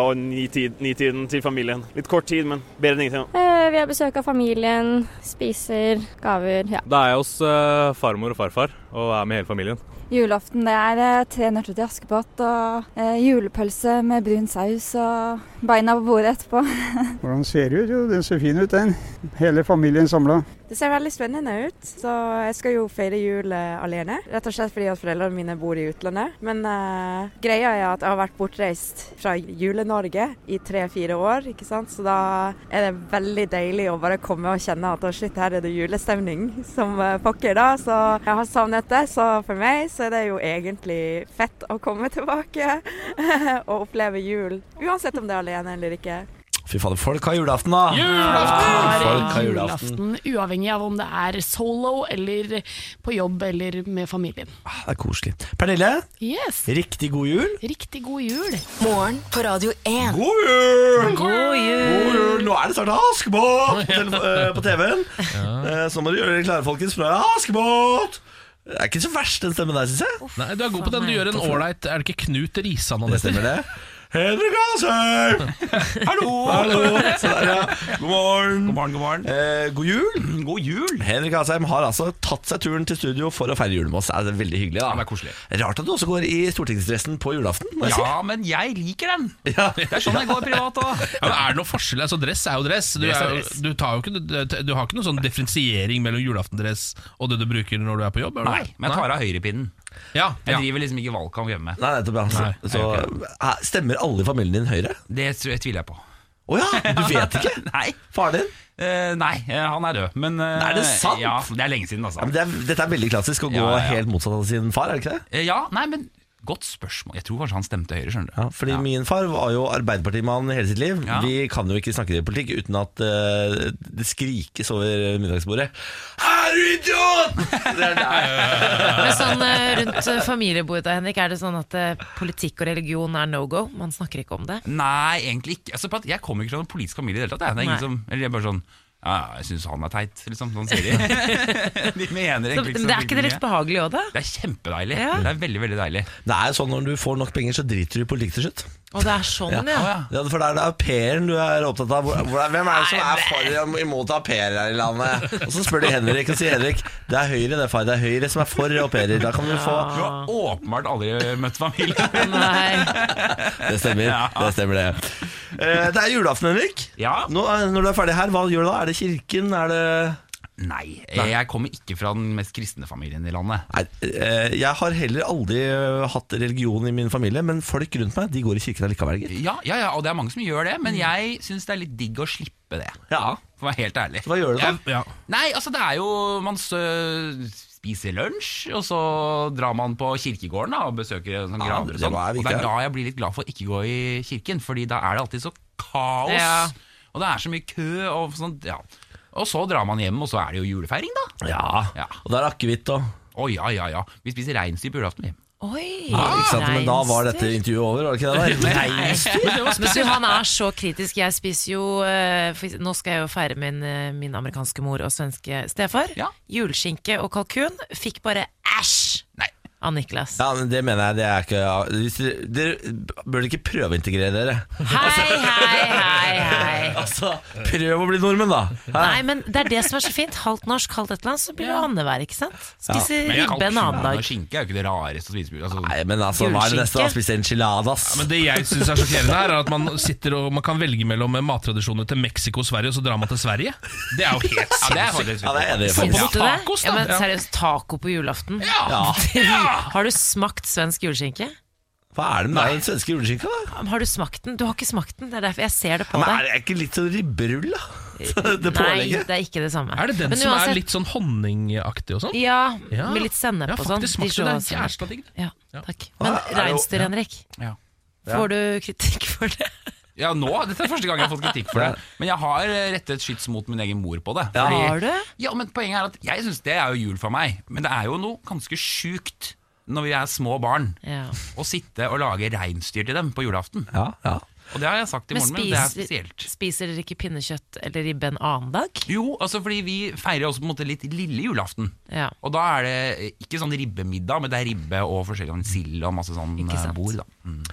[SPEAKER 8] ni-tiden til familien. Litt kort tid, men bedre enn ingenting.
[SPEAKER 10] Eh, Vi har besøk av familien, spiser gaver, ja.
[SPEAKER 11] Da er jeg hos eh, farmor og farfar og er med hele familien.
[SPEAKER 10] Julaften det er eh, tre nøtter til Askepott og eh, julepølse med brun saus og beina på bordet etterpå.
[SPEAKER 11] Hvordan ser det ut? Jo, den ser fin ut, den. Hele familien samla.
[SPEAKER 10] Det ser veldig spennende ut, så jeg skal jo feire jul eh, alene. Rett og slett fordi at foreldrene mine bor i utlandet. Men eh, greia er at jeg har vært bortreist fra Jule-Norge i tre-fire år, ikke sant. Så da er det veldig deilig å bare komme og kjenne at «Å, shit, her er det julestemning som eh, pokker, da. Så jeg har savnet det. Så for meg så er det jo egentlig fett å komme tilbake og oppleve jul. Uansett om det er alene eller ikke.
[SPEAKER 1] Fy fader, folk har julaften, da! Folk har julaften.
[SPEAKER 9] Julaften, uavhengig av om det er solo eller på jobb eller med familien.
[SPEAKER 1] Ah, Det er koselig. Pernille,
[SPEAKER 9] Yes,
[SPEAKER 1] riktig god jul.
[SPEAKER 9] Riktig god jul.
[SPEAKER 4] Morgen på Radio 1.
[SPEAKER 1] God jul!
[SPEAKER 2] God jul!
[SPEAKER 1] God jul! Nå er det snart Askepott på, telefo- eh, på TV-en. Eh, Så må dere gjøre dere klare, folkens, for nå er det Askepott! Det er ikke så verst, den stemmen der, syns jeg.
[SPEAKER 3] Nei, Du er god på den. Du gjør en ålreit Er det ikke Knut Risan han
[SPEAKER 1] Det
[SPEAKER 3] heter?
[SPEAKER 1] stemmer, det. Henrik Asheim! Hallo! Så der, ja. God morgen. God
[SPEAKER 7] morgen, god morgen.
[SPEAKER 1] Eh, god jul.
[SPEAKER 7] God jul!
[SPEAKER 1] Henrik Asheim har altså tatt seg turen til studio for å feire jul med oss. Er det veldig hyggelig, da?
[SPEAKER 7] det er koselig.
[SPEAKER 1] Rart at du også går i stortingsdressen på julaften. må jeg
[SPEAKER 7] Ja, men jeg liker den!
[SPEAKER 1] si. ja.
[SPEAKER 7] Det er sånn jeg går privat òg.
[SPEAKER 3] Ja, men er det noe forskjell? Altså, dress er jo dress. Du, er, jo- du, tar jo ikke, du, du har ikke noen sånn differensiering mellom julaftendress og det du bruker når du er på jobb? er det
[SPEAKER 7] Nei,
[SPEAKER 3] det?
[SPEAKER 7] men jeg tar av høyrepinnen.
[SPEAKER 3] Ja,
[SPEAKER 7] Jeg
[SPEAKER 3] ja.
[SPEAKER 7] driver liksom ikke valgkamp hjemme.
[SPEAKER 1] Nei, nettopp. ja.
[SPEAKER 3] Nei,
[SPEAKER 1] Så, så, eh, stemmer alle i familien din Høyre?
[SPEAKER 7] Det tror jeg- tviler jeg på.
[SPEAKER 1] Å ja, du vet ikke?
[SPEAKER 7] Nei,
[SPEAKER 1] Faren din?
[SPEAKER 7] Eh, nei eh, han er død. Men eh,
[SPEAKER 1] Er det sant?
[SPEAKER 7] Ja, det er lenge siden, altså.
[SPEAKER 1] Ja, men det er, dette er veldig klassisk å gå
[SPEAKER 7] Ja, ja, ja.
[SPEAKER 1] helt motsatt av sin far, er det ikke det?
[SPEAKER 7] Eh, ja, nei, men godt spørsmål. Jeg tror kanskje han stemte Høyre, skjønner du.
[SPEAKER 1] Ja, fordi min far var jo arbeiderpartimann hele sitt liv.
[SPEAKER 7] Ja.
[SPEAKER 1] Vi kan jo ikke snakke politikk uten at eh, det skrikes over middagsbordet. Er du idiot?! Det er der.
[SPEAKER 2] Men sånn eh, rundt eh, familiebordet, Henrik, er det sånn at eh, politikk og religion er no go? Man snakker ikke om det?
[SPEAKER 7] Nei, egentlig ikke. Altså, på at jeg kommer ikke fra noen politisk familie i det hele tatt. jeg. Det er
[SPEAKER 2] Nei.
[SPEAKER 7] ingen som, eller jeg er bare sånn Ja, ja, jeg syns han er teit, liksom. Sånn sier de. de mener
[SPEAKER 2] Så,
[SPEAKER 3] liksom
[SPEAKER 7] egentlig
[SPEAKER 2] men det er ikke det litt behagelig òg, da?
[SPEAKER 7] Det er kjempedeilig.
[SPEAKER 2] Ja.
[SPEAKER 7] Det er veldig, veldig deilig.
[SPEAKER 1] Det er jo sånn Når du får nok penger, så driter du i politikk til slutt.
[SPEAKER 2] Å, det er sånn, ja.
[SPEAKER 1] Ja, for det er det au pairen du er opptatt av. Hvor- hvor- Hvem er det som er for og imot au pairer her i landet? Og så spør de Henrik, og sier Henrik det er Høyre det, far. Det er Høyre som er for au pairer. Da kan du
[SPEAKER 7] Du
[SPEAKER 1] få
[SPEAKER 7] har åpenbart aldri møtt familien min.
[SPEAKER 1] Det stemmer, det stemmer det. Eh, Det er julaften, Henrik. Nå, eh, når du er ferdig her, hva gjør du da? Er det kirken? Er det
[SPEAKER 7] Nei,
[SPEAKER 3] eh,
[SPEAKER 7] jeg kommer ikke fra den mest kristne familien i landet.
[SPEAKER 1] Nei, eh, jeg har heller aldri eh, hatt religion i min familie, men folk rundt meg de går i kirken allikevel. gitt.
[SPEAKER 7] Ja, ja, ja, og det er mange som gjør det, men jeg syns det er litt digg å slippe det.
[SPEAKER 1] Ja.
[SPEAKER 7] For å være helt ærlig.
[SPEAKER 1] Hva gjør du da?
[SPEAKER 7] Nei, altså det er jo Man sø- spiser lunsj, og så drar man på kirkegården da, og besøker sånn
[SPEAKER 1] Ja,
[SPEAKER 7] graver og
[SPEAKER 1] det
[SPEAKER 7] sånn.
[SPEAKER 1] var
[SPEAKER 7] Og
[SPEAKER 1] viktig,
[SPEAKER 7] det
[SPEAKER 1] ja.
[SPEAKER 7] er da jeg blir litt glad for å ikke gå i kirken, Fordi da er det alltid så kaos.
[SPEAKER 2] Ja.
[SPEAKER 7] Og det er så mye kø og sånn. Ja. Og så drar man hjem, og så er det jo julefeiring, da.
[SPEAKER 1] Ja, og det er akevitt òg.
[SPEAKER 7] Å ja, ja, ja. Vi spiser reinsdyr på julaften, vi.
[SPEAKER 2] Oi,
[SPEAKER 1] Ja, ikke sant? Men da var dette
[SPEAKER 2] reinsdyr.
[SPEAKER 1] intervjuet over, var det ikke det? der?
[SPEAKER 2] Men du, han er så kritisk. Jeg spiser jo eh, for- Nå skal jeg jo feire min, eh, min amerikanske mor og svenske stefar. Juleskinke og kalkun. Fikk bare æsj av Niklas.
[SPEAKER 1] Ja, men det mener jeg det er ikke hvis dere, dere burde ikke prøve å integrere dere.
[SPEAKER 2] Hei, hei, hei, hei.
[SPEAKER 1] Altså, prøv å bli nordmenn, da! Hæ?
[SPEAKER 2] Nei, men det er det som er så fint. Halvt norsk, halvt et eller annet, så blir det annenhver, ikke sant? Spise
[SPEAKER 7] Men
[SPEAKER 2] ribbe en annen
[SPEAKER 7] kalkun og
[SPEAKER 2] dag.
[SPEAKER 7] skinke er jo ikke det rareste å spise. på- Altså,
[SPEAKER 1] Nei, men altså, hva er det neste? da?
[SPEAKER 7] Juleskinke?
[SPEAKER 1] Spise enchiladas?
[SPEAKER 3] Sånn Men det jeg synes er sjokkerende her, er at man sitter og man kan velge mellom mattradisjoner til Mexico og Sverige, og så drar man til Sverige. Det er jo helt
[SPEAKER 7] Ja, det er faktisk-
[SPEAKER 3] sinnssykt.
[SPEAKER 7] Ja, det er det
[SPEAKER 3] Få på noen
[SPEAKER 2] Visste du det?
[SPEAKER 3] tacos,
[SPEAKER 2] Ja,
[SPEAKER 3] da.
[SPEAKER 2] men seriøst, taco på julaften?
[SPEAKER 1] Ja.
[SPEAKER 2] Har du smakt svensk juleskinke?
[SPEAKER 1] Hva er det med den svenske juleskinka, da?
[SPEAKER 2] Har du smakt den? Du har ikke smakt den, det er derfor jeg ser det på
[SPEAKER 1] Men
[SPEAKER 2] deg.
[SPEAKER 1] er det ikke litt sånn ribberull, da? Det
[SPEAKER 2] Eh, Nei,
[SPEAKER 1] pålegget?
[SPEAKER 2] det er ikke det samme.
[SPEAKER 3] Er det den
[SPEAKER 2] Men
[SPEAKER 3] som
[SPEAKER 2] uansett-
[SPEAKER 3] er litt sånn honningaktig og sånn?
[SPEAKER 2] Ja,
[SPEAKER 3] Ja.
[SPEAKER 2] med litt sennep
[SPEAKER 3] Ja,
[SPEAKER 2] og sånn.
[SPEAKER 3] faktisk smakte
[SPEAKER 2] Dijon
[SPEAKER 3] den.
[SPEAKER 2] sennep.
[SPEAKER 3] Jævla digg, det.
[SPEAKER 2] Ja, takk. Men
[SPEAKER 3] Ah, er det-
[SPEAKER 2] reinsdyr,
[SPEAKER 3] ja.
[SPEAKER 2] Henrik.
[SPEAKER 7] Ja.
[SPEAKER 2] Får du kritikk for det?
[SPEAKER 7] Ja, nå. Dette er første gang jeg har fått kritikk for det. Men jeg har eh, rettet skyts mot min egen mor på det.
[SPEAKER 2] Ja.
[SPEAKER 7] Fordi-
[SPEAKER 2] Har du?
[SPEAKER 7] Ja, men poenget er at jeg syns det er jo jul for meg. Men det er jo noe ganske sjukt når vi er små barn,
[SPEAKER 2] Ja.
[SPEAKER 7] å sitte og lage reinsdyr til dem på julaften. Og det har jeg sagt til
[SPEAKER 2] Men
[SPEAKER 7] moren min, det er
[SPEAKER 2] spiser,
[SPEAKER 7] spesielt.
[SPEAKER 2] spiser dere ikke pinnekjøtt eller ribbe en annen dag?
[SPEAKER 7] Jo, altså fordi vi feirer også på en måte litt lille julaften.
[SPEAKER 2] Ja.
[SPEAKER 7] Og da er det ikke sånn ribbemiddag, men det er ribbe og forskjellig sånn sild og masse sånn
[SPEAKER 2] Ikke
[SPEAKER 7] eh,
[SPEAKER 2] sant.
[SPEAKER 7] bord, da.
[SPEAKER 1] Mm.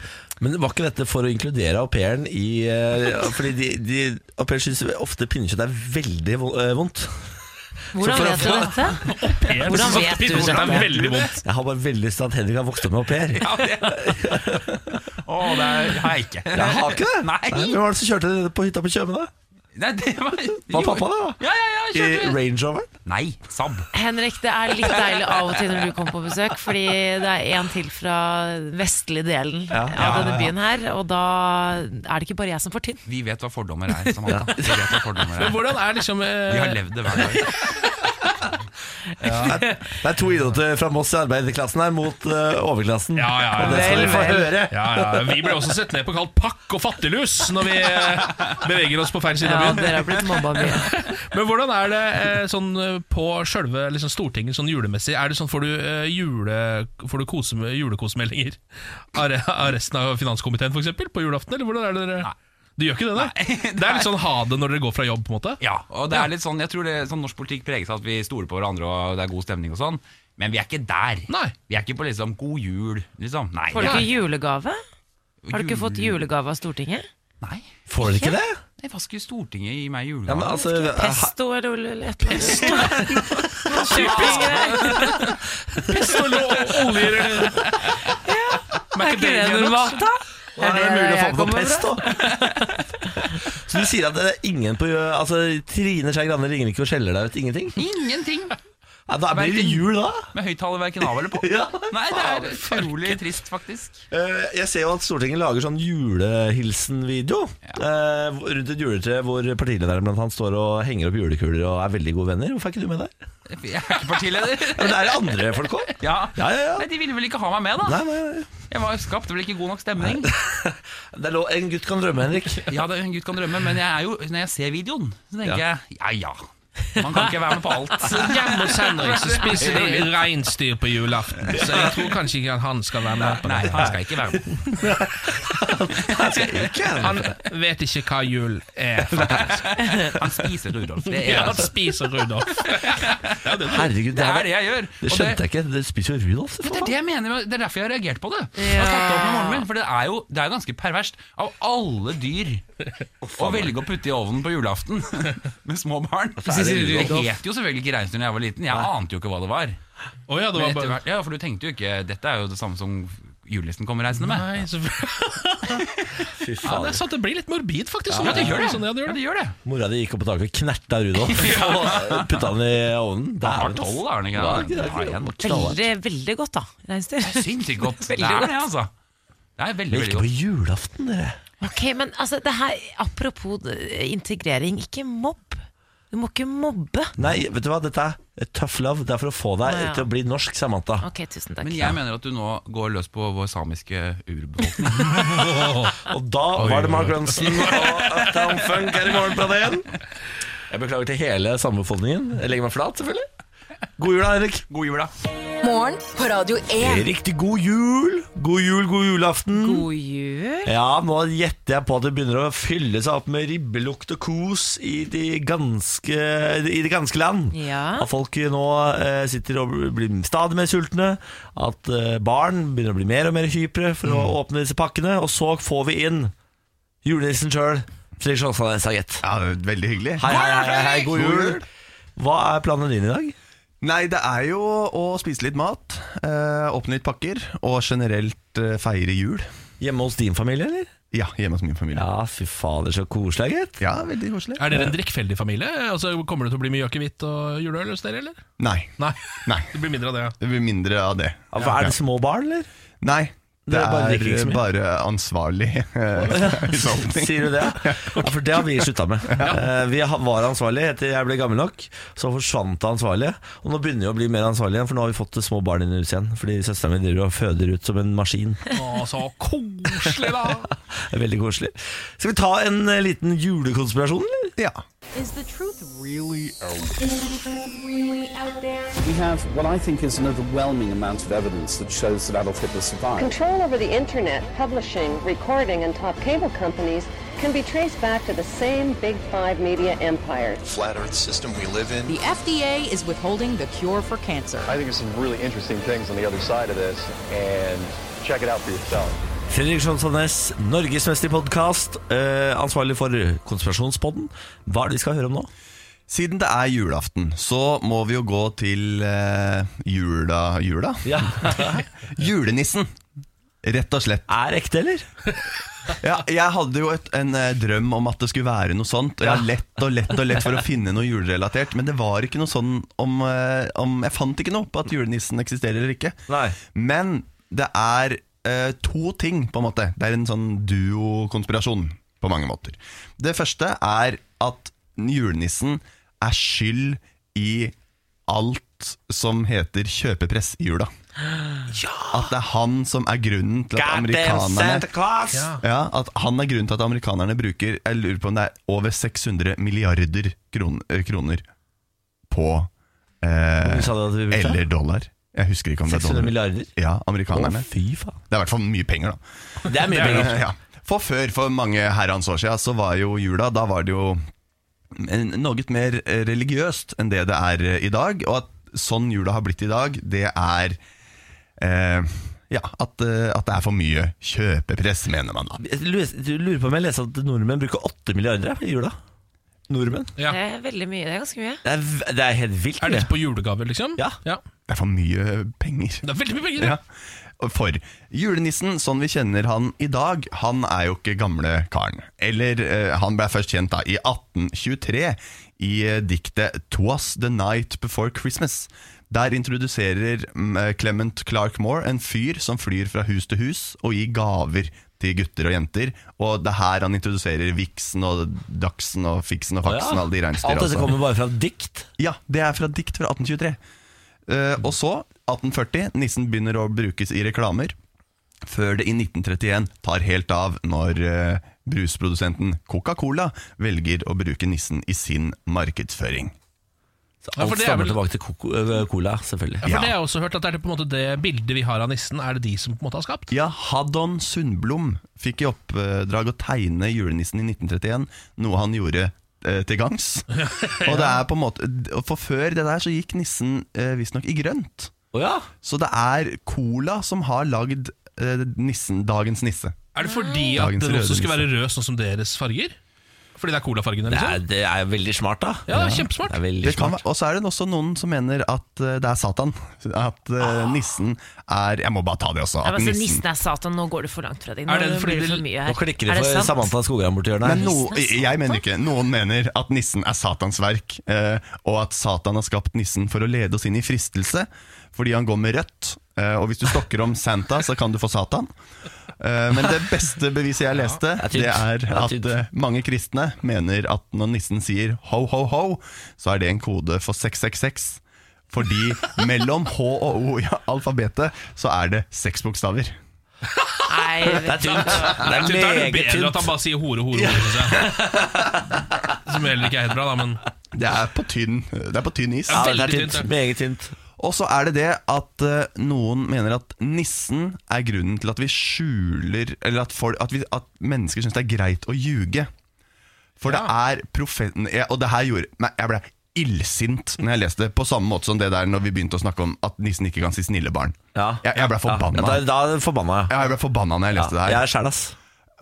[SPEAKER 1] Men var ikke dette for å inkludere au pairen i eh, Fordi de, de, au pairen syns ofte pinnekjøtt er veldig vo- eh, vondt.
[SPEAKER 2] Hvordan
[SPEAKER 1] Så for å
[SPEAKER 2] vet du
[SPEAKER 1] få-
[SPEAKER 2] dette? Hvordan vet du
[SPEAKER 3] Det er
[SPEAKER 2] dette?
[SPEAKER 3] veldig vondt.
[SPEAKER 1] Jeg har bare veldig lyst til at Henrik har vokst opp med au pair.
[SPEAKER 7] Ja, det Å, det er- har jeg ikke.
[SPEAKER 1] Jeg har ikke det!
[SPEAKER 7] Nei.
[SPEAKER 1] Hvem var det som kjørte dere på hytta på Tjøme, da?
[SPEAKER 7] Nei, det var,
[SPEAKER 1] Var pappa det, da?
[SPEAKER 7] Ja, ja, ja,
[SPEAKER 1] I
[SPEAKER 7] kjørte vi.
[SPEAKER 1] Range Roveren?
[SPEAKER 7] Nei, Saab.
[SPEAKER 2] Henrik, det er litt deilig av og til når du kommer på besøk, fordi det er en til fra vestlige delen av denne byen her, og da er det ikke bare jeg som får tynn.
[SPEAKER 7] Vi vet hva fordommer er, Samantha. Vi vet hva fordommer
[SPEAKER 3] Men
[SPEAKER 7] er.
[SPEAKER 3] hvordan er liksom eh,
[SPEAKER 7] Vi har levd det hver dag.
[SPEAKER 1] Det er to idioter fra Moss i arbeiderklassen her mot eh, overklassen.
[SPEAKER 3] Ja, ja,
[SPEAKER 1] Og det skal vi få høre.
[SPEAKER 3] Ja, ja. Vi ble også sett ned på kalt pakk og fattiglus når vi eh, beveger oss på feil side
[SPEAKER 2] Ja,
[SPEAKER 3] av byen.
[SPEAKER 2] dere har blitt mobba mye.
[SPEAKER 3] Men hvordan er det eh, sånn eh, på sjølve liksom, Stortinget sånn julemessig? Er det sånn, Får du, eh, jule, får du kose, julekosmeldinger av re- av resten av finanskomiteen for eksempel, på julaften? Eller hvordan er det dere Du gjør ikke det, da? Det er litt sånn ha det når dere går fra jobb, på en måte?
[SPEAKER 7] Ja, og det er litt sånn, jeg tror det, sånn Norsk politikk preges av at vi stoler på hverandre og det er god stemning og sånn. Men vi er ikke der.
[SPEAKER 3] Nei.
[SPEAKER 7] Vi er ikke på liksom god jul, liksom. Nei.
[SPEAKER 2] Får du
[SPEAKER 7] vi
[SPEAKER 2] ikke julegave?
[SPEAKER 7] er-
[SPEAKER 2] Har du ikke fått julegave av Stortinget?
[SPEAKER 7] Nei.
[SPEAKER 1] Får dere ikke det?
[SPEAKER 7] Nei, hva skulle Stortinget gi meg i
[SPEAKER 1] Ja, men
[SPEAKER 7] julegave?
[SPEAKER 1] altså, ha-
[SPEAKER 2] Pesto eller ol- eller et eller annet. Kjøping-
[SPEAKER 3] Pistol og oljer eller
[SPEAKER 2] Er ikke det normalt, da? Eh,
[SPEAKER 1] er det mulig å få
[SPEAKER 2] jeg
[SPEAKER 1] på
[SPEAKER 2] kommer fra?
[SPEAKER 1] pesto? Så du sier at det er ingen på Altså, Trine Skei Grande ringer ikke og skjeller deg ut? Ingenting?
[SPEAKER 7] Ingenting!
[SPEAKER 1] Ja, da blir det jul, da!
[SPEAKER 7] Med høyttaler verken av eller på.
[SPEAKER 1] Ja.
[SPEAKER 7] Nei, det er utrolig trist, faktisk.
[SPEAKER 1] Eh, Jeg ser jo at Stortinget lager sånn julehilsen-video eh, hvor- rundt et juletre hvor partilederen blant annet står og henger opp julekuler og er veldig gode venner. Hvorfor er ikke du med der?
[SPEAKER 7] Jeg er ikke partileder.
[SPEAKER 1] Men det er andre folk òg.
[SPEAKER 7] Ja.
[SPEAKER 1] Ja, ja, ja.
[SPEAKER 7] Nei, de ville vel ikke ha meg med, da.
[SPEAKER 1] Nei, nei, nei.
[SPEAKER 7] Jeg var skapte vel ikke god nok stemning.
[SPEAKER 1] Det er lov, en gutt kan drømme, Henrik.
[SPEAKER 7] Ja, det, en gutt kan drømme, men jeg er jo, når jeg ser videoen, så tenker jeg ja ja. Man kan ikke være med på alt.
[SPEAKER 3] Hjemme hos Henrik så spiser de reinsdyr på julaften, så jeg tror kanskje ikke at han skal være med på det.
[SPEAKER 7] Nei, han skal ikke være med.
[SPEAKER 3] Han vet ikke hva jul er, faktisk.
[SPEAKER 7] Han spiser Rudolf. Det er
[SPEAKER 3] ja, han
[SPEAKER 7] altså-
[SPEAKER 3] spiser Rudolf. Ja, det,
[SPEAKER 1] Herregud,
[SPEAKER 7] Det
[SPEAKER 1] her-
[SPEAKER 7] er det jeg gjør.
[SPEAKER 1] Det
[SPEAKER 7] Og
[SPEAKER 1] skjønte
[SPEAKER 7] det-
[SPEAKER 1] jeg ikke. Dere spiser jo Rudolf. for
[SPEAKER 7] Det er
[SPEAKER 1] faen.
[SPEAKER 7] det jeg mener, med- det er derfor jeg har reagert på det. Jeg har tatt det opp med moren min, For det er jo det er ganske perverst av alle dyr å velge å putte i ovnen på julaften med små barn.
[SPEAKER 1] så er det
[SPEAKER 7] Det
[SPEAKER 1] Rudolf.
[SPEAKER 7] het jo selvfølgelig ikke reinsdyr da jeg var liten. Jeg ante jo ikke hva det var.
[SPEAKER 3] Å ja, det
[SPEAKER 7] Men
[SPEAKER 3] var
[SPEAKER 7] etter
[SPEAKER 3] bare
[SPEAKER 7] hvert- ja, for du tenkte jo ikke Dette er jo det samme som julenissen kommer reisende med.
[SPEAKER 3] Nei, så
[SPEAKER 1] Fy
[SPEAKER 3] ja, det
[SPEAKER 1] faen.
[SPEAKER 3] er sant, det blir litt morbid, faktisk.
[SPEAKER 7] Ja,
[SPEAKER 3] når
[SPEAKER 7] det
[SPEAKER 3] jeg
[SPEAKER 7] gjør
[SPEAKER 3] tenker
[SPEAKER 7] det.
[SPEAKER 3] Sånn, ja, det gjør
[SPEAKER 7] Ja,
[SPEAKER 3] det.
[SPEAKER 7] det gjør det.
[SPEAKER 1] Mora di gikk opp på taket og knerta Rudolf og putta den i ovnen.
[SPEAKER 7] Han var
[SPEAKER 1] Dæven, ass.
[SPEAKER 7] tolv, da, er han ikke
[SPEAKER 1] Ja,
[SPEAKER 7] det?
[SPEAKER 1] det er
[SPEAKER 7] Ja,
[SPEAKER 1] ikke det.
[SPEAKER 2] Veldig, veldig godt, da. Reinsdyr.
[SPEAKER 7] Sinnssykt godt. Det er det, altså. Det er
[SPEAKER 1] Men
[SPEAKER 7] veldig, veldig
[SPEAKER 1] ikke på
[SPEAKER 7] godt.
[SPEAKER 1] julaften, dere.
[SPEAKER 2] Ok, men altså, det her, apropos eh, integrering, ikke mobb. Du må ikke mobbe.
[SPEAKER 1] Nei, vet du hva, dette er tough love. Det er for å få deg
[SPEAKER 2] Å, ja.
[SPEAKER 1] til å bli norsk, Samantha.
[SPEAKER 2] Ok, tusen takk.
[SPEAKER 7] Men jeg mener at du nå går løs på vår samiske urbefolkning.
[SPEAKER 1] Og da var det Ah, Mark Ronson og Uptown Funk her i morgen på det igjen. Jeg beklager til hele sambefolkningen. Jeg legger meg flat, selvfølgelig. God jul, da, Erik.
[SPEAKER 7] God jul, da.
[SPEAKER 4] Morgen på Radio 1.
[SPEAKER 1] Riktig god jul. God jul, god julaften.
[SPEAKER 2] God jul.
[SPEAKER 1] Ja, nå gjetter jeg på at det begynner å fylle seg opp med ribbelukt og kos i det ganske, i det ganske land.
[SPEAKER 2] Ja.
[SPEAKER 1] At folk nå eh, sitter og blir stadig mer sultne. At eh, barn begynner å bli mer og mer hypre for
[SPEAKER 12] Mm.
[SPEAKER 1] å åpne disse pakkene. Og så får vi inn julenissen sjøl, Fredrik Sjåstad Saget.
[SPEAKER 12] Ja, det er veldig hyggelig.
[SPEAKER 1] Hei, hei, hei, hei, god jul. Hva er planene dine i dag?
[SPEAKER 12] Nei, det er jo å spise litt mat, eh, åpne litt pakker og generelt eh, feire jul.
[SPEAKER 1] Hjemme hos din familie, eller?
[SPEAKER 12] Ja, hjemme hos min familie.
[SPEAKER 1] Ja, fy fader, så koselig, gitt.
[SPEAKER 12] Ja, veldig koselig.
[SPEAKER 3] Er dere en drikkfeldig familie? Altså, kommer det til å bli mye akevitt og juleøl hos dere, eller?
[SPEAKER 12] Nei,
[SPEAKER 3] Nei,
[SPEAKER 12] nei.
[SPEAKER 3] det blir mindre av det. ja.
[SPEAKER 12] Det blir mindre av det.
[SPEAKER 1] Ja, hva Er det små barn, eller?
[SPEAKER 12] Nei, det,
[SPEAKER 1] Dere bare
[SPEAKER 12] er,
[SPEAKER 1] drikker ikke så mye?
[SPEAKER 12] bare ansvarlig eh, husholdning.
[SPEAKER 1] Sier du det? Ja, for det har vi slutta med. Eh, Vi ha- var ansvarlige etter jeg ble gammel nok. Så forsvant det ansvarlige. Og nå begynner vi å bli mer ansvarlige igjen, for nå har vi fått det små barn inn i huset igjen. Fordi søstera mi driver og føder ut som en maskin.
[SPEAKER 3] Å, så koselig, da!
[SPEAKER 1] Det er Veldig koselig. Skal vi ta en eh, liten julekonspirasjon, eller?
[SPEAKER 12] Ja.
[SPEAKER 13] We have what I think is an overwhelming amount of evidence that shows that Adolf Hitler survived.
[SPEAKER 14] Control over the internet, publishing, recording, and top cable companies can be traced back to the same Big Five media empire.
[SPEAKER 15] flat earth system we live in.
[SPEAKER 16] The FDA is withholding the cure for cancer.
[SPEAKER 15] I think there's some really interesting things on the other side of this, and check it out for yourself.
[SPEAKER 1] Fredrik Sjonsandnes, norgesmester i podkast, ansvarlig for Konspirasjonspodden. Hva er det vi skal høre om nå?
[SPEAKER 12] Siden det er julaften, så må vi jo gå til eh, jula Jula?
[SPEAKER 1] Ja.
[SPEAKER 12] Julenissen, rett og slett.
[SPEAKER 1] Er ekte, eller?
[SPEAKER 12] Ja, jeg hadde jo et, en eh, drøm om at det skulle være noe sånt. Og jeg har lett og lett og lett for å finne noe julerelatert, men det var ikke noe sånn om, eh, om Jeg fant ikke noe på at julenissen eksisterer eller ikke.
[SPEAKER 1] Nei.
[SPEAKER 12] Men det er eh, to ting, på en måte. Det er en sånn duokonspirasjon på mange måter. Det første er at julenissen er skyld i alt som heter kjøpepress i jula. At det er han som er grunnen til at amerikanerne
[SPEAKER 1] Claus!
[SPEAKER 12] ja, at han er grunnen til at amerikanerne bruker Jeg lurer på om det er over 600 milliarder kron, eh, kroner på eh,
[SPEAKER 1] Hvor sa du at vi brukte?
[SPEAKER 12] Eller dollar. Jeg husker ikke om det er
[SPEAKER 1] 600
[SPEAKER 12] dollar.
[SPEAKER 1] milliarder?
[SPEAKER 12] Ja,
[SPEAKER 1] Å,
[SPEAKER 12] amerikanerne.
[SPEAKER 1] fy faen.
[SPEAKER 12] Det er i hvert fall mye penger, da.
[SPEAKER 1] Det er mye penger.
[SPEAKER 12] Ja. For før, for mange herrens år siden, så var jo jula Da var det jo en- noe mer eh, religiøst enn det det er eh, i dag. Og at sånn jula har blitt i dag, det er eh, Ja, at, eh, at det er for mye kjøpepress, mener man da.
[SPEAKER 1] Jeg lurer du lurer på om jeg leste at nordmenn bruker 8 milliarder jeg, i jula. Nordmenn.
[SPEAKER 3] Ja.
[SPEAKER 2] Det er veldig mye, det er ganske mye.
[SPEAKER 1] Det er, v- det er helt vilt.
[SPEAKER 3] Er
[SPEAKER 1] mye.
[SPEAKER 3] dette på julegaver, liksom?
[SPEAKER 1] Ja.
[SPEAKER 12] Det er for mye penger.
[SPEAKER 3] Det er veldig mye penger!
[SPEAKER 12] Ja. Og For julenissen, sånn vi kjenner han i dag, han er jo ikke gamle karen. Eller eh, han ble først kjent da i 1823 i eh, diktet 'Twas the Night Before Christmas'. Der introduserer mm, Clement Clark Moore en fyr som flyr fra hus til hus og gir gaver til gutter og jenter. Og det er her han introduserer viksen og dagsen og fiksen og
[SPEAKER 1] Å, ja.
[SPEAKER 12] faksen. Alle de reinsdyra.
[SPEAKER 1] Alt dette
[SPEAKER 12] altså.
[SPEAKER 1] kommer bare fra dikt.
[SPEAKER 12] Ja, det er fra dikt fra 1823. Eh, og så, 1840, nissen begynner å brukes i reklamer. Før det i 1931 tar helt av når eh, brusprodusenten Coca-Cola velger å bruke nissen i sin markedsføring.
[SPEAKER 3] Ja, for
[SPEAKER 1] Alt
[SPEAKER 3] det er
[SPEAKER 1] stammer
[SPEAKER 3] vel-
[SPEAKER 1] tilbake til koko- øh, cola, selvfølgelig.
[SPEAKER 3] Ja, for Det har jeg også hørt at det er på en måte det bildet vi har av nissen, er det de som på en måte har skapt?
[SPEAKER 12] Ja, Haddon Sundblom fikk i oppdrag å tegne julenissen i 1931, noe han gjorde eh, til gangs. Og det er på en måte og For før det der så gikk nissen eh, visstnok i grønt. Så det er Cola som har lagd eh, nissen, dagens nisse.
[SPEAKER 3] Er det fordi at
[SPEAKER 12] Dagens
[SPEAKER 3] den
[SPEAKER 12] røde
[SPEAKER 3] også skulle
[SPEAKER 12] nisse.
[SPEAKER 3] være rød, sånn som deres farger? Fordi det er colafargene?
[SPEAKER 12] Det
[SPEAKER 3] Liksom?
[SPEAKER 12] er-
[SPEAKER 1] Det er veldig smart, da.
[SPEAKER 3] Ja, det er kjempesmart.
[SPEAKER 1] Det er veldig
[SPEAKER 12] Det kan, være- og så er det også noen som mener at eh, det er Satan. At eh,
[SPEAKER 3] Ah.
[SPEAKER 12] nissen er Jeg må bare ta det også.
[SPEAKER 2] Ja,
[SPEAKER 12] At
[SPEAKER 2] men altså,
[SPEAKER 12] nissen
[SPEAKER 2] nissen er satan, nå går det for langt, Fredrik. Nå
[SPEAKER 12] Er det fordi
[SPEAKER 2] blir det
[SPEAKER 12] de-
[SPEAKER 2] for mye her.
[SPEAKER 12] Er
[SPEAKER 2] Er
[SPEAKER 12] det sant?
[SPEAKER 1] Skogran borti hjørnet her.
[SPEAKER 12] Men no,
[SPEAKER 1] Nissen er
[SPEAKER 12] jeg jeg mener ikke. Noen mener at nissen er Satans verk, eh, og at Satan har skapt nissen for å lede oss inn i fristelse, fordi han går med rødt. eh, Og hvis du stokker om Santa, så kan du få Satan. Eh, Men det beste beviset jeg leste,
[SPEAKER 1] det
[SPEAKER 12] det
[SPEAKER 1] er tynt.
[SPEAKER 12] er
[SPEAKER 1] Det er
[SPEAKER 12] at eh, mange kristne mener at når nissen sier ho, ho, ho, så er det en kode for 666. Fordi mellom H og O i alfabetet så er det seks bokstaver.
[SPEAKER 2] Nei,
[SPEAKER 12] Det er
[SPEAKER 3] Det
[SPEAKER 12] tynt.
[SPEAKER 3] er tynt. Da er det
[SPEAKER 12] meget
[SPEAKER 3] bedre
[SPEAKER 12] tynt.
[SPEAKER 3] at han bare sier hore, hore, hore. synes jeg. Som heller ikke er helt bra, da, men
[SPEAKER 12] Det er på tynn, det er på tynn is.
[SPEAKER 3] Ja, det er Veldig tynt. tynt.
[SPEAKER 1] Meget tynt.
[SPEAKER 12] Og så er det det at eh, noen mener at nissen er grunnen til at vi skjuler Eller at, folk, at, vi, at mennesker syns det er greit å ljuge. For det er profeten jeg, Og det her gjorde Nei, jeg ble illsint når jeg leste det, på samme måte som det der når vi begynte å snakke om at nissen ikke kan si 'snille barn'. Jeg, jeg ble forbanna.
[SPEAKER 1] Ja, da, da forbanna jeg.
[SPEAKER 12] Ja, jeg ble forbanna når jeg
[SPEAKER 1] Ja,
[SPEAKER 12] leste det her.
[SPEAKER 1] jeg er sjæl, ass.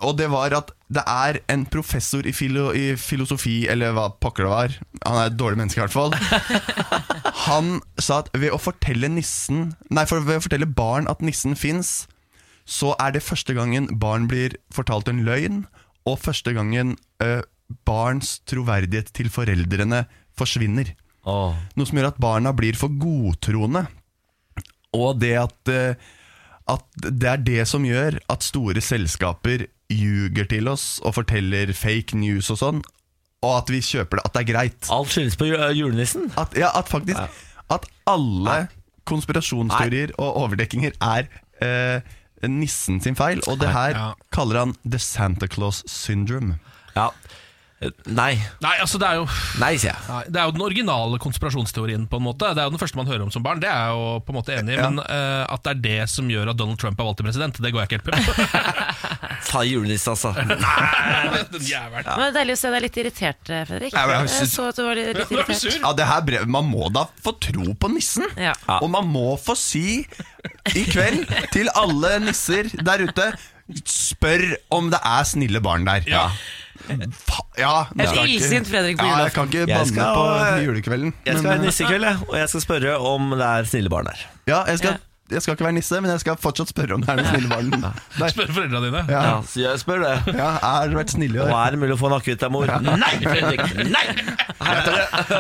[SPEAKER 12] Og det var at det er en professor i, filo, i filosofi, eller hva pokker det var Han er et dårlig menneske, i hvert fall. Han sa at ved å fortelle nissen Nei, for ved å fortelle barn at nissen fins, så er det første gangen barn blir fortalt en løgn, og første gangen eh, barns troverdighet til foreldrene forsvinner. Noe som gjør at barna blir for godtroende. Og det at, eh, at det er det som gjør at store selskaper ljuger til oss og forteller fake news og sånn, og at vi kjøper det, at det er greit.
[SPEAKER 1] Alt skyldes på eh, julenissen?
[SPEAKER 12] At, ja, at faktisk At alle konspirasjonsteorier og overdekkinger er eh, nissen sin feil, og det her kaller han The Santa Claus Syndrome.
[SPEAKER 1] Ja. Eh, Nei.
[SPEAKER 3] Nei, altså det er jo
[SPEAKER 1] Nei, sier jeg.
[SPEAKER 3] Nei, det er jo den originale konspirasjonsteorien. på en måte Det er jo den første man hører om som barn. Det er jeg jo på en måte enig i Men eh, at det er det som gjør at Donald Trump er valgt til president, det går jeg ikke helt på.
[SPEAKER 1] Faen, julenissen, altså.
[SPEAKER 3] Den jævelen.
[SPEAKER 2] Men det er deilig å se deg litt irritert, eh, Fredrik.
[SPEAKER 12] Nei, men jeg
[SPEAKER 2] jeg
[SPEAKER 12] synes-
[SPEAKER 2] så at du var litt litt irritert.
[SPEAKER 12] Ja, det her brevet, Man må da få tro på nissen!
[SPEAKER 2] Ja.
[SPEAKER 12] Og man må få si i kveld til alle nisser der ute Spør om det er snille barn der. Ja, ja
[SPEAKER 1] Et illsint Fredrik på
[SPEAKER 12] ja, Jeg
[SPEAKER 1] julaften.
[SPEAKER 12] kan ikke
[SPEAKER 1] Jeg
[SPEAKER 12] banne
[SPEAKER 1] skal,
[SPEAKER 12] på
[SPEAKER 1] eh,
[SPEAKER 12] julekvelden.
[SPEAKER 1] Jeg skal
[SPEAKER 12] men,
[SPEAKER 1] være
[SPEAKER 12] eh,
[SPEAKER 1] nisse i kveld, jeg, og jeg skal spørre om det er snille barn der.
[SPEAKER 12] Ja, jeg skal, jeg skal ikke være nisse, men jeg skal fortsatt spørre om det er noen snille barn. Nei.
[SPEAKER 3] Spør foreldra dine.
[SPEAKER 12] Ja.
[SPEAKER 1] så jeg spør det.
[SPEAKER 12] Ja, er du vært snill i år?
[SPEAKER 1] Og er det mulig å få en akevitt av mor? Nei, Fredrik! Nei!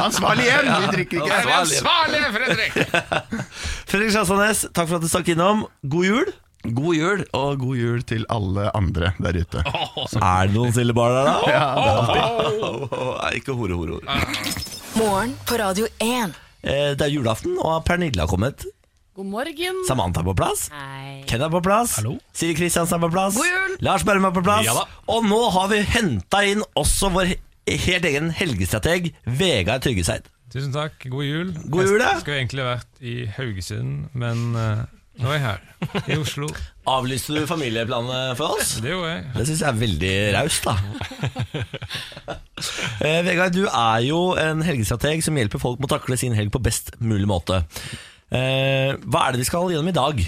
[SPEAKER 12] Ansvarlig hjem, vi drikker ikke.
[SPEAKER 1] Ja, Fredrik Sjasanes, takk for at du stakk innom. God jul.
[SPEAKER 12] God jul, og god jul til alle andre der ute.
[SPEAKER 1] Er det noen snille barn der, da?
[SPEAKER 12] Ja, det er
[SPEAKER 1] alltid. Nei, Ikke hore, hore, hore.
[SPEAKER 4] Morgen på Radio 1.
[SPEAKER 1] Eh, Det er julaften, og Pernille har kommet.
[SPEAKER 9] God morgen.
[SPEAKER 1] Samantha er på plass. Ken er på plass. Siri Kristiansen er på plass. Lars Berrum er på plass.
[SPEAKER 9] Ja da.
[SPEAKER 1] og nå har vi henta inn også vår he- helt egen helgestrateg, Vegard Tryggeseid.
[SPEAKER 17] Tusen takk, god jul.
[SPEAKER 1] God jul, ja.
[SPEAKER 17] Jeg skulle egentlig vært i Haugesund, men eh, nå er jeg her, i Oslo.
[SPEAKER 1] Avlyste du familieplanene for oss?
[SPEAKER 17] Det gjorde jeg.
[SPEAKER 1] Det syns jeg er veldig raust, da. Eh, Vegard, du er jo en helgestrateg som hjelper folk med å takle sin helg på best mulig måte. Eh, hva er det vi skal gjennom i dag?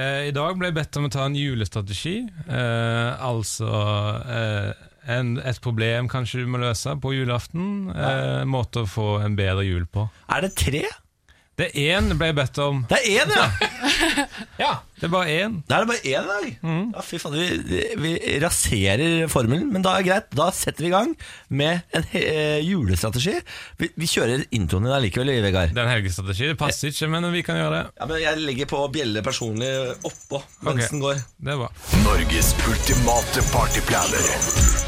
[SPEAKER 17] Eh, I dag ble jeg bedt om å ta en julestrategi. Eh, altså eh, en, et problem kanskje du må løse på julaften. Eh, en måte å få en bedre jul på.
[SPEAKER 1] Er det tre?
[SPEAKER 17] Det er én ble jeg bedt om.
[SPEAKER 1] Det er én, ja!
[SPEAKER 17] ja! Det er bare én.
[SPEAKER 1] Da er det bare én i dag.
[SPEAKER 17] Mm.
[SPEAKER 1] Ja, fy faen, vi, vi raserer formelen, men da er det greit. Da setter vi i gang med en he eh, julestrategi. Vi, vi kjører introen din allikevel, Vegard. Eh,
[SPEAKER 17] Det er en helgestrategi. Det passer ikke, men vi kan gjøre det.
[SPEAKER 1] Ja, men jeg legger på bjelle personlig oppå
[SPEAKER 17] Ok.
[SPEAKER 1] mens den går.
[SPEAKER 17] Det er bra.
[SPEAKER 18] Norges ultimate partyplaner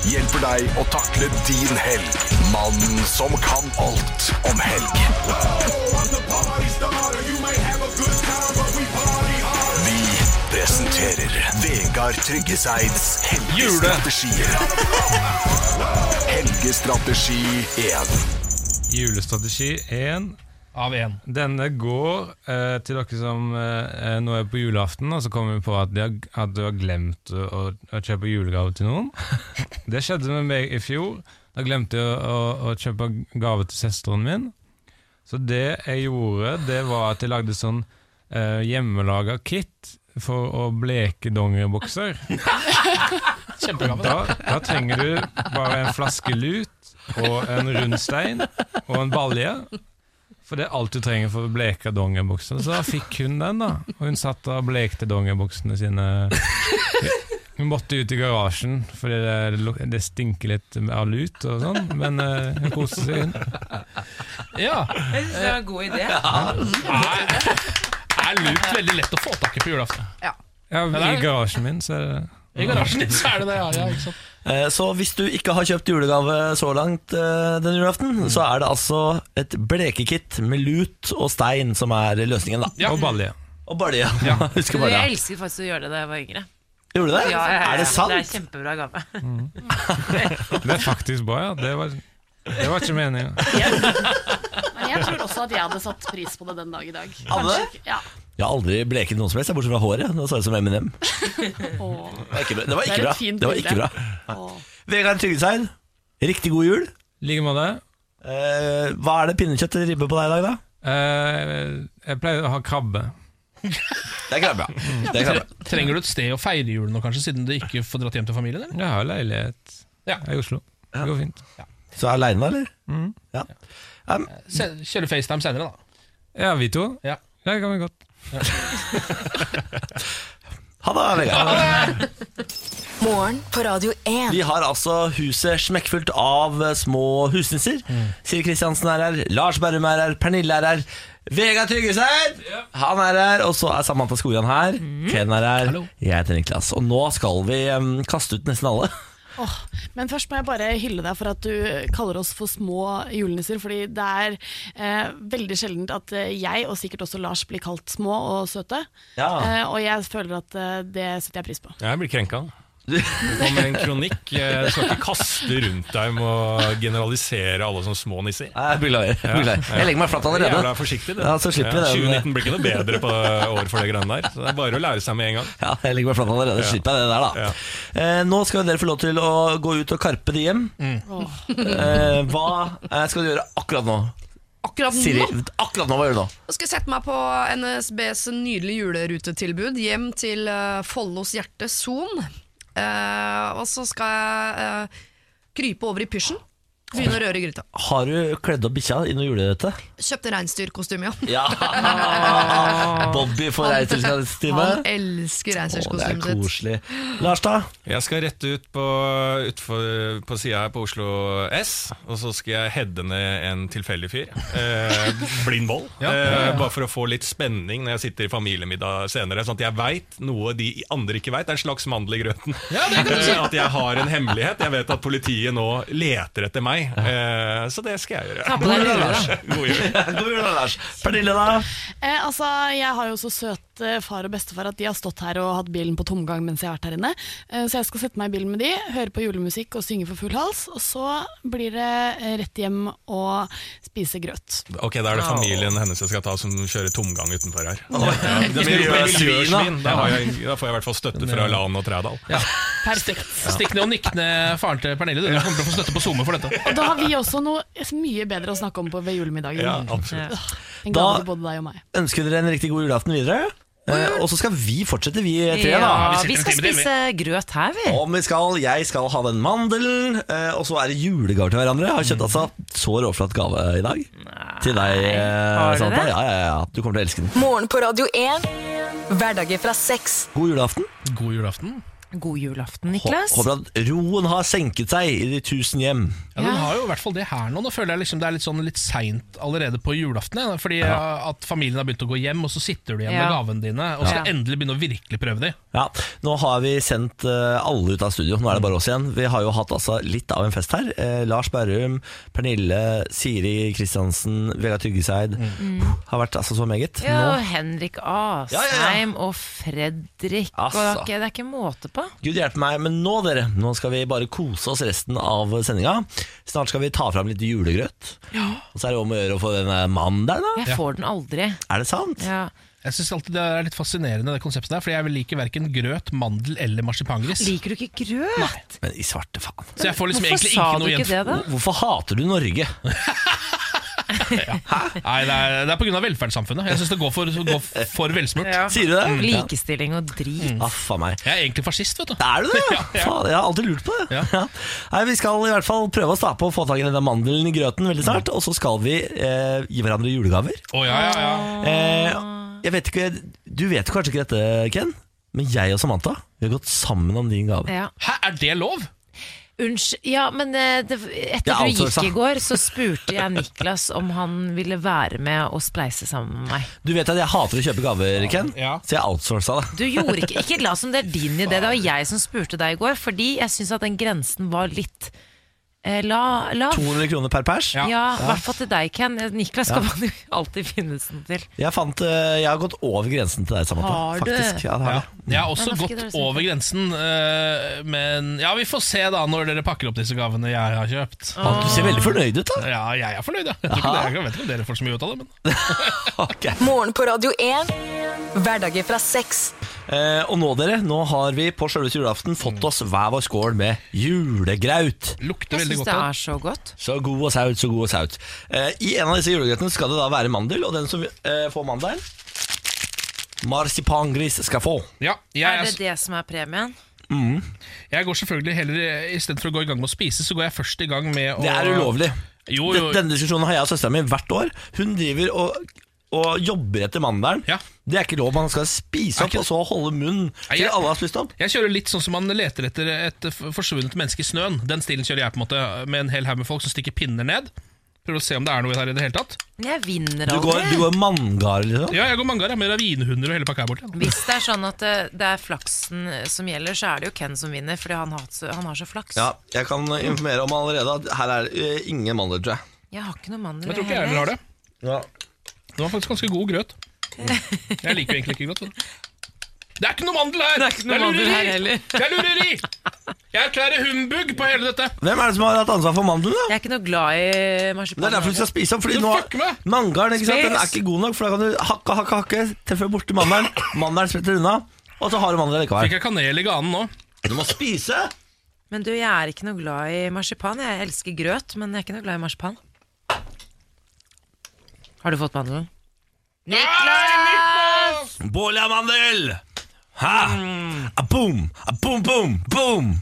[SPEAKER 18] hjelper deg å takle din helg. Mannen som kan alt om helg. Vi presenterer Vegard Tryggeseids helgestrategier. Helgestrategi 1.
[SPEAKER 17] Julestrategi 1.
[SPEAKER 3] Av 1.
[SPEAKER 17] Denne går eh, til dere som eh, nå er på julaften, og så kommer vi på at, de har, at du har glemt å, å, å kjøpe julegave til noen. Det skjedde med meg i fjor. Da glemte jeg å, å, å kjøpe gave til søsteren min. Så det jeg gjorde, det var at jeg lagde sånn eh, hjemmelaga kit for å bleke dongeribukser.
[SPEAKER 3] Kjempegave.
[SPEAKER 17] Da, da trenger du bare en flaske lut og en rund stein og en balje. For det er alt du trenger for å bleke dongeribukser. Så da fikk hun den, da. Og hun satt og blekte dongeribuksene sine. Hun måtte ut i garasjen, fordi det, luk- det stinker litt av lut og sånn. Men eh, hun koste seg. hun.
[SPEAKER 3] Ja.
[SPEAKER 2] Jeg synes det var en god idé.
[SPEAKER 3] Er lut veldig lett å få tak i på julaften?
[SPEAKER 17] Ja,
[SPEAKER 3] Men det
[SPEAKER 17] I
[SPEAKER 3] er-
[SPEAKER 17] garasjen min, så er det
[SPEAKER 3] I garasjen din så er det det, ja. ja ikke sant?
[SPEAKER 1] Eh, Så hvis du ikke har kjøpt julegave så langt eh, denne julaften, så er det altså et blekekit med lut og stein som er løsningen, da.
[SPEAKER 17] Og balje.
[SPEAKER 1] Og balje. Ja. Husker
[SPEAKER 2] Jeg
[SPEAKER 1] balja.
[SPEAKER 2] elsket faktisk å gjøre det da jeg var yngre.
[SPEAKER 1] Gjorde du det?
[SPEAKER 2] Ja, ja, ja.
[SPEAKER 1] Er det sant? Mm.
[SPEAKER 2] Det er kjempebra gave.
[SPEAKER 17] Det er faktisk bra, ja. Det var, det var ikke meningen.
[SPEAKER 9] Men jeg tror også at jeg hadde satt pris på det den dag i dag.
[SPEAKER 1] Hadde du?
[SPEAKER 9] ikke- Ja.
[SPEAKER 1] Jeg har aldri bleket noen som helst, jeg, bortsett fra håret. Nå så jeg ut som Eminem.
[SPEAKER 9] Åh.
[SPEAKER 1] Det var ikke bra. Det var ikke
[SPEAKER 9] Det er et
[SPEAKER 1] bra.
[SPEAKER 9] fint
[SPEAKER 1] Det var ikke
[SPEAKER 9] bilde.
[SPEAKER 1] bra. Vegard Tryggeseid, riktig god jul.
[SPEAKER 17] Like måte.
[SPEAKER 1] Eh, hva er det pinnekjøtt eller ribbe på deg i dag, da?
[SPEAKER 17] Eh, jeg pleier å ha krabbe.
[SPEAKER 1] Det er krabbe, ja. Det er krabbe.
[SPEAKER 3] Trenger du et sted å feire jul nå, kanskje, siden du ikke får dratt hjem til familien? Eller?
[SPEAKER 17] Jeg har leilighet
[SPEAKER 3] Ja.
[SPEAKER 17] i Oslo. Det går fint.
[SPEAKER 1] Så er aleine, eller?
[SPEAKER 17] Mm.
[SPEAKER 1] Ja. Um,
[SPEAKER 3] Se- Kjører FaceTime senere, da.
[SPEAKER 17] Ja, vi to.
[SPEAKER 3] Ja.
[SPEAKER 17] Det kan vi godt.
[SPEAKER 1] Ha det, Vegard.
[SPEAKER 4] Morgen på Radio 1.
[SPEAKER 1] Vi har altså huset smekkfullt av eh, små husnisser. Siri Kristiansen er her, Lars Berrum er her, Pernille er her. Vegard Tryggeseid! Han er her, og så er Samantha Skogran her. Ken er her. Jeg heter Niklas. Og nå skal vi eh, kaste ut nesten alle.
[SPEAKER 9] Åh, men først må jeg bare hylle deg for at du kaller oss for små julenisser, fordi det er eh, veldig sjeldent at eh, jeg, og sikkert også Lars, blir kalt små og søte.
[SPEAKER 5] Ja.
[SPEAKER 9] Eh, og jeg føler at eh, det setter jeg pris på.
[SPEAKER 5] Jeg blir krenka. Du kommer en kronikk. eh, Du skal ikke kaste rundt deg med å generalisere alle som små nisser.
[SPEAKER 1] Nei, Jeg beklager. jeg beklager. Jeg legger meg flatt allerede.
[SPEAKER 5] Jævla forsiktig, du.
[SPEAKER 1] Ja, så slipper vi den.
[SPEAKER 5] 2019 blir ikke noe bedre på år for det greiene der. Så det er bare å lære seg med en gang.
[SPEAKER 1] Ja, jeg ligger meg flatt allerede. Slipper jeg det der, da. Eh, nå skal dere få lov til å gå ut og karpe de hjem. Eh, hva eh, skal du gjøre akkurat nå?
[SPEAKER 6] Akkurat nå?
[SPEAKER 1] Siri, akkurat nå, hva gjør du nå?
[SPEAKER 6] Nå skal jeg sette meg på NSBs nydelige julerutetilbud hjem til eh, Follos hjerte, Son. Eh, og så skal jeg eh, krype over i pysjen. Begynne å røre i gryta.
[SPEAKER 1] Har du kledd opp bikkja i noe julehøte?
[SPEAKER 6] Kjøpte reinsdyrkostyme,
[SPEAKER 1] Ja! Bobby får reinsdyrkostyme.
[SPEAKER 6] Han elsker
[SPEAKER 1] Å, Det er
[SPEAKER 6] reinsdyrkostymet sitt.
[SPEAKER 1] koselig. Lars, da?
[SPEAKER 5] Jeg skal rett ut på, utfor, på sida her på Oslo S, og så skal jeg heade ned en tilfeldig fyr. Eh, Blindboll.
[SPEAKER 3] Ja.
[SPEAKER 5] Eh, bare for å få litt spenning når jeg sitter i familiemiddag senere. Sånn at jeg veit noe de andre ikke veit. Det er en slags mandel i grøten. Eh, At jeg har en hemmelighet. Jeg vet at politiet nå leter etter meg. Eh, så det skal jeg gjøre.
[SPEAKER 1] Ta på deg lue, da.
[SPEAKER 5] God jul.
[SPEAKER 1] God jul, da, Lars. Pernille, da?
[SPEAKER 9] Eh, altså, jeg har jo så søt eh, far og bestefar at de har stått her og hatt bilen på tomgang mens jeg har vært her inne. Eh, så jeg skal sette meg i bilen med de, høre på julemusikk og synge for full hals. Og så blir det eh, rett hjem og spise grøt.
[SPEAKER 5] Ok, Da er det familien hennes jeg skal ta som kjører tomgang utenfor her.
[SPEAKER 1] Ja.
[SPEAKER 5] det blir jo
[SPEAKER 1] Miljøsvin,
[SPEAKER 5] miljøsvin.
[SPEAKER 1] da.
[SPEAKER 5] Da, har jeg, da får jeg i hvert fall støtte fra Lan og Trædal.
[SPEAKER 9] Perfekt.
[SPEAKER 3] Stikk ned og nikk ned faren til Pernille. Du Du kommer til å få støtte på SoMe for dette.
[SPEAKER 9] Og da har vi også noe eh, mye bedre å snakke om på ved julemiddagen.
[SPEAKER 1] Ja, absolutt.
[SPEAKER 9] Åh, En
[SPEAKER 1] Da-
[SPEAKER 9] gave til både deg og meg.
[SPEAKER 1] Ønsker dere en riktig god julaften videre? Eh, og så skal vi fortsette, vi tre. da
[SPEAKER 2] Ja, vi skal spise grøt her, vi.
[SPEAKER 1] Om vi skal, jeg skal ha den mandelen, eh, og så er det julegaver til hverandre. Jeg har
[SPEAKER 2] Mm.
[SPEAKER 1] kjøpt altså så råflott gave i dag. Til deg,
[SPEAKER 4] har
[SPEAKER 1] eh,
[SPEAKER 4] du
[SPEAKER 1] Samantha.
[SPEAKER 4] det?
[SPEAKER 1] Ja, ja, ja. Du kommer til å elske den.
[SPEAKER 4] Morgen på Radio 1. Hverdager fra seks.
[SPEAKER 1] God julaften.
[SPEAKER 3] God julaften.
[SPEAKER 2] God julaften,
[SPEAKER 1] Hå-
[SPEAKER 2] Niklas.
[SPEAKER 1] Håper at roen har senket seg i de tusen hjem.
[SPEAKER 3] Ja, Den har jo i hvert fall det her nå. Nå føler jeg liksom det er litt sånn litt seint allerede på julaften. jeg, da, Fordi
[SPEAKER 1] Ja.
[SPEAKER 3] uh, at familien har begynt å gå hjem, og så sitter du igjen med
[SPEAKER 1] Ja.
[SPEAKER 3] gavene dine og skal
[SPEAKER 1] Ja.
[SPEAKER 3] endelig begynne å virkelig prøve dem.
[SPEAKER 1] Ja, Nå har vi sendt eh, alle ut av studio. Nå er det bare oss igjen. Vi har jo hatt altså litt av en fest her. Eh, Lars Berrum, Pernille, Siri Kristiansen, Vegard Tryggeseid.
[SPEAKER 2] Mm.
[SPEAKER 1] Har vært altså så meget.
[SPEAKER 2] Ja, og
[SPEAKER 1] Nå
[SPEAKER 2] Henrik Asheim og Fredrik
[SPEAKER 1] Altså.
[SPEAKER 2] og det, er ikke, det er ikke måte på. etterpå.
[SPEAKER 1] Gud hjelpe meg, men nå dere, nå skal vi bare kose oss resten av sendinga. Snart skal vi ta fram litt julegrøt. Og så er det om å gjøre å få den der mandelen, da.
[SPEAKER 2] Jeg får den aldri.
[SPEAKER 1] Er det sant?
[SPEAKER 3] Jeg syns alltid det er litt fascinerende, det konseptet der. Fordi jeg liker verken grøt, mandel eller marsipangris.
[SPEAKER 2] Liker du ikke grøt?
[SPEAKER 1] Men i svarte faen.
[SPEAKER 3] Så jeg får liksom
[SPEAKER 2] Hvorfor
[SPEAKER 3] egentlig
[SPEAKER 2] sa
[SPEAKER 3] ikke
[SPEAKER 2] du
[SPEAKER 3] noe
[SPEAKER 2] ikke det, da?
[SPEAKER 1] Hvorfor hater du Norge?
[SPEAKER 3] Nei, det er, det er pga. velferdssamfunnet. Jeg syns det går for, går for velsmurt.
[SPEAKER 1] Sier du det?
[SPEAKER 3] Mm.
[SPEAKER 2] Likestilling og drit.
[SPEAKER 1] Ah, faen meg.
[SPEAKER 3] Jeg er egentlig fascist, vet du.
[SPEAKER 1] Er du det?
[SPEAKER 3] Ja, ja.
[SPEAKER 1] Faen, jeg har alltid lurt på det. Ja. Nei, vi skal i hvert fall prøve oss da på å få tak i denne mandelen i grøten veldig snart. Og så skal vi eh, gi hverandre julegaver.
[SPEAKER 3] Å, ja, ja, ja.
[SPEAKER 1] Eh, jeg vet ikke, du vet kanskje ikke dette, Ken, men jeg og Samantha vi har gått sammen om din gave.
[SPEAKER 2] Ja.
[SPEAKER 3] Hæ, er det lov?
[SPEAKER 2] Unnskyld, ja, men eh, det, etter
[SPEAKER 1] Ja,
[SPEAKER 2] du
[SPEAKER 1] altså,
[SPEAKER 2] gikk
[SPEAKER 1] sa-
[SPEAKER 2] i går, så spurte jeg Niklas om han ville være med og spleise sammen med meg.
[SPEAKER 1] Du vet at jeg hater å kjøpe gaver, Ken, så jeg outsourca det.
[SPEAKER 2] Du gjorde ikke Ikke la som det er din idé, det var jeg som spurte deg i går, fordi jeg syns at den grensen var litt eh, la, lav.
[SPEAKER 1] 200 kroner per pers.
[SPEAKER 2] Ja, i hvert fall til deg, Ken. Eh, Niklas
[SPEAKER 1] Ja.
[SPEAKER 2] kan man jo alltid finne sånn til.
[SPEAKER 1] Jeg, fant, eh, jeg har gått over grensen til deg, Samantha.
[SPEAKER 2] Har du?
[SPEAKER 1] Faktisk. Ja, det Mm. har
[SPEAKER 3] Ja.
[SPEAKER 1] jeg.
[SPEAKER 3] Jeg har også
[SPEAKER 2] Men da fikk dere
[SPEAKER 3] gått
[SPEAKER 2] snakke.
[SPEAKER 3] over grensen, eh, men ja, vi får se da når dere pakker opp disse gavene jeg har kjøpt.
[SPEAKER 1] Ah, du ser veldig fornøyd ut, da.
[SPEAKER 3] Ja, jeg er fornøyd, ja. Jeg, tror ikke dere, jeg vet ikke om dere får så mye ut av det, men
[SPEAKER 4] Morgen på Radio 1. Hverdager fra seks.
[SPEAKER 1] Eh, og nå, dere, nå har vi på sjølveste julaften fått oss hver vår skål med julegraut.
[SPEAKER 3] Mm. Lukter
[SPEAKER 2] Jeg syns det er så godt.
[SPEAKER 1] Så god og saut, så god og saut. Eh, I en av disse julegrøtene skal det da være mandel, og den som eh, får mandelen Marsipangris skal få. Mm,
[SPEAKER 3] ja,
[SPEAKER 2] er
[SPEAKER 3] jeg,
[SPEAKER 2] det det som er premien?
[SPEAKER 3] jeg går selvfølgelig heller i stedet for å gå i gang med å spise, så går jeg først i gang med å
[SPEAKER 1] Det er ulovlig.
[SPEAKER 3] Jo, jo.
[SPEAKER 1] Den- Denne diskusjonen har jeg og søsteren min hvert år. Hun driver og, og jobber etter mandelen. Det er ikke lov. Man skal spise opp og så holde munn til
[SPEAKER 3] jeg-
[SPEAKER 1] alle har spist opp.
[SPEAKER 3] Jeg kjører litt sånn som man leter etter et f- forsvunnet menneske i snøen. Den stilen kjører jeg på en måte med en hel haug med folk som stikker pinner ned. Prøver å se om det er noe her i det hele tatt.
[SPEAKER 2] Men jeg vinner
[SPEAKER 1] Du
[SPEAKER 2] aldri.
[SPEAKER 1] går, du går manngard, liksom?
[SPEAKER 3] Ja, jeg går mangar, jeg, med ravinehunder og hele pakka er borte.
[SPEAKER 2] Hvis det er sånn at det, det er flaksen eh, som gjelder, så er det jo Ken som vinner, fordi han har, så- han har så flaks.
[SPEAKER 1] Ja, jeg kan informere om allerede at her er det eh, ingen mandler, tror jeg.
[SPEAKER 2] Jeg har ikke noe mandel.
[SPEAKER 3] Jeg tror ikke jeg heller har det.
[SPEAKER 1] Ja.
[SPEAKER 3] Det var faktisk ganske god grøt. Jeg liker jo egentlig ikke grøt. men- Det er ikke noe mandel her! Det er,
[SPEAKER 2] noe mandel
[SPEAKER 3] lureri!
[SPEAKER 2] her heller.
[SPEAKER 3] Det er lureri! Jeg erklærer humbug på hele dette.
[SPEAKER 1] Hvem er det som har hatt ansvar for mandelen, da?
[SPEAKER 2] Jeg er ikke noe glad i marsipan.
[SPEAKER 1] Det er derfor du skal spise opp. Fordi nå Mangarden ikke sant? Den er ikke god nok, for da kan du hakke, hakke, hakke treffe borti mandelen. Mandelen spretter unna, og så har du mandelen
[SPEAKER 3] Fikk
[SPEAKER 1] likevel.
[SPEAKER 3] jeg kanel i ganen nå?
[SPEAKER 1] Du må spise!
[SPEAKER 2] Men du, jeg er ikke noe glad i marsipan. Jeg elsker grøt, men jeg er ikke noe glad i marsipan. Har du fått mandelen? Niklas!
[SPEAKER 1] Bolle av mandel! Ha!
[SPEAKER 3] Mm.
[SPEAKER 1] A boom! A boom, boom, boom!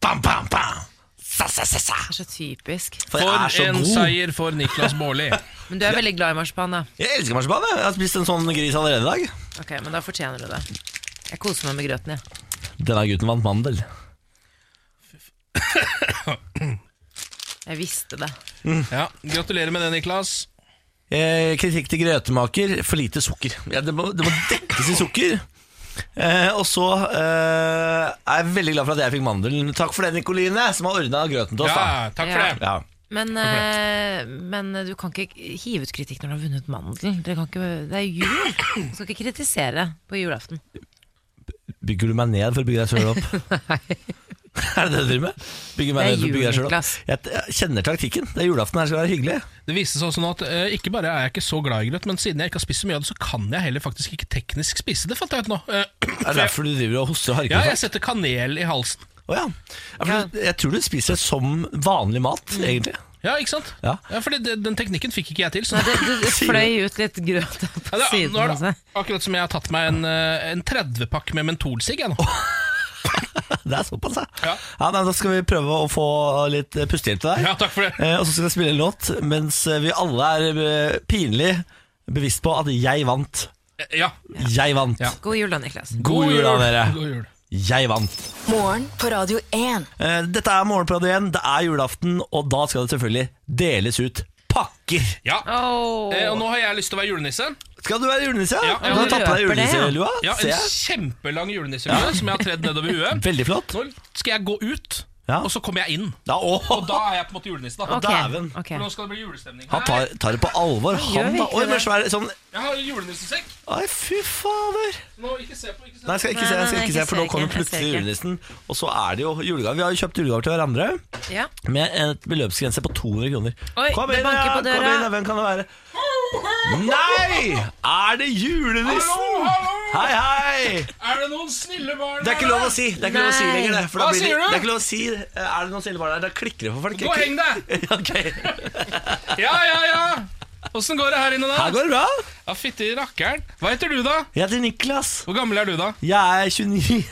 [SPEAKER 1] Bam, bam, bam! Sa, sa, sa, sa.
[SPEAKER 2] Det er så typisk.
[SPEAKER 1] For jeg er så
[SPEAKER 3] en
[SPEAKER 1] god.
[SPEAKER 3] seier for Niklas Baarli.
[SPEAKER 2] Men du er veldig glad i marsipan, da.
[SPEAKER 1] Jeg elsker marsipan. Jeg. jeg har spist en sånn gris allerede i dag.
[SPEAKER 2] Ok, men da fortjener du det. Jeg koser meg med grøten, jeg.
[SPEAKER 1] Denne gutten vant mandel.
[SPEAKER 2] Jeg visste det.
[SPEAKER 3] Ja, gratulerer med det, Niklas.
[SPEAKER 1] Eh, kritikk til grøtemaker. For lite sukker. Ja, det, må, det må dekkes i sukker. Eh, og så eh, er jeg veldig glad for at jeg fikk mandelen. Takk for det, Nikoline, som har ordna grøten til oss.
[SPEAKER 3] Ja, takk for det.
[SPEAKER 1] Ja.
[SPEAKER 2] Men, eh, men du kan ikke hive ut kritikk når du har vunnet mandel. Dere kan ikke, det er jul. Du skal ikke kritisere på julaften.
[SPEAKER 1] Bygger du meg ned for å bygge deg sjøl opp? er det det du driver med? Bygger meg
[SPEAKER 2] Det er
[SPEAKER 1] ned for å bygge deg selv
[SPEAKER 2] juleklas.
[SPEAKER 1] opp jeg, jeg kjenner taktikken. Det er julaften her skal være hyggelig.
[SPEAKER 3] Det viste seg også nå at eh, ikke bare er jeg ikke så glad i grøt, men siden jeg ikke har spist så mye av det, så kan jeg heller faktisk ikke teknisk spise det, fant jeg ut nå. Eh,
[SPEAKER 1] Er det derfor du driver og hoster og harker?
[SPEAKER 3] ja,
[SPEAKER 1] og
[SPEAKER 3] jeg setter kanel i halsen.
[SPEAKER 1] sånn? Å ja. Ja, for du- Jeg tror du spiser som vanlig mat,
[SPEAKER 3] Mm.
[SPEAKER 1] egentlig.
[SPEAKER 3] Ja, ikke sant?
[SPEAKER 1] Ja.
[SPEAKER 3] fordi det, den teknikken fikk ikke jeg til. Så
[SPEAKER 2] Nei, det, det, det
[SPEAKER 3] Sier du?
[SPEAKER 2] fløy ut litt grøt på
[SPEAKER 3] Ja, det,
[SPEAKER 2] siden.
[SPEAKER 3] nå er
[SPEAKER 2] Altså.
[SPEAKER 3] det akkurat som jeg har tatt meg en, eh, en 30-pakk med mentolsigg. jeg nå.
[SPEAKER 1] Det er såpass, ja. ja. nei, da skal vi prøve å få litt eh, pustehjelp til deg.
[SPEAKER 3] Ja, takk for det.
[SPEAKER 1] Eh, og så skal jeg spille en låt mens eh, vi alle er eh, pinlig bevisst på at jeg vant.
[SPEAKER 3] Ja.
[SPEAKER 1] Jeg vant.
[SPEAKER 2] God jul da, Niklas.
[SPEAKER 1] God jul da, dere.
[SPEAKER 3] God jul.
[SPEAKER 1] Jeg vant.
[SPEAKER 4] Morgen på Radio 1.
[SPEAKER 1] Eh, Dette er Morgenpradio igjen, det er julaften, og da skal det selvfølgelig deles ut pakker.
[SPEAKER 3] Ja. Eh, og nå har jeg lyst til å være julenisse.
[SPEAKER 1] Skal du være julenisse?
[SPEAKER 3] Ja,
[SPEAKER 1] Du har tatt på deg
[SPEAKER 3] Løper det, ja.
[SPEAKER 1] julenisselua,
[SPEAKER 3] Ja,
[SPEAKER 1] ser
[SPEAKER 3] en
[SPEAKER 1] jeg.
[SPEAKER 3] kjempelang julenisselue
[SPEAKER 1] Ja.
[SPEAKER 3] som jeg har tredd nedover huet.
[SPEAKER 1] Veldig flott.
[SPEAKER 3] Nå skal jeg gå ut og så kommer jeg inn. Og da er jeg på en måte julenissen.
[SPEAKER 1] Å,
[SPEAKER 3] Da.
[SPEAKER 1] dæven.
[SPEAKER 3] For nå skal det bli julestemning.
[SPEAKER 1] Han tar, tar det på alvor,
[SPEAKER 3] Gjør
[SPEAKER 1] han da.
[SPEAKER 3] virkelig
[SPEAKER 1] Oi, men
[SPEAKER 3] det.
[SPEAKER 1] svær, sånn
[SPEAKER 3] Jeg har julenissesekk.
[SPEAKER 1] Nei, fy fader.
[SPEAKER 3] Nå, ikke se på, ikke se på.
[SPEAKER 1] Nei, jeg skal ikke se, jeg skal ikke se, for nå kommer plutselig julenissen. Og så er det jo julegave. Vi har jo kjøpt julegaver til hverandre
[SPEAKER 2] Ja.
[SPEAKER 1] med et beløpsgrense på 200 kroner.
[SPEAKER 2] Oi,
[SPEAKER 1] Kom
[SPEAKER 2] det
[SPEAKER 1] inn,
[SPEAKER 2] banker
[SPEAKER 1] ja,
[SPEAKER 2] på døra.
[SPEAKER 1] Kom inn, ja, hvem kan det være? Nei! Er det julenissen? Hei, hei!
[SPEAKER 3] Er det noen snille barn
[SPEAKER 1] Det er ikke
[SPEAKER 3] her,
[SPEAKER 1] lov
[SPEAKER 3] da?
[SPEAKER 1] å si. Det er ikke lov å si
[SPEAKER 3] Nei.
[SPEAKER 1] lenger, det. For da
[SPEAKER 3] Hva
[SPEAKER 1] blir det,
[SPEAKER 3] sier du?
[SPEAKER 1] det er ikke lov å si eh, Er det noen snille barn der? Da klikker det for folk.
[SPEAKER 3] Gå og heng deg! ja, ja, ja! Åssen går det her inne, da?
[SPEAKER 1] Her går det bra.
[SPEAKER 3] Ja, Fytti rakkeren. Hva heter du, da?
[SPEAKER 1] Jeg heter Niklas.
[SPEAKER 3] Hvor gammel er du, da?
[SPEAKER 1] Jeg er 29.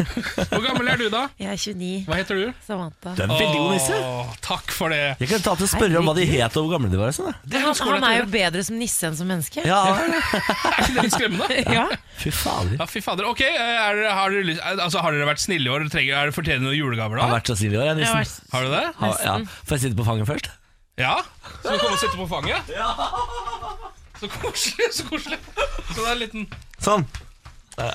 [SPEAKER 3] Hvor gammel er du, da?
[SPEAKER 2] Jeg er 29.
[SPEAKER 3] Hva heter du?
[SPEAKER 2] Samantha.
[SPEAKER 1] Du er en veldig god nisse.
[SPEAKER 3] Åh, Takk for det.
[SPEAKER 1] Jeg kan ta til å spørre om hva de het og hvor gamle de var. og Sånn, da.
[SPEAKER 2] Men han, han er jo bedre som nisse enn som menneske.
[SPEAKER 1] Ja.
[SPEAKER 3] Er ikke det litt skremmende?
[SPEAKER 2] Ja.
[SPEAKER 1] Fy fader.
[SPEAKER 3] Ja, fy fader. Ok, eh, er, dere- har, dere, lyst- altså, har dere vært snille i år? Trenger, er det fortjener noen julegaver,
[SPEAKER 1] Jeg har
[SPEAKER 3] da?
[SPEAKER 1] vært så snill i år, jeg,
[SPEAKER 3] Jeg har
[SPEAKER 1] nissen.
[SPEAKER 3] vært- Har du det?
[SPEAKER 1] Ja, ja. Får jeg sitte på fanget først?
[SPEAKER 3] Ja? Skal du komme og sitte på fanget? Så koselig, så koselig. Så det er en liten
[SPEAKER 1] Sånn.
[SPEAKER 3] Ja,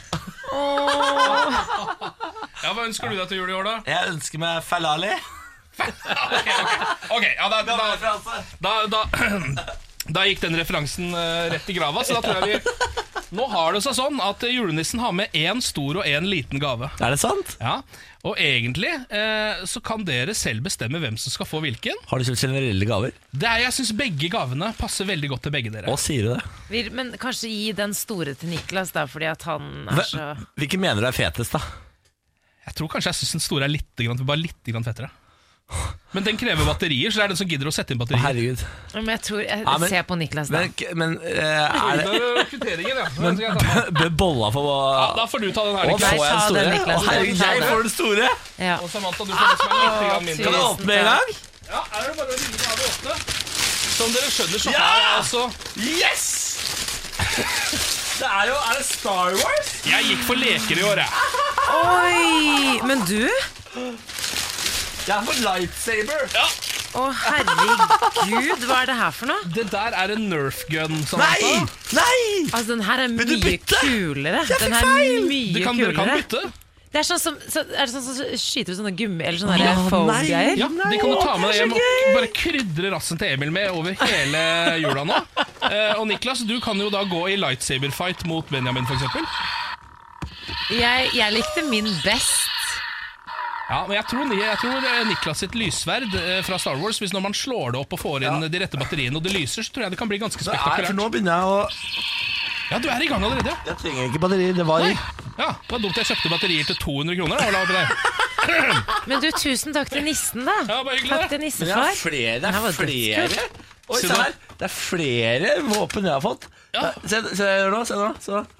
[SPEAKER 3] Hva ønsker du deg til jul i år, da?
[SPEAKER 1] Jeg ønsker meg falali.
[SPEAKER 3] Ok, ja, da, da, da, da, da gikk den referansen eh, rett i grava, så da tror jeg vi Nå har det seg sånn at julenissen har med én stor og én liten gave.
[SPEAKER 1] Er det sant?
[SPEAKER 3] Ja, Og egentlig eh, så kan dere selv bestemme hvem som skal få hvilken.
[SPEAKER 1] Har du kjøpt generelle gaver?
[SPEAKER 3] Det er, Jeg syns begge gavene passer veldig godt til begge dere.
[SPEAKER 1] Hva sier du det?
[SPEAKER 2] Vil- Men kanskje gi den store til Niklas, da, fordi at han er så
[SPEAKER 1] Hva- Hvilken mener du er fetest, da?
[SPEAKER 3] Jeg tror kanskje jeg syns den store er litt, grann- bare litt grann fettere. Men den krever batterier, så det er den som gidder å sette inn batterier.
[SPEAKER 1] herregud.
[SPEAKER 2] Men jeg tror jeg
[SPEAKER 1] Ja, men-
[SPEAKER 2] ser på Niklas, da.
[SPEAKER 1] Men, men eh, er det
[SPEAKER 3] Kvitteringen, ja.
[SPEAKER 1] men, Bør bolla få
[SPEAKER 3] Da får du ta den her,
[SPEAKER 1] Å,
[SPEAKER 3] Niklas.
[SPEAKER 1] får jeg den store? Å, herregud, jeg får den store!
[SPEAKER 3] Og Samantha, du får den som er litt grann mindre.
[SPEAKER 1] Kan jeg åpne en gang?
[SPEAKER 3] Ja, er det bare å ringe her ved åpne? Som dere skjønner, så har jeg altså
[SPEAKER 1] Yes! Det er jo Er det Star Wars?
[SPEAKER 3] Jeg gikk for leker i år, jeg.
[SPEAKER 2] Oi! Men du?
[SPEAKER 1] Jeg er for lightsaber.
[SPEAKER 2] Å, herregud, hva er det her for noe?
[SPEAKER 3] Det der er en Nerf gun.
[SPEAKER 2] Nei!
[SPEAKER 1] Nei!
[SPEAKER 2] Altså, den her er mye kulere.
[SPEAKER 3] Jeg fikk
[SPEAKER 2] Den her
[SPEAKER 3] feil!
[SPEAKER 2] er mye
[SPEAKER 3] Du kan- dere
[SPEAKER 2] kulere.
[SPEAKER 3] kan bytte.
[SPEAKER 2] Det er sånn som så, er det sånn som skyter ut sånne gummi eller sånne
[SPEAKER 3] Ja,
[SPEAKER 2] ja, foam-greier.
[SPEAKER 3] Ja, de kan du ta med deg hjem og bare krydre rassen til Emil med over hele jula nå. Eh, og Niklas, du kan jo da gå i lightsaber-fight mot Benjamin, f.eks.
[SPEAKER 2] Jeg, jeg likte min best.
[SPEAKER 3] Ja, men jeg tror, jeg tror eh, Niklas sitt lyssverd eh, fra Star Wars Hvis når man slår det opp og får inn de rette batteriene og det lyser, så tror jeg det kan bli ganske
[SPEAKER 1] Det er, for
[SPEAKER 3] spektakulært.
[SPEAKER 1] nå begynner jeg å
[SPEAKER 3] Ja, du er i gang allerede.
[SPEAKER 1] Jeg trenger ikke batteri. Det var
[SPEAKER 3] Ja, Det var dumt jeg kjøpte batterier til 200 kroner. Da, la deg.
[SPEAKER 2] Men du, tusen takk til nissen, da. takk til
[SPEAKER 1] Men jeg har
[SPEAKER 2] nissefar.
[SPEAKER 1] flere. Det
[SPEAKER 2] her var
[SPEAKER 1] er flere.
[SPEAKER 2] dødskult.
[SPEAKER 1] Oi,
[SPEAKER 2] Se
[SPEAKER 1] se
[SPEAKER 2] nå.
[SPEAKER 1] her. Det er flere våpen jeg har fått. Se, se det jeg gjør nå. Se nå. Se nå.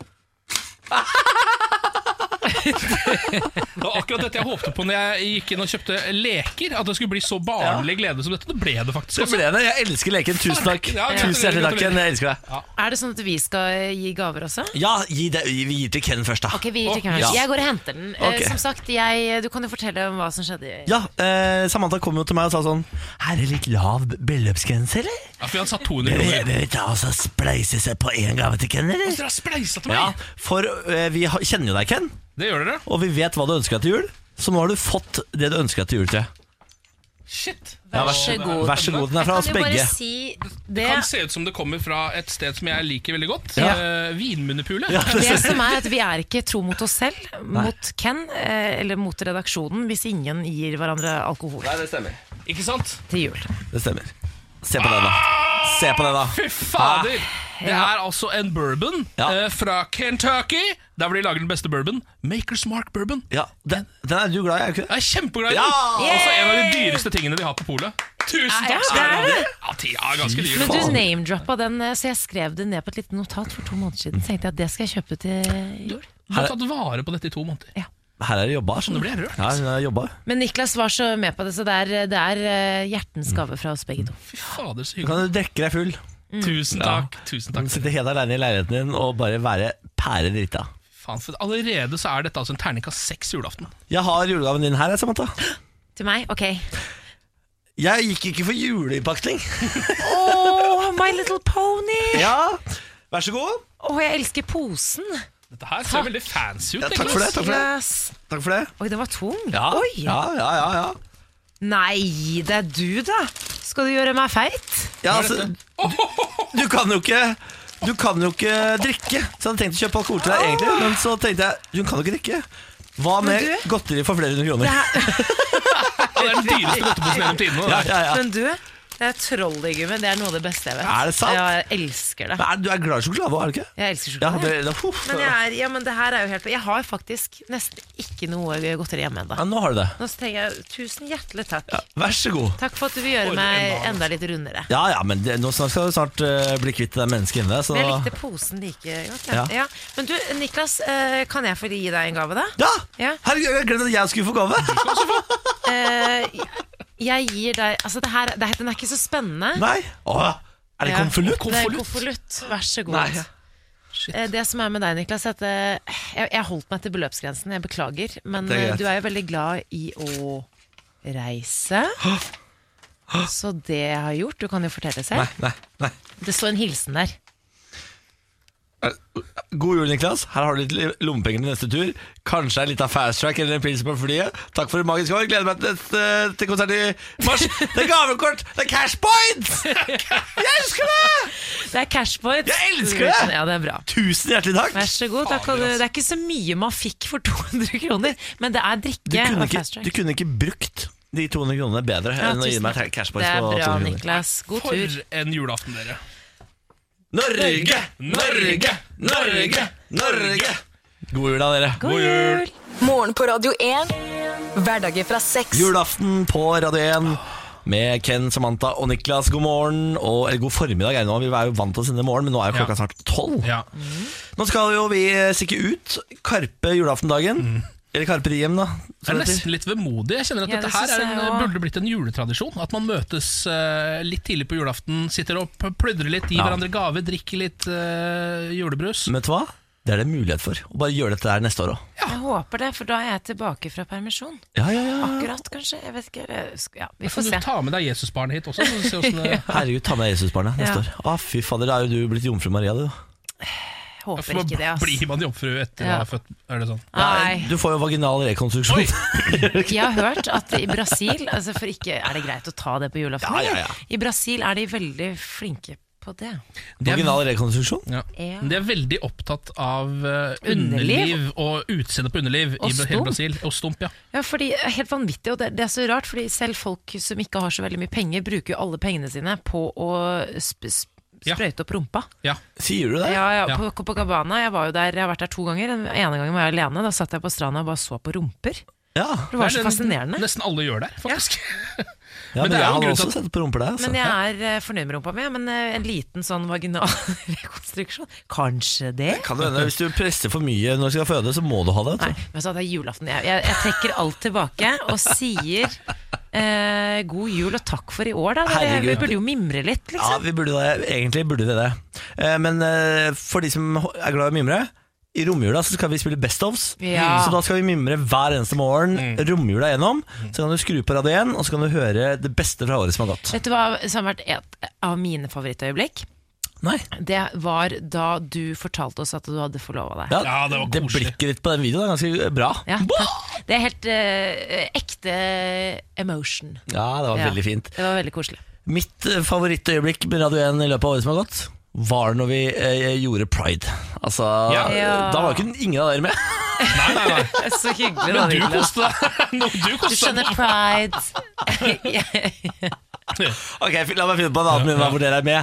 [SPEAKER 3] Det var akkurat dette jeg håpte på når jeg gikk inn og kjøpte leker. At det skulle bli så barnlig glede som dette. Det ble det faktisk. altså.
[SPEAKER 1] Det ble
[SPEAKER 3] også.
[SPEAKER 1] det. Jeg elsker leken. Tusen takk.
[SPEAKER 3] Ja, gratulerer,
[SPEAKER 1] Tusen hjertelig takk.
[SPEAKER 3] gratulerer.
[SPEAKER 1] Ken. Jeg elsker deg.
[SPEAKER 2] Er det sånn at vi skal gi gaver også?
[SPEAKER 1] Ja, gi det, vi gir til Ken først, da.
[SPEAKER 2] Ok, vi gir til Karen.
[SPEAKER 1] Ja.
[SPEAKER 2] Jeg går og henter den. Eh,
[SPEAKER 1] Ok.
[SPEAKER 2] Som sagt, jeg, Du kan jo fortelle om hva som skjedde. i-
[SPEAKER 1] Ja, eh, Samantha kom jo til meg og sa sånn Her er litt lav beløpsgrense, eller?
[SPEAKER 3] Ja, for han sa 200
[SPEAKER 1] Bør
[SPEAKER 3] kroner.
[SPEAKER 1] bør vi ta oss og spleise seg på én gave til Ken,
[SPEAKER 3] Altså,
[SPEAKER 1] eller?
[SPEAKER 3] Dere har spleisa til meg!
[SPEAKER 1] Ja, for eh, vi har- kjenner jo deg, Ken,
[SPEAKER 3] Det gjør dere.
[SPEAKER 1] og vi vet hva du ønsker deg til jul. Så nå har du fått det du ønsker deg til jul til.
[SPEAKER 3] Shit.
[SPEAKER 1] Ja, vær så god. Vær så god, den er fra
[SPEAKER 2] Jeg
[SPEAKER 1] oss
[SPEAKER 2] kan jo bare
[SPEAKER 1] begge.
[SPEAKER 2] Si
[SPEAKER 3] Det
[SPEAKER 2] det,
[SPEAKER 3] kan se ut som det kommer fra et sted som jeg liker veldig godt.
[SPEAKER 1] Ja.
[SPEAKER 3] Eh, Vinmunnepulet.
[SPEAKER 2] det som er at vi er ikke tro mot oss selv, mot Ken, eh, eller mot redaksjonen, hvis ingen gir hverandre alkohol
[SPEAKER 3] det stemmer. Ikke sant?
[SPEAKER 2] til jul.
[SPEAKER 1] Det stemmer. Se på den, da. Se på den, da.
[SPEAKER 3] Ah, Fy
[SPEAKER 1] Ah,
[SPEAKER 3] fader! Det er altså en bourbon eh, fra Kentucky. Der hvor de lager den beste bourbon. Makers Mark bourbon.
[SPEAKER 1] Ja, den, den er du glad i, er du ikke det?
[SPEAKER 3] Jeg er kjempeglad i den!
[SPEAKER 1] Ja!
[SPEAKER 3] Også en av de dyreste tingene de har på polet. Tusen
[SPEAKER 2] Ja,
[SPEAKER 3] takk! skal
[SPEAKER 2] det
[SPEAKER 3] dere
[SPEAKER 2] er
[SPEAKER 3] ha.
[SPEAKER 2] det.
[SPEAKER 3] Ja, de er ganske dyre.
[SPEAKER 2] Men du name-droppa den, eh, så jeg skrev det ned på et lite notat for to måneder siden. Så tenkte jeg at det skal jeg kjøpe til jul.
[SPEAKER 3] Du har tatt vare på dette i to måneder.
[SPEAKER 1] Her er det jobba.
[SPEAKER 3] Nå blir jeg rørt.
[SPEAKER 1] Ja, hun har jobba.
[SPEAKER 2] Men Niklas var så med på det, så det er, det er eh,
[SPEAKER 1] Mm.
[SPEAKER 2] hjertens gave fra oss begge to.
[SPEAKER 3] Fy fader, så
[SPEAKER 1] Du
[SPEAKER 3] hyggelig. Mm.
[SPEAKER 1] kan jo drikke deg full.
[SPEAKER 3] Tusen takk. Tusen
[SPEAKER 1] Du
[SPEAKER 3] takk.
[SPEAKER 1] kan sitte helt aleine i leiligheten din og bare være pære drita.
[SPEAKER 3] Faen, for allerede så er dette altså en terningkast seks julaften.
[SPEAKER 1] Jeg har julegaven din her, jeg, Samantha.
[SPEAKER 2] Til meg? Ok.
[SPEAKER 1] Jeg gikk ikke for juleinnpakning.
[SPEAKER 2] Oh, My Little Pony!
[SPEAKER 1] Ja, vær så god.
[SPEAKER 2] Å, jeg elsker posen.
[SPEAKER 3] Dette her ser veldig fancy ut.
[SPEAKER 1] Ja, takk for det. Takk for det.
[SPEAKER 2] Yes.
[SPEAKER 1] Takk for det.
[SPEAKER 2] Oi, den var tung.
[SPEAKER 1] Ja,
[SPEAKER 2] Oi.
[SPEAKER 1] ja, ja, ja, ja.
[SPEAKER 2] Nei, det er du, da. Skal du gjøre meg feit?
[SPEAKER 1] Ja, altså, du, du kan jo ikke Du kan jo ikke drikke. Så jeg hadde tenkt å kjøpe alkohol til deg, egentlig. Men så tenkte jeg hun kan jo ikke drikke. Hva
[SPEAKER 2] Men
[SPEAKER 1] med godteri for flere hundre kroner?
[SPEAKER 3] Det er den dyreste godteposen gjennom tidene. det der.
[SPEAKER 2] Men du, det er trolleygummi. Det er noe av det beste jeg vet.
[SPEAKER 1] Er det sant?
[SPEAKER 2] Ja, jeg elsker det.
[SPEAKER 1] Men er, du er glad i sjokolade òg, er du ikke?
[SPEAKER 2] Jeg elsker
[SPEAKER 1] Ja,
[SPEAKER 2] sjokolade.
[SPEAKER 1] det, det, huff.
[SPEAKER 2] Men jeg, er, ja, men det her er jo helt Jeg har faktisk nesten ikke noe godteri hjemme ennå.
[SPEAKER 1] Ja, nå har du det.
[SPEAKER 2] Nå trenger jeg tusen hjertelig takk.
[SPEAKER 1] Vær så god.
[SPEAKER 2] Takk for at du vil gjøre
[SPEAKER 1] Oi,
[SPEAKER 2] meg
[SPEAKER 1] enormt.
[SPEAKER 2] enda litt rundere.
[SPEAKER 1] Ja ja, men det, nå snart skal du snart eh, bli kvitt det der mennesket inni deg. Så
[SPEAKER 2] Men jeg likte posen like godt. Ja.
[SPEAKER 1] Ja.
[SPEAKER 2] Ja. Men du, Niklas, eh, kan jeg få gi deg en gave, da?
[SPEAKER 1] Ja! Herregud, jeg glemte at jeg skulle få gave!
[SPEAKER 2] Eh, jeg gir deg Altså, det her, det, her- den er ikke så spennende.
[SPEAKER 1] Nei. Åh, er det
[SPEAKER 2] Ja.
[SPEAKER 1] konvolutt?
[SPEAKER 2] Det er konvolutt. Vær så god.
[SPEAKER 1] Nei.
[SPEAKER 2] Eh, Det som er med deg, Niklas, er at eh, jeg, jeg holdt meg til beløpsgrensen. Jeg beklager. Men
[SPEAKER 1] Det er
[SPEAKER 2] eh,
[SPEAKER 1] greit.
[SPEAKER 2] du er jo veldig glad i å reise. Så det jeg har gjort Du kan jo fortelle selv.
[SPEAKER 1] Nei, nei.
[SPEAKER 2] Det står en hilsen der.
[SPEAKER 1] God jul, Niklas. Her har du litt lommepenger til neste tur. Kanskje en liten fast track eller en pils på flyet. Takk for et magisk år. Gleder meg til, neste, til konsert i mars. Det er gavekort! Det er cash points! Jeg elsker det!
[SPEAKER 2] Det er cashpoint.
[SPEAKER 1] Jeg elsker det!
[SPEAKER 2] Ja, det er bra.
[SPEAKER 1] Tusen hjertelig takk.
[SPEAKER 2] Vær så god. Da kan du, det er ikke så mye man fikk for 200 kroner, men det er drikke.
[SPEAKER 1] Du kunne,
[SPEAKER 2] og
[SPEAKER 1] ikke,
[SPEAKER 2] fast
[SPEAKER 1] du
[SPEAKER 2] track.
[SPEAKER 1] kunne ikke brukt de 200 kronene bedre
[SPEAKER 2] Ja,
[SPEAKER 1] enn å gi
[SPEAKER 2] tusen
[SPEAKER 1] meg
[SPEAKER 2] takk.
[SPEAKER 1] cash points
[SPEAKER 2] Det er
[SPEAKER 1] på
[SPEAKER 2] bra,
[SPEAKER 1] 200 kroner.
[SPEAKER 2] Niklas. God tur.
[SPEAKER 3] For en julaften, dere.
[SPEAKER 1] Norge, Norge, Norge, Norge! God jul da, dere. God jul.
[SPEAKER 4] Morgen på Radio 1. Hverdager fra seks.
[SPEAKER 1] Julaften på Radio 1 med Ken, Samantha og Niklas. God morgen, og, eller god formiddag. Er det nå. Vi er jo vant til å sende morgen, men nå er jo klokka snart tolv. Mm. Nå skal jo vi eh, stikke ut. Karpe julaftendagen. Eller Karpe Diem, da.
[SPEAKER 3] Mm. Det er nesten litt vemodig. Jeg kjenner at
[SPEAKER 2] Ja, det
[SPEAKER 3] dette her
[SPEAKER 2] synes
[SPEAKER 3] er en,
[SPEAKER 2] jeg også.
[SPEAKER 3] burde blitt en juletradisjon. At man møtes eh, litt tidlig på julaften, sitter og p- pludrer litt, gir
[SPEAKER 1] Ja.
[SPEAKER 3] hverandre gave, drikker litt eh, julebrus.
[SPEAKER 1] Vet du hva? Det er det mulighet for. Å bare gjøre dette her neste år òg.
[SPEAKER 2] Jeg håper det, for da er jeg tilbake fra permisjon.
[SPEAKER 1] Ja, ja, ja.
[SPEAKER 2] Akkurat, kanskje. Jeg vet ikke. eh, sk- Ja, vi
[SPEAKER 3] Da
[SPEAKER 2] får
[SPEAKER 3] kan
[SPEAKER 2] se.
[SPEAKER 3] du ta med deg Jesusbarnet hit også. Så vi ser hvordan det
[SPEAKER 1] Herregud, ta med Jesusbarnet neste
[SPEAKER 2] Ja.
[SPEAKER 1] år. Å, fy fader, da er jo du blitt jomfru Maria, du. altså,
[SPEAKER 2] Håper
[SPEAKER 3] For
[SPEAKER 2] ikke det, ass.
[SPEAKER 3] Blir man jomfru etter å
[SPEAKER 2] Ja.
[SPEAKER 3] ha født? Er det sånn?
[SPEAKER 2] Nei.
[SPEAKER 1] Du får jo vaginal rekonstruksjon.
[SPEAKER 2] Jeg har hørt at i Brasil altså for ikke, Er det greit å ta det på julaften?
[SPEAKER 1] Ja, ja, ja.
[SPEAKER 2] eller? I Brasil er de veldig flinke på det.
[SPEAKER 1] Vaginal rekonstruksjon?
[SPEAKER 3] Ja.
[SPEAKER 2] Ja.
[SPEAKER 3] De er veldig opptatt av eh,
[SPEAKER 2] Underliv.
[SPEAKER 3] underliv og utseende på underliv
[SPEAKER 2] Og
[SPEAKER 3] i hele
[SPEAKER 2] stump.
[SPEAKER 3] Brasil. Og stump, ja.
[SPEAKER 2] Ja, fordi eh, Helt vanvittig. Og det, det er så rart, fordi selv folk som ikke har så veldig mye penger, bruker jo alle pengene sine på å sp sp sprøyte opp rumpa.
[SPEAKER 1] Sier du det?
[SPEAKER 2] Ja, ja, på Copacabana. Jeg var jo der, jeg har vært der to ganger. Den ene gangen var jeg alene. Da satt jeg på stranda og bare så på rumper. Det var
[SPEAKER 3] er
[SPEAKER 2] så fascinerende.
[SPEAKER 3] Nesten alle gjør det, faktisk.
[SPEAKER 1] Ja, men,
[SPEAKER 3] det
[SPEAKER 1] jeg
[SPEAKER 3] er jo en
[SPEAKER 1] hadde
[SPEAKER 3] grunn til
[SPEAKER 1] også
[SPEAKER 3] at-
[SPEAKER 1] sett på rumper der. Altså.
[SPEAKER 2] Men jeg er eh, fornøyd med rumpa mi, men eh, en liten sånn vaginal rekonstruksjon Kanskje det?
[SPEAKER 1] Kan det hende, Hvis du presser for mye når du skal føde, så må du ha det. vet du.
[SPEAKER 2] Men så hadde jeg julaften. Jeg, jeg, jeg trekker alt tilbake og sier eh, god jul og takk for i år, da. Dere, vi
[SPEAKER 1] Herregud.
[SPEAKER 2] burde jo mimre litt,
[SPEAKER 1] Ja,
[SPEAKER 2] liksom.
[SPEAKER 1] vi burde det, Egentlig burde vi det. Eh, Men eh, for de som er glad i å mimre i romjula så skal vi spille Best ofs. Mm.
[SPEAKER 2] Ja. Mm.
[SPEAKER 1] Så da skal vi mimre hver eneste morgen romjula gjennom. Så kan du skru på radio 1, og så kan du høre det beste fra året som har gått.
[SPEAKER 2] Vet du hva som har vært et av mine favorittøyeblikk? Det var da du fortalte oss at du hadde forlova deg.
[SPEAKER 1] Ja, det blikket ditt på den videoen er ganske bra.
[SPEAKER 2] Ja, takk. det er helt eh, ekte emotion.
[SPEAKER 1] Ja, det var
[SPEAKER 2] Ja.
[SPEAKER 1] veldig fint.
[SPEAKER 2] Det var veldig koselig.
[SPEAKER 1] Mitt eh, favorittøyeblikk med Radio 1 i løpet av året som har gått, var når vi eh, gjorde pride. Altså,
[SPEAKER 3] Ja.
[SPEAKER 2] Ja.
[SPEAKER 1] Da var jo ikke ingen av dere med.
[SPEAKER 2] Så hyggelig. da,
[SPEAKER 3] Men du
[SPEAKER 2] Niklas.
[SPEAKER 3] koste deg. Nå, Du
[SPEAKER 2] Du
[SPEAKER 3] koste
[SPEAKER 2] skjønner
[SPEAKER 3] deg.
[SPEAKER 2] pride.
[SPEAKER 1] Ok, La meg finne på en annen minne hvor dere er med.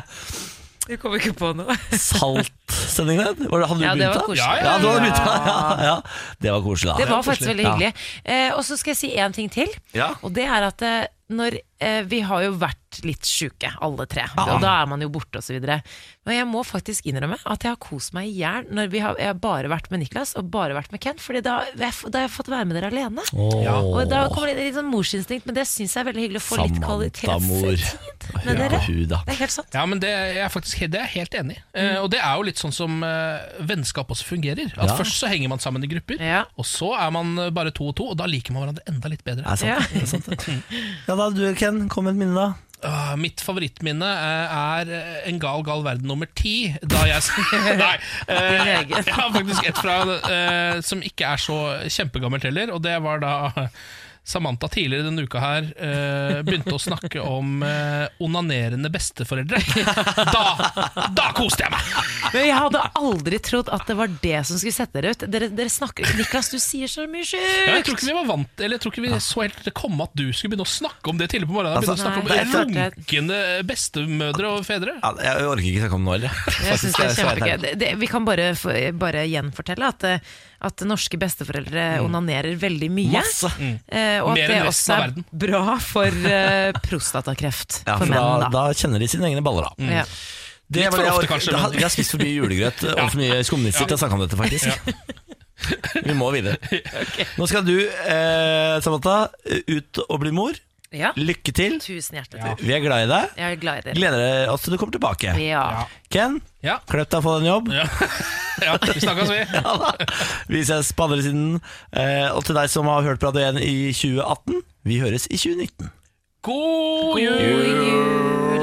[SPEAKER 2] Jeg kommer ikke på noe.
[SPEAKER 1] Saltsendingene? Var det- Hadde du
[SPEAKER 2] Ja,
[SPEAKER 1] begynt
[SPEAKER 2] det var
[SPEAKER 1] da?
[SPEAKER 2] koselig.
[SPEAKER 1] Ja, ja, du hadde begynt da. Ja,
[SPEAKER 2] Ja.
[SPEAKER 1] ja. Det var koselig. da.
[SPEAKER 2] Det var faktisk veldig hyggelig. Eh, og så skal jeg si én ting til.
[SPEAKER 1] Ja.
[SPEAKER 2] Og det er at eh, når eh, Vi har jo vært litt sjuke, alle tre.
[SPEAKER 1] Ja.
[SPEAKER 2] Og da er man jo borte, osv. Men jeg må faktisk innrømme at jeg har kost meg i hjel når vi har, jeg har bare vært med Niklas og bare vært med Ken. Fordi da, da har jeg fått være med dere alene.
[SPEAKER 1] Åh. Ja.
[SPEAKER 2] Og da kommer det litt sånn morsinstinkt, men det syns jeg er veldig hyggelig å få litt
[SPEAKER 1] Samantha-mor.
[SPEAKER 2] kvalitetstid med
[SPEAKER 1] Hør
[SPEAKER 2] dere.
[SPEAKER 1] på hun, da.
[SPEAKER 2] Det er helt sant.
[SPEAKER 3] Ja, men det er jeg faktisk det er jeg helt enig i.
[SPEAKER 2] Mm.
[SPEAKER 3] Eh, og det er jo litt sånn som eh, vennskap også fungerer. At
[SPEAKER 1] Ja.
[SPEAKER 3] Først så henger man sammen i grupper, og så er man eh, bare to og to, og da liker man hverandre enda litt bedre.
[SPEAKER 1] Det er sant, det er sant. det. Ja da, du Ken, kom med et minne, da.
[SPEAKER 3] Ah, mitt favorittminne eh, er eh, En gal, gal verden nummer ti. Da jeg Nei. eh, jeg har faktisk et fra eh, som ikke er så kjempegammelt heller, og det var da Samantha tidligere denne uka her eh, begynte å snakke om eh, onanerende besteforeldre. Da, da koste jeg meg!
[SPEAKER 2] Men jeg hadde aldri trodd at det var det som skulle sette dere ut. Dere, dere snakker Niklas, du sier så mye
[SPEAKER 3] Ja, jeg tror
[SPEAKER 2] sjukt!
[SPEAKER 3] ikke vi var vant Eller jeg tror ikke vi så helt det komme at du skulle begynne å snakke om det tidlig på morgenen.
[SPEAKER 1] Altså,
[SPEAKER 3] Begynne å snakke om
[SPEAKER 1] Nei, det er klart det-
[SPEAKER 3] Runkende bestemødre og fedre.
[SPEAKER 1] Ja, Jeg orker ikke snakke om det nå heller.
[SPEAKER 2] Jeg synes det er
[SPEAKER 1] Faktisk, jeg
[SPEAKER 2] kjempegøy.
[SPEAKER 1] svært
[SPEAKER 2] Det, det, vi kan bare, få- bare gjenfortelle at, eh, at norske besteforeldre onanerer veldig mye.
[SPEAKER 1] Mm. Masse. Mm.
[SPEAKER 2] Eh, og at
[SPEAKER 1] Mer
[SPEAKER 2] det
[SPEAKER 1] enn resten
[SPEAKER 2] også
[SPEAKER 1] av
[SPEAKER 2] er bra for eh, prostatakreft
[SPEAKER 1] Ja,
[SPEAKER 2] for
[SPEAKER 1] for
[SPEAKER 2] menn.
[SPEAKER 1] da, da kjenner de sine egne baller, da.
[SPEAKER 2] Ja.
[SPEAKER 1] Det
[SPEAKER 2] Litt
[SPEAKER 1] var
[SPEAKER 2] for
[SPEAKER 1] det jeg
[SPEAKER 2] ofte,
[SPEAKER 1] orker.
[SPEAKER 2] kanskje,
[SPEAKER 1] Da
[SPEAKER 2] men-
[SPEAKER 1] hadde- Vi har spist for mye julegrøt og for mye skumnisser til å snakke om dette, faktisk. Vi må videre. Nå skal du, eh, Samantha, ut og bli mor.
[SPEAKER 2] Ja.
[SPEAKER 1] Lykke til.
[SPEAKER 2] Tusen hjertelig takk.
[SPEAKER 1] Vi er glad i deg.
[SPEAKER 2] Jeg er glad i dere.
[SPEAKER 1] Gleder oss til du kommer tilbake.
[SPEAKER 2] Ja.
[SPEAKER 1] Ken, kløp deg på den jobb.
[SPEAKER 3] Ja, vi snakkes, vi.
[SPEAKER 1] Ja da. Vi ses på andre siden. Eh, og til deg som har hørt på Radio 1 i 2018, vi høres i 2019.
[SPEAKER 3] God jul!
[SPEAKER 1] jul.